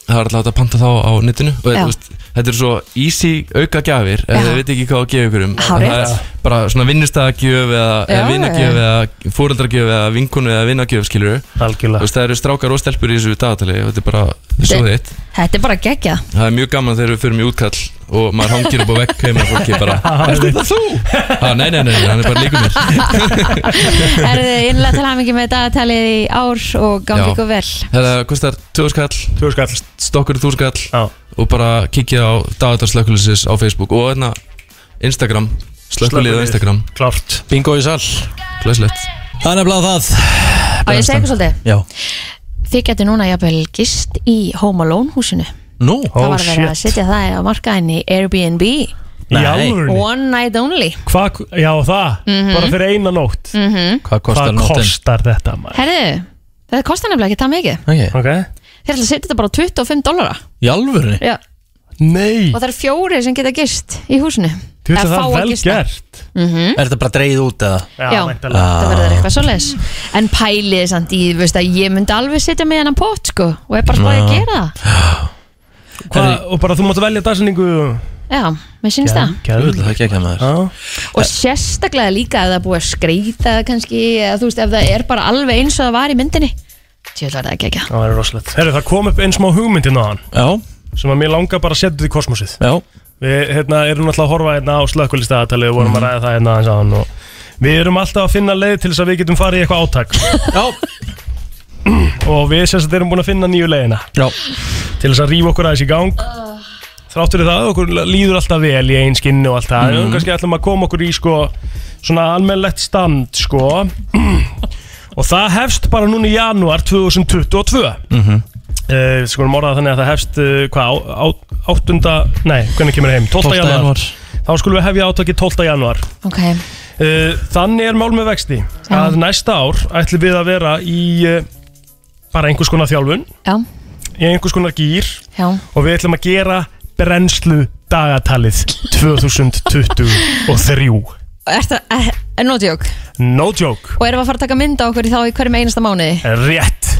[SPEAKER 13] það er alltaf hægt að panta þá á netinu og
[SPEAKER 3] Já.
[SPEAKER 13] þú veist, þetta er svo easy auka gjafir ef þið veit ekki hvað að gefa ykkur um
[SPEAKER 3] Hárrétt.
[SPEAKER 13] það er bara svona vinnustæðagjöf eða, eða
[SPEAKER 3] Já,
[SPEAKER 13] vinnagjöf
[SPEAKER 3] já.
[SPEAKER 13] eða fóreldragjöf eða vinkonu eða vinnagjöf skilur
[SPEAKER 4] Algjörlega.
[SPEAKER 13] Veist, það eru strákar og stelpur í þessu dagatali og þetta er bara svo
[SPEAKER 3] Þetta-
[SPEAKER 13] þitt
[SPEAKER 3] Þetta er bara gegja
[SPEAKER 13] Það er mjög gaman þegar við förum í útkall og maður hangir upp á vekk heima fólki bara "Ertu þetta þú? Ah, nei, nei, nei, nei, hann er bara líkur mér
[SPEAKER 3] Herðu, innlega tala mikið með dagatalið í ár og gangi
[SPEAKER 13] Já.
[SPEAKER 3] ykkur vel
[SPEAKER 13] Þetta kostar 2000 skall,
[SPEAKER 4] 2000 skall.
[SPEAKER 13] Stokkur 1000 skall Já. Og bara kíkja á Dagatar Slökkulisis á Facebook Og hérna Instagram Slökkulið á
[SPEAKER 2] Slökkvilið.
[SPEAKER 13] Instagram
[SPEAKER 4] Klart
[SPEAKER 2] Bingo í sal
[SPEAKER 13] Glæslegt
[SPEAKER 2] Það er nefnilega það
[SPEAKER 3] Á ég að segja eitthvað svolítið?
[SPEAKER 2] Já
[SPEAKER 3] Þið getur núna jafnvel gist í Home Alone húsinu
[SPEAKER 2] Nú
[SPEAKER 3] Það var að vera að setja það á markaðin í Airbnb
[SPEAKER 4] Í alvörunni?
[SPEAKER 3] One night only
[SPEAKER 4] Hvað, já það,
[SPEAKER 3] Mhm.
[SPEAKER 4] bara fyrir eina nótt
[SPEAKER 3] mm
[SPEAKER 2] Hvað
[SPEAKER 4] kostar, Hvað kostar þetta maður?
[SPEAKER 3] Herðu, það kostar nefnilega ekki það mikið
[SPEAKER 2] okay.
[SPEAKER 4] Okay.
[SPEAKER 3] Þeir ætla að setja þetta bara á 25 dollara
[SPEAKER 2] Í alvörunni?
[SPEAKER 3] Já.
[SPEAKER 4] Nei
[SPEAKER 3] Og það eru fjóri sem geta gist í húsinu
[SPEAKER 2] Þú veist að
[SPEAKER 3] Eða
[SPEAKER 2] það er
[SPEAKER 3] fá
[SPEAKER 2] vel
[SPEAKER 3] gista.
[SPEAKER 2] gert.
[SPEAKER 3] Mhm.
[SPEAKER 2] Er þetta bara dreigð út eða?
[SPEAKER 3] Já, það verður eitthvað svoleiðis En pælið samt í, þú veist að ég myndi alveg setja með hennan pott sko Og er bara spáði að
[SPEAKER 4] Já.
[SPEAKER 3] gera það
[SPEAKER 4] Hva, og bara þú mátt velja dagsetningu
[SPEAKER 3] Já, mér syns það
[SPEAKER 2] Gæðvöld, það gekk að maður
[SPEAKER 3] Og sérstaklega líka ef það er búið að skreita kannski eða þú veist ef það er bara alveg eins og það var í myndinni Tjóðlega er það ekki ekki
[SPEAKER 4] Það verður rosalegt Herru, það kom upp einn smá hugmyndin á hann Já Sem að mér langar bara að setja þetta í kosmosið
[SPEAKER 2] Já
[SPEAKER 4] Við hérna, erum alltaf að horfa hérna á slökkulistagatalið og vorum
[SPEAKER 2] Mhm.
[SPEAKER 4] að ræða það hérna aðeins á hann og Við erum alltaf að finna leið til þess að við getum farið í eitthvað átak
[SPEAKER 2] Já
[SPEAKER 4] Og við sem sagt erum búin að finna nýju leiðina
[SPEAKER 2] Já
[SPEAKER 4] Til þess að rífa okkur aðeins í gang
[SPEAKER 3] Ah.
[SPEAKER 4] Þráttur í það, okkur líður alltaf vel í einn skinni og allt það mm.
[SPEAKER 2] Mhm.
[SPEAKER 4] Kannski ætlum að koma okkur í sko Svona almennlegt stand sko Og það hefst bara núna í janúar 2022
[SPEAKER 12] Mhm.
[SPEAKER 4] uh, sko erum orðað þannig að það hefst uh, hvað, á- á- 8. nei, hvernig kemur það heim 12.
[SPEAKER 2] 12.
[SPEAKER 4] januar
[SPEAKER 2] janúar.
[SPEAKER 4] þá skulum við hefja átaki 12. januar
[SPEAKER 3] Ok,
[SPEAKER 4] uh, þannig er mál með vexti að næsta ár ætlum við að vera í uh, bara einhvers konar þjálfun
[SPEAKER 3] Já.
[SPEAKER 4] í einhvers konar gýr
[SPEAKER 3] Já.
[SPEAKER 4] og við ætlum að gera brennslu dagatalið 2023
[SPEAKER 3] er það, eh, er, er notjók
[SPEAKER 4] no joke,
[SPEAKER 3] Og erum við að fara að taka mynd á okkur í þá í hverjum einasta mánuði
[SPEAKER 4] rétt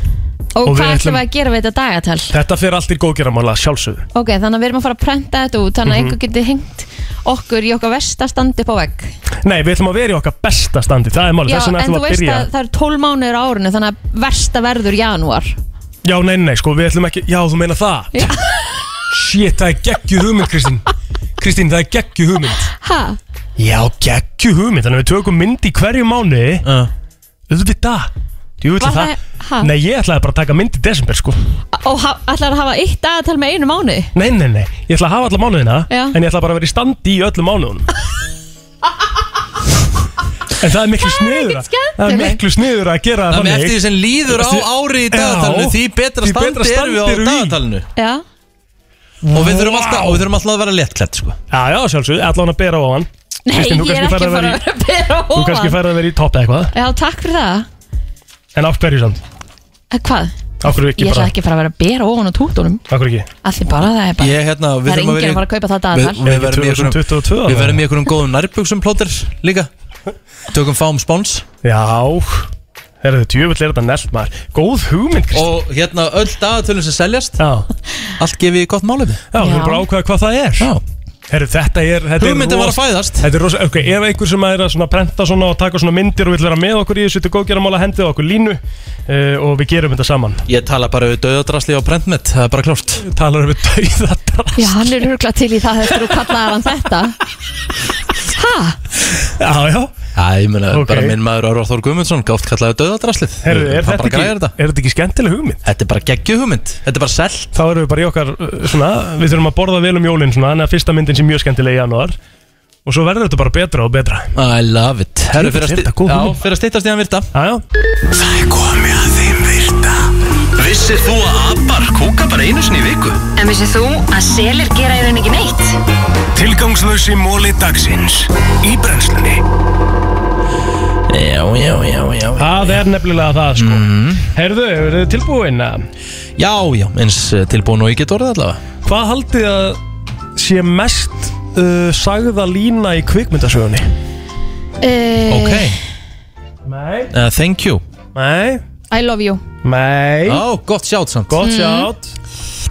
[SPEAKER 3] Og,
[SPEAKER 4] Og við
[SPEAKER 3] hvað ætlum
[SPEAKER 4] ætlum-
[SPEAKER 3] við að gera við þetta dagatal?
[SPEAKER 4] þetta fer allt í góðgeramála sjálfsögðu
[SPEAKER 3] Ok, þannig að við erum að fara að prenta þetta út Þannig að
[SPEAKER 4] Mhm.
[SPEAKER 3] einhver geti hengt okkur í okkar versta standi upp á vegg
[SPEAKER 4] Nei, við ætlum að vera í okkar besta standi, það er máli,
[SPEAKER 3] Já,
[SPEAKER 4] þess
[SPEAKER 3] en
[SPEAKER 4] vegna ætlum
[SPEAKER 3] þú
[SPEAKER 4] við að
[SPEAKER 3] veist
[SPEAKER 4] byrja
[SPEAKER 3] að það eru 12 mánuður á árinu Þannig að versta verður janúar
[SPEAKER 4] Já, nei, nei, nei, sko, við ætlum ekki Já, þú meina það Shit, það er geggju hugmynd, Kristín Kristín, það er geggju hugmynd
[SPEAKER 3] Ha?
[SPEAKER 4] Já, geggju hugmynd Þannig að við tökum mynd í hverju mánu Auðvitað Jú, ætla
[SPEAKER 3] Var
[SPEAKER 4] það
[SPEAKER 3] það- ha?
[SPEAKER 4] Nei, ég ætlaði bara að taka mynd í desember, sko
[SPEAKER 3] Og ha- ætlar að hafa eitt dagatal með einu mánu
[SPEAKER 4] Nei, nei, nei, ég ætla að hafa alla mánuðina
[SPEAKER 3] Já.
[SPEAKER 4] En ég ætla bara að vera í standi í öllum mánuðunum En það er miklu sniður Það er miklu sniður að gera
[SPEAKER 2] Það með eftir því sem líður á ári í dagatalinu Því betra standi erum við á dagatalinu
[SPEAKER 3] Já,
[SPEAKER 2] Og við þurfum alltaf, og við þurfum alltaf að vera léttklætt sko.
[SPEAKER 4] Já, já, sjálfsög, allan að bera á hann
[SPEAKER 3] nei,
[SPEAKER 4] Kristín, þú
[SPEAKER 3] ég er ekki
[SPEAKER 4] kannski
[SPEAKER 3] að
[SPEAKER 4] færð
[SPEAKER 3] fara
[SPEAKER 4] að vera
[SPEAKER 3] að
[SPEAKER 4] í-
[SPEAKER 3] vera að bera
[SPEAKER 4] Þú kannski
[SPEAKER 3] ofan
[SPEAKER 4] færð að vera í topp eitthvað
[SPEAKER 3] Já, takk fyrir það
[SPEAKER 4] En af hverju samt?
[SPEAKER 3] Eh, Hvað?
[SPEAKER 4] Af hverju
[SPEAKER 3] Ég
[SPEAKER 4] ekki
[SPEAKER 3] ætla
[SPEAKER 4] bara?
[SPEAKER 3] ekki að fara að vera að bera ofan á tútunum
[SPEAKER 4] Af hverju ekki?
[SPEAKER 3] Af því bara það er bara
[SPEAKER 2] Ég, hérna, við
[SPEAKER 3] Það er
[SPEAKER 2] þurfum að
[SPEAKER 3] enginn
[SPEAKER 2] vera í-
[SPEAKER 3] að fara að kaupa það
[SPEAKER 2] Við,
[SPEAKER 3] dagatal
[SPEAKER 2] við verðum í einhverjum-
[SPEAKER 4] 2022
[SPEAKER 2] við verðum í einhverjum góðum nærbuksum plóter líka Tökum fáum spons
[SPEAKER 4] Já Herðu, djöfull er þetta nelt maður Góð hugmynd, Kristi
[SPEAKER 2] Og hérna öll dagatölun sem seljast
[SPEAKER 4] Já
[SPEAKER 2] Allt gefið í gott málefni
[SPEAKER 4] Já, við erum bara að ákveða hvað það er Já Herru, þetta er þetta er
[SPEAKER 2] Hugmyndin var
[SPEAKER 4] ros-
[SPEAKER 2] að fæðast.
[SPEAKER 4] Þetta er rosa, ok, ef einhver sem er að svona prenta svona og taka svona myndir og vil vera með okkur í þessu Þetta er góðgerðamála, hendið á okkur línu uh, og við gerum þetta saman
[SPEAKER 2] Ég tala bara við döðadrasli á brentmet, það er bara klárt
[SPEAKER 4] Talar við döða
[SPEAKER 3] Já, hann er hurgla til í það eftir að kallaði hann þetta Ha?
[SPEAKER 4] Já, já
[SPEAKER 2] Já, ég meina
[SPEAKER 4] Ok.
[SPEAKER 2] bara minn maður Árvar Þór Guðmundsson Gátt kallaði döðadraslið
[SPEAKER 4] Herru, er þetta ekki- er þetta ekki skemmtileg hugmynd?
[SPEAKER 2] Þetta er bara geggju hugmynd, þetta er bara selt
[SPEAKER 4] Þá erum við bara í okkar, uh, svona, við þurfum að borða vel um jólinn svona Þannig að fyrsta myndin sé mjög skemmtileg í janúar Og svo verður þetta bara betra og betra
[SPEAKER 2] I love it Herru, fyrir að sti- já, fyrir að stýttast í hann virta
[SPEAKER 4] Já, já
[SPEAKER 6] Það er komið að þeim virta Vissir þú að abar kúka bara einu sinni í viku?
[SPEAKER 14] En vissið þú að selir gera í raun ekki neitt?
[SPEAKER 6] Tilgangslösi móli dagsins Í brennslunni
[SPEAKER 2] Já, já, já, já Mhm.
[SPEAKER 4] Það er nefnilega það, sko Herðu, eru þið tilbúin?
[SPEAKER 2] Já, já, eins eh, tilbúin og ég get orðið allavega
[SPEAKER 4] Hvað haldið að sé mest uh, sagða lína í kvikmyndasögunni?
[SPEAKER 3] Uh,
[SPEAKER 2] Ok,
[SPEAKER 4] Nei
[SPEAKER 2] uh, thank you
[SPEAKER 4] Nei
[SPEAKER 3] I love you
[SPEAKER 4] Nei
[SPEAKER 2] Ó, gott sjátt samt
[SPEAKER 4] Gott
[SPEAKER 3] Mm.
[SPEAKER 4] sjátt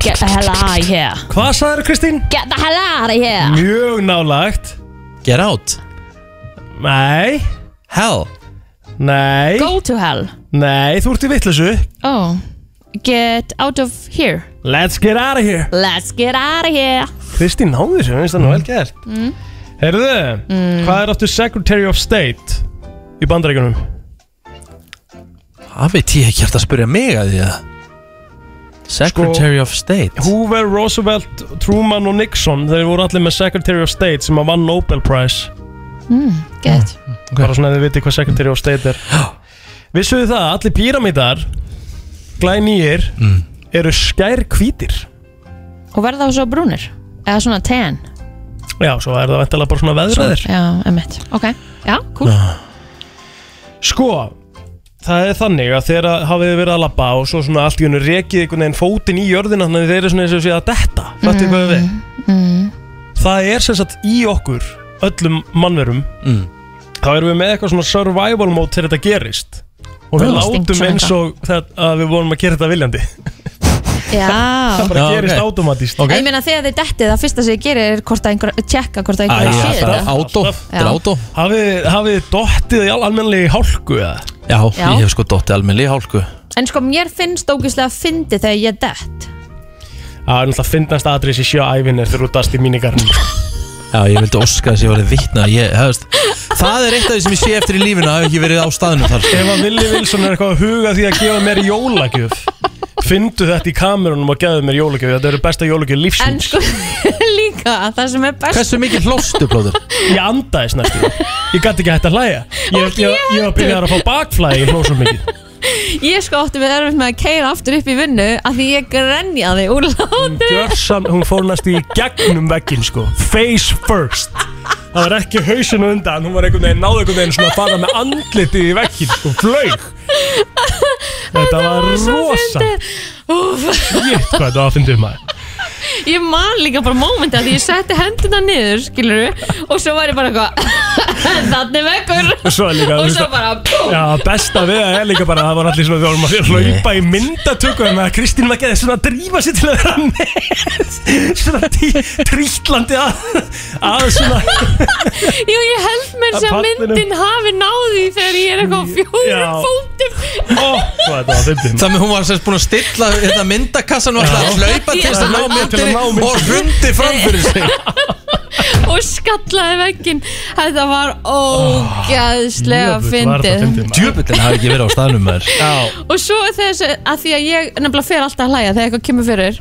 [SPEAKER 3] Get the hell out of here
[SPEAKER 4] Hvað sagðið, Kristín?
[SPEAKER 3] Get the hell out of here
[SPEAKER 4] Mjög nálagt
[SPEAKER 2] Get out
[SPEAKER 4] Nei
[SPEAKER 2] Hell
[SPEAKER 4] Nei
[SPEAKER 3] Go to hell
[SPEAKER 4] Nei, þú ert í vittlusu
[SPEAKER 3] Oh Get out of here
[SPEAKER 4] Let's get out of here
[SPEAKER 3] Let's get out of here
[SPEAKER 4] Kristín náði þessu, finnst það nú vel gert
[SPEAKER 3] mm.
[SPEAKER 4] Herðu,
[SPEAKER 3] Mm.
[SPEAKER 4] hvað er áttu Secretary of State í bandaríkunum?
[SPEAKER 2] Það veit ég ekki hægt að spyrja mig að því að Secretary of State
[SPEAKER 4] Sko, Hoover, Roosevelt, Truman og Nixon Þeir voru allir með Secretary of State sem að vann Nobel Prize
[SPEAKER 3] mm, Get
[SPEAKER 4] Bara svona að þið viti hvað Secretary of State er Vissuðu það, að allir píramítar Glænýir Eru skær hvítir
[SPEAKER 3] Og verða þá svo brúnir Eða svona tan
[SPEAKER 4] Já, svo er það vantilega bara svona veðraðir
[SPEAKER 3] Já, emmitt Ok Já, cool
[SPEAKER 4] Sko, það er þannig að þegar að hafið þið verið að labba og svo svona allt í hennu rekið einhvern veginn fótinn í jörðina þannig að þeir eru svona eins og sé að detta Fattu hvað við?
[SPEAKER 8] Mhm.
[SPEAKER 3] mm.
[SPEAKER 4] Það er sem sagt í okkur öllum mannverum
[SPEAKER 2] Mm.
[SPEAKER 4] þá erum við með eitthvað svona survival mode þegar þetta gerist og við
[SPEAKER 2] Já.
[SPEAKER 4] látum
[SPEAKER 2] Instinct
[SPEAKER 4] eins
[SPEAKER 2] svona
[SPEAKER 4] og það, að við vorum að gera þetta viljandi
[SPEAKER 3] Já
[SPEAKER 4] það bara gerist okay. automatist
[SPEAKER 3] En Ég meina þegar þið dettið Það fyrsta sem ég gerir er hvort að einhver Tjekka hvort að einhver sé þetta.
[SPEAKER 2] átó, þetta er
[SPEAKER 3] Já.
[SPEAKER 2] átó
[SPEAKER 4] Hafið hafið þið dottið í almenlega hálku eða?
[SPEAKER 2] Já,
[SPEAKER 3] Já.
[SPEAKER 2] ég hef sko dottið almenni í hálku
[SPEAKER 3] En sko mér finnst ógislega fyndi þegar ég dett
[SPEAKER 4] Það er náttúrulega fyndnast aðrið sem sjá ævinir þegar þú dast í mínigarnum sko.
[SPEAKER 2] Já, ég vildi óska þess að ég var að vitna ég, hefst, Það er eitt af því sem ég sé eftir í lífinu að hafa ekki verið á staðinu þar
[SPEAKER 4] Ef að Willi Wilson er eitthvað að huga því að gefa mér jólagjöf Fyndu þetta í kamerunum og gefðu mér jólagjöf Þetta eru besta jólagjöf
[SPEAKER 3] En
[SPEAKER 4] lífsins
[SPEAKER 3] sko líka Það sem er best
[SPEAKER 2] Hversu mikið hlóstu, blóður?
[SPEAKER 4] Ég andaðis næstu Ég gæti ekki hægt að hlæja Ég, ég, ég var byrjar að fá bakflæði í hlósum mikið
[SPEAKER 3] Ég sko átti við erfitt með að keira aftur upp í vinnu að því ég grenjaði úr látu
[SPEAKER 4] Gjörsam, hún fór næstu í gegnum veggin sko Face first Það var ekki hausinu undan Hún var einhvern veginn, náðu einhvern veginn svona að fara með andlitið í veggin sko Flaug Þetta var rosa
[SPEAKER 3] Úf,
[SPEAKER 4] Shit, hvað þetta var að fyndið maður
[SPEAKER 3] Ég man líka bara mómenti að því ég setti hendina niður skilur og svo var ég bara eitthvað þannig vekkur
[SPEAKER 4] Og svo er líka,
[SPEAKER 3] og
[SPEAKER 4] þú
[SPEAKER 3] svo
[SPEAKER 4] veist-
[SPEAKER 3] bara pú,
[SPEAKER 4] Já, besta við það er líka bara að það var allir svona við vorum að hlaupa í myndatöku en að Kristín var ekki svona að drífa sér til að vera með svona tí- trítlandi að, að svona
[SPEAKER 3] Jú, ég held mér sem
[SPEAKER 4] Að
[SPEAKER 3] að
[SPEAKER 4] pallinum.
[SPEAKER 3] myndin hafi náði þegar ég er eitthvað á
[SPEAKER 4] Já.
[SPEAKER 3] fjórum fótum
[SPEAKER 2] Þannig hún var sérst búin að stilla hérna, myndakassan og alltaf að hlaupa til þess að ná myndinni og hrundi fram fyrir sig
[SPEAKER 3] og skallaði veggin Þetta var ógæðslega fyndið
[SPEAKER 2] Djöfullin hafi ekki verið á staðnum maður
[SPEAKER 4] Já
[SPEAKER 3] Og svo þess að því að ég nefnilega fer alltaf að hlæja þegar eitthvað kemur fyrir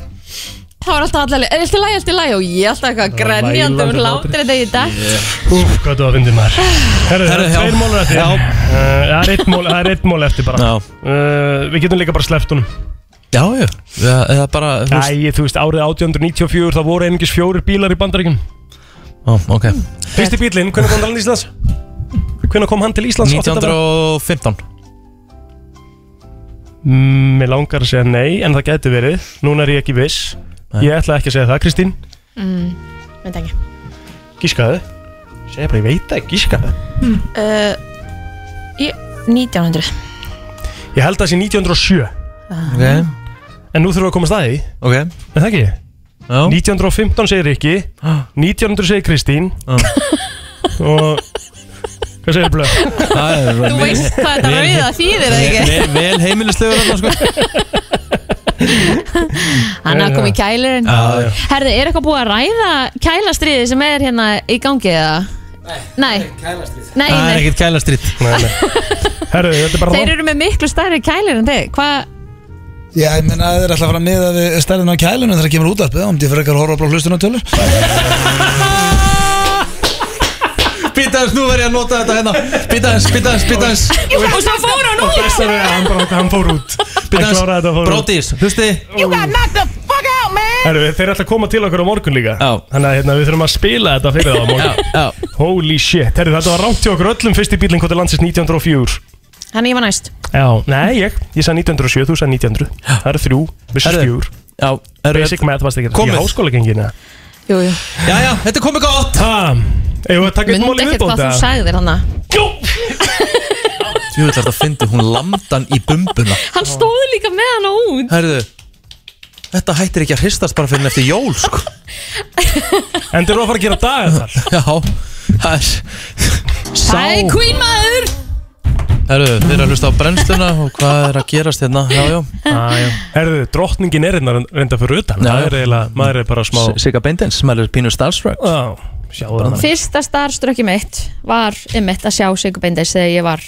[SPEAKER 3] þá er alltaf allavega, er alltaf læg, alltaf læg og ég er alltaf eitthvað grenjandi og
[SPEAKER 4] Vælandi
[SPEAKER 3] hlátur þetta í dag
[SPEAKER 4] Úf, hvað þú að fyndið maður Herru, það
[SPEAKER 2] Herru,
[SPEAKER 4] er
[SPEAKER 2] já.
[SPEAKER 4] tveir mólur eftir
[SPEAKER 2] Já.
[SPEAKER 4] uh, Það er eitt mól, það er eitt mól eftir bara
[SPEAKER 2] Já.
[SPEAKER 4] uh, Við getum líka bara sleppt honum
[SPEAKER 2] Já, já, eða bara þú veist-
[SPEAKER 4] Æ, þú veist, árið 1894 það voru einingis fjórir bílar í bandaríkjum
[SPEAKER 2] eh, Ó, ok
[SPEAKER 4] Fyrsti bílinn, hvernig kom hann til Íslands? Hvernig kom hann til Íslands?
[SPEAKER 2] 1915
[SPEAKER 4] Mm, Mér langar að segja nei, en það gæti verið Núna er ég ekki viss Ég ætla ekki að segja það, Kristín
[SPEAKER 11] mm, Veit ekki
[SPEAKER 4] Gískaðu Segja bara, ég veit það, gískaðu
[SPEAKER 11] Mm.
[SPEAKER 3] uh, ég- 1900
[SPEAKER 4] Ég held að það sé 1907
[SPEAKER 2] Ok.
[SPEAKER 4] En nú þurfum við að komast að því
[SPEAKER 2] Ok
[SPEAKER 4] Er það ekki? Já 1915 segir Rikki 1900 segir Kristín Og Hvað segir Blöð?
[SPEAKER 2] Þú
[SPEAKER 3] veist hvað þetta rauða þýðir, eða ekki?
[SPEAKER 2] Vel, vel heimilislegur þarna sko
[SPEAKER 3] Hann
[SPEAKER 2] Já,
[SPEAKER 3] hafði komið í
[SPEAKER 2] já.
[SPEAKER 3] kælurinn
[SPEAKER 2] Já, já.
[SPEAKER 3] Herðu, er eitthvað búið að ræða kælastriði sem er hérna í gangi eða? Nei, kælastrið Nei,
[SPEAKER 2] Það er
[SPEAKER 3] nei.
[SPEAKER 2] ekkert kælastrýtt
[SPEAKER 4] Herru, þetta er
[SPEAKER 3] Þeir eru með miklu stærri kælir en þig Hvað,
[SPEAKER 15] Já, ég menna að þeir ætla að fara að miða við stærðin á kælunum þegar það kemur útarpið, om þið fyrir eitthvað að horfa á blá hlustunartölur
[SPEAKER 2] Býtaðins, nú verð ég að nota þetta hérna Býtaðins, býtaðins, býtaðins
[SPEAKER 3] Og svo fór hann út
[SPEAKER 2] eh,
[SPEAKER 4] Hann bara, hann fór út Hann kláraði þetta og fór út.
[SPEAKER 2] Brótis, hlusti
[SPEAKER 4] You got knocked the fuck out, man Herru, þeir ætla að koma til okkur á morgun líka Já Þannig að hérna, við þurfum að spila þetta fyrir það á morgun
[SPEAKER 2] Já,
[SPEAKER 4] já Holy shit, herru, þetta var rámt hjá okkur öllum fyrsti bílinn hvað til landsins 1904
[SPEAKER 3] hann ég var næst
[SPEAKER 4] Já, nei, ég, ég sagði 1907, þú sagði 1900 Það eru þrjú, vissur
[SPEAKER 2] Herru,
[SPEAKER 4] fjúr
[SPEAKER 2] Já,
[SPEAKER 4] Basic math varst ekki að-
[SPEAKER 2] Komið.
[SPEAKER 4] Í háskóla gengina
[SPEAKER 3] Jú, jú
[SPEAKER 2] Já, já, þetta er komið gott
[SPEAKER 4] Eða takk eitt
[SPEAKER 3] Mundi
[SPEAKER 4] móli
[SPEAKER 3] ekkert hvað
[SPEAKER 4] viðbóta
[SPEAKER 3] þú sagðir hann
[SPEAKER 2] Jú, þetta er að fyndi, hún landan í bumbuna
[SPEAKER 3] Hann stóð líka með hann út
[SPEAKER 2] Herðu, þetta hættir ekki að hristast bara fyrir eftir jól sko
[SPEAKER 4] En þeir eru að fara að gera daga þar
[SPEAKER 2] Já, það er Sá
[SPEAKER 3] Það er queen maður
[SPEAKER 2] Herðu, þeir eru að hlusta á brennsluna og hvað er að gerast hérna Já, já
[SPEAKER 4] ah, Herðu, drottningin er hérna reynda fyrir utan Það er
[SPEAKER 2] Mm.
[SPEAKER 4] eiginlega, maður er bara smá
[SPEAKER 2] Sigga Beindens, maður er pínu starstruck
[SPEAKER 4] Já, sjáðu hana
[SPEAKER 3] Fyrsta starströkki mitt var einmitt að sjá Sigur Bendis þegar ég var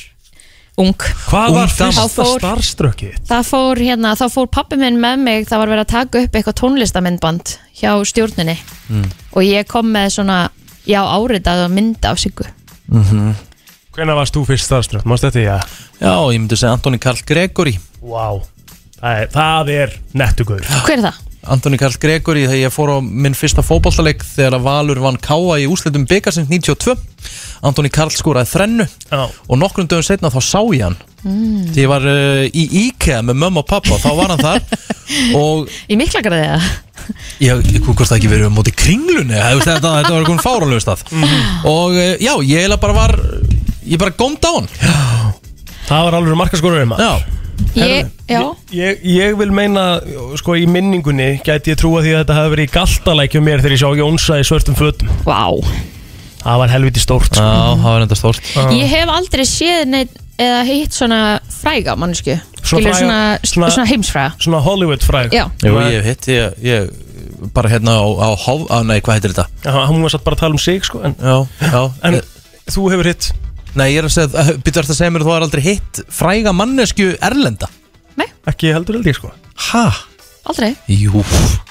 [SPEAKER 3] ung
[SPEAKER 4] Hvað
[SPEAKER 3] Ungdama.
[SPEAKER 4] var
[SPEAKER 3] Þá
[SPEAKER 4] fyrsta
[SPEAKER 3] fór-
[SPEAKER 4] starströkkið?
[SPEAKER 3] Það fór hérna, þá fór pappi minn með mig það var verið að taka upp eitthvað tónlistamindband hjá stjórninni
[SPEAKER 2] Mm.
[SPEAKER 3] og ég kom með svona, já áritað og mynda af Siggu
[SPEAKER 4] Hvenær varst þú fyrst starströkk? Mást þetta í að
[SPEAKER 2] Já, ég myndi segja Antoni Karl Gregory
[SPEAKER 4] Vá, það er, það er nettugur
[SPEAKER 3] Hver er það?
[SPEAKER 2] Antoni Karl Gregory þegar ég fór á minn fyrsta fótballtaleik þegar að Valur vann Káa í úslitum byggarsins 92 Antoni Karl skoraði þrennu
[SPEAKER 4] Já.
[SPEAKER 2] og nokkrum dögum setna þá sá ég hann
[SPEAKER 3] Mm.
[SPEAKER 2] Þegar ég var uh, í IKEA með mömmu og pappa þá var hann þar og
[SPEAKER 3] Í miklagraði það?
[SPEAKER 2] ég, ég hvort það ekki verið um móti kringlunni eða, þú veist, þetta, þetta var einhvern fáranlega stað og uh, já, ég eiginlega bara var ég bara gómd á hann
[SPEAKER 4] Það var alveg markaskorur um
[SPEAKER 2] Já
[SPEAKER 3] Ég, já,
[SPEAKER 4] Ég, ég vil meina, sko, í minningunni gæti ég trúa því að þetta hafi verið í galtalækjum mér þegar ég sá Jónsa í svörtum fötum
[SPEAKER 3] Vá
[SPEAKER 4] Það var helviti stórt sko. Ah.
[SPEAKER 2] Já, það var enda stórt
[SPEAKER 3] ég hef aldrei séð neitt eða hitt svona fræga mannsku Skilur, svona, svona, svona heimsfræga
[SPEAKER 4] Svona Hollywood fræg
[SPEAKER 3] Já.
[SPEAKER 2] Jú, ég hitt, ég, ég bara hérna á, á háf, á, nei, hvað heitir þetta?
[SPEAKER 4] Já, hún var satt bara að tala um sig, sko En,
[SPEAKER 2] já, já, Eh.
[SPEAKER 4] en þú hefur hitt
[SPEAKER 2] Nei, ég er að segja, byrjar þetta að segja mér að þú har aldrei hitt fræga mannesku erlenda
[SPEAKER 4] Ekki heldur held ég, sko
[SPEAKER 2] Hæ?
[SPEAKER 3] Aldrei
[SPEAKER 2] Jú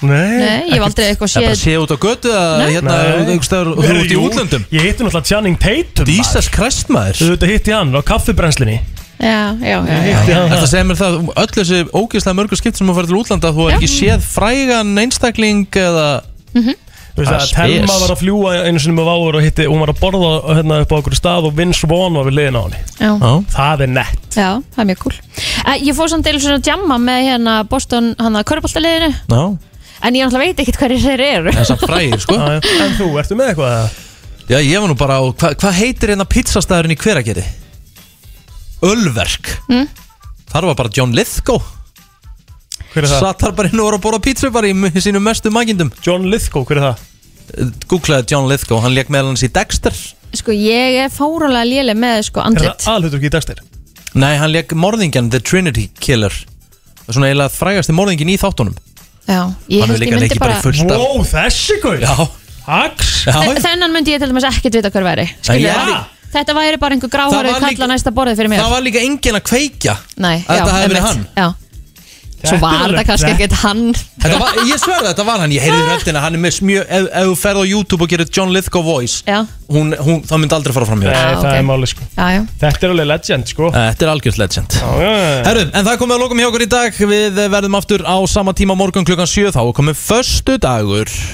[SPEAKER 3] Nei, ég hef aldrei eitthvað
[SPEAKER 2] Það er
[SPEAKER 3] séð
[SPEAKER 2] bara að sé út á götu að
[SPEAKER 3] Nei.
[SPEAKER 2] hérna,
[SPEAKER 4] Nei.
[SPEAKER 2] einhvers staðar- þú
[SPEAKER 4] Jú,
[SPEAKER 2] ert í útlöndum
[SPEAKER 4] Ég hitti náttúrulega Channing Tatum
[SPEAKER 2] Jesus Christ maður
[SPEAKER 4] Þú veit að hitti hann á kaffibrennslinni
[SPEAKER 3] Já, já, já, já.
[SPEAKER 2] Þetta segir mér það, um öll þessi ógeðslega mörgur skipt sem þú farið til útlanda þú er ekki séð frægan einstakling eða
[SPEAKER 3] Mhm.
[SPEAKER 4] Þú veist
[SPEAKER 2] Það
[SPEAKER 4] að
[SPEAKER 2] er spes.
[SPEAKER 4] Telma var að fljúa einu sinni með váur og hitti, hún var að borða hérna upp á okkur stað og Vince Vaughn var við liðin á henni
[SPEAKER 3] Já.
[SPEAKER 4] Það er nett
[SPEAKER 3] já, það er mjög cool Eh, Ég fór samt til svona jamma með hérna Boston, hann að körbóltaliðinu
[SPEAKER 2] Já
[SPEAKER 3] en ég náttúrulega veit ekkert hverju þeir eru
[SPEAKER 2] Það er samt frægir, sko.
[SPEAKER 4] Já, já. En þú, ertu með eitthvað?
[SPEAKER 2] Já, ég var nú bara á, hva- hvað heitir hérna pizzastæðurinn í hverageri? Ölverk
[SPEAKER 3] Mm.
[SPEAKER 2] Þar var bara John Lithgow
[SPEAKER 4] Hver er það?
[SPEAKER 2] Satt þar bara inn og voru að borða pizza bara í m- sínum mestu magindum
[SPEAKER 4] John Lithgow, hver er það?
[SPEAKER 2] Googlaði John Lithgow, hann leik meðal hans í Dexter
[SPEAKER 3] Sko, ég er fárólega léleg með sko andlit
[SPEAKER 4] aðlutur ekki í Dexter?
[SPEAKER 2] Nei, hann leik morðingjan, The Trinity Killer Svona eiginlega frægasti morðingin í þáttunum
[SPEAKER 3] Já, ég
[SPEAKER 2] Hann hefur
[SPEAKER 3] held ég
[SPEAKER 2] líka
[SPEAKER 3] myndi
[SPEAKER 2] leikið bara
[SPEAKER 3] bara
[SPEAKER 2] í fullt af-
[SPEAKER 4] Wow, þessi guð
[SPEAKER 2] Já
[SPEAKER 4] Hags
[SPEAKER 3] Þe- Þennan myndi ég til dæmis ekkert vita hver væri
[SPEAKER 2] Nei,
[SPEAKER 3] Skilur
[SPEAKER 2] ég er
[SPEAKER 3] það? Þetta væri bara einhver gráhæru
[SPEAKER 2] Það var
[SPEAKER 3] kalla næsta borðið fyrir mér
[SPEAKER 2] Það var líka engin að kveikja
[SPEAKER 3] Nei,
[SPEAKER 2] að þetta hefði verið
[SPEAKER 3] einmitt,
[SPEAKER 2] hann.
[SPEAKER 3] Já, Svo var þetta kannski ekkert hann
[SPEAKER 2] Þetta var, ég sverði þetta var hann, ég heyrði röddina Hann er með smjög, ef, ef þú ferð á YouTube og gerir John Lithgow voice
[SPEAKER 3] Já,
[SPEAKER 2] hún, hún, Það myndi aldrei fara fram hjá
[SPEAKER 4] Nei,
[SPEAKER 2] þér.
[SPEAKER 4] það er máli sko
[SPEAKER 3] já, já
[SPEAKER 4] Þetta er alveg legend sko Ah.
[SPEAKER 2] Þetta er algjörst legend
[SPEAKER 4] Herru,
[SPEAKER 2] Herru, en það er komið að lokum hjá okkur í dag Við eh, verðum aftur á sama tíma á morgun klukkan 7 Þá er komið föstu dagur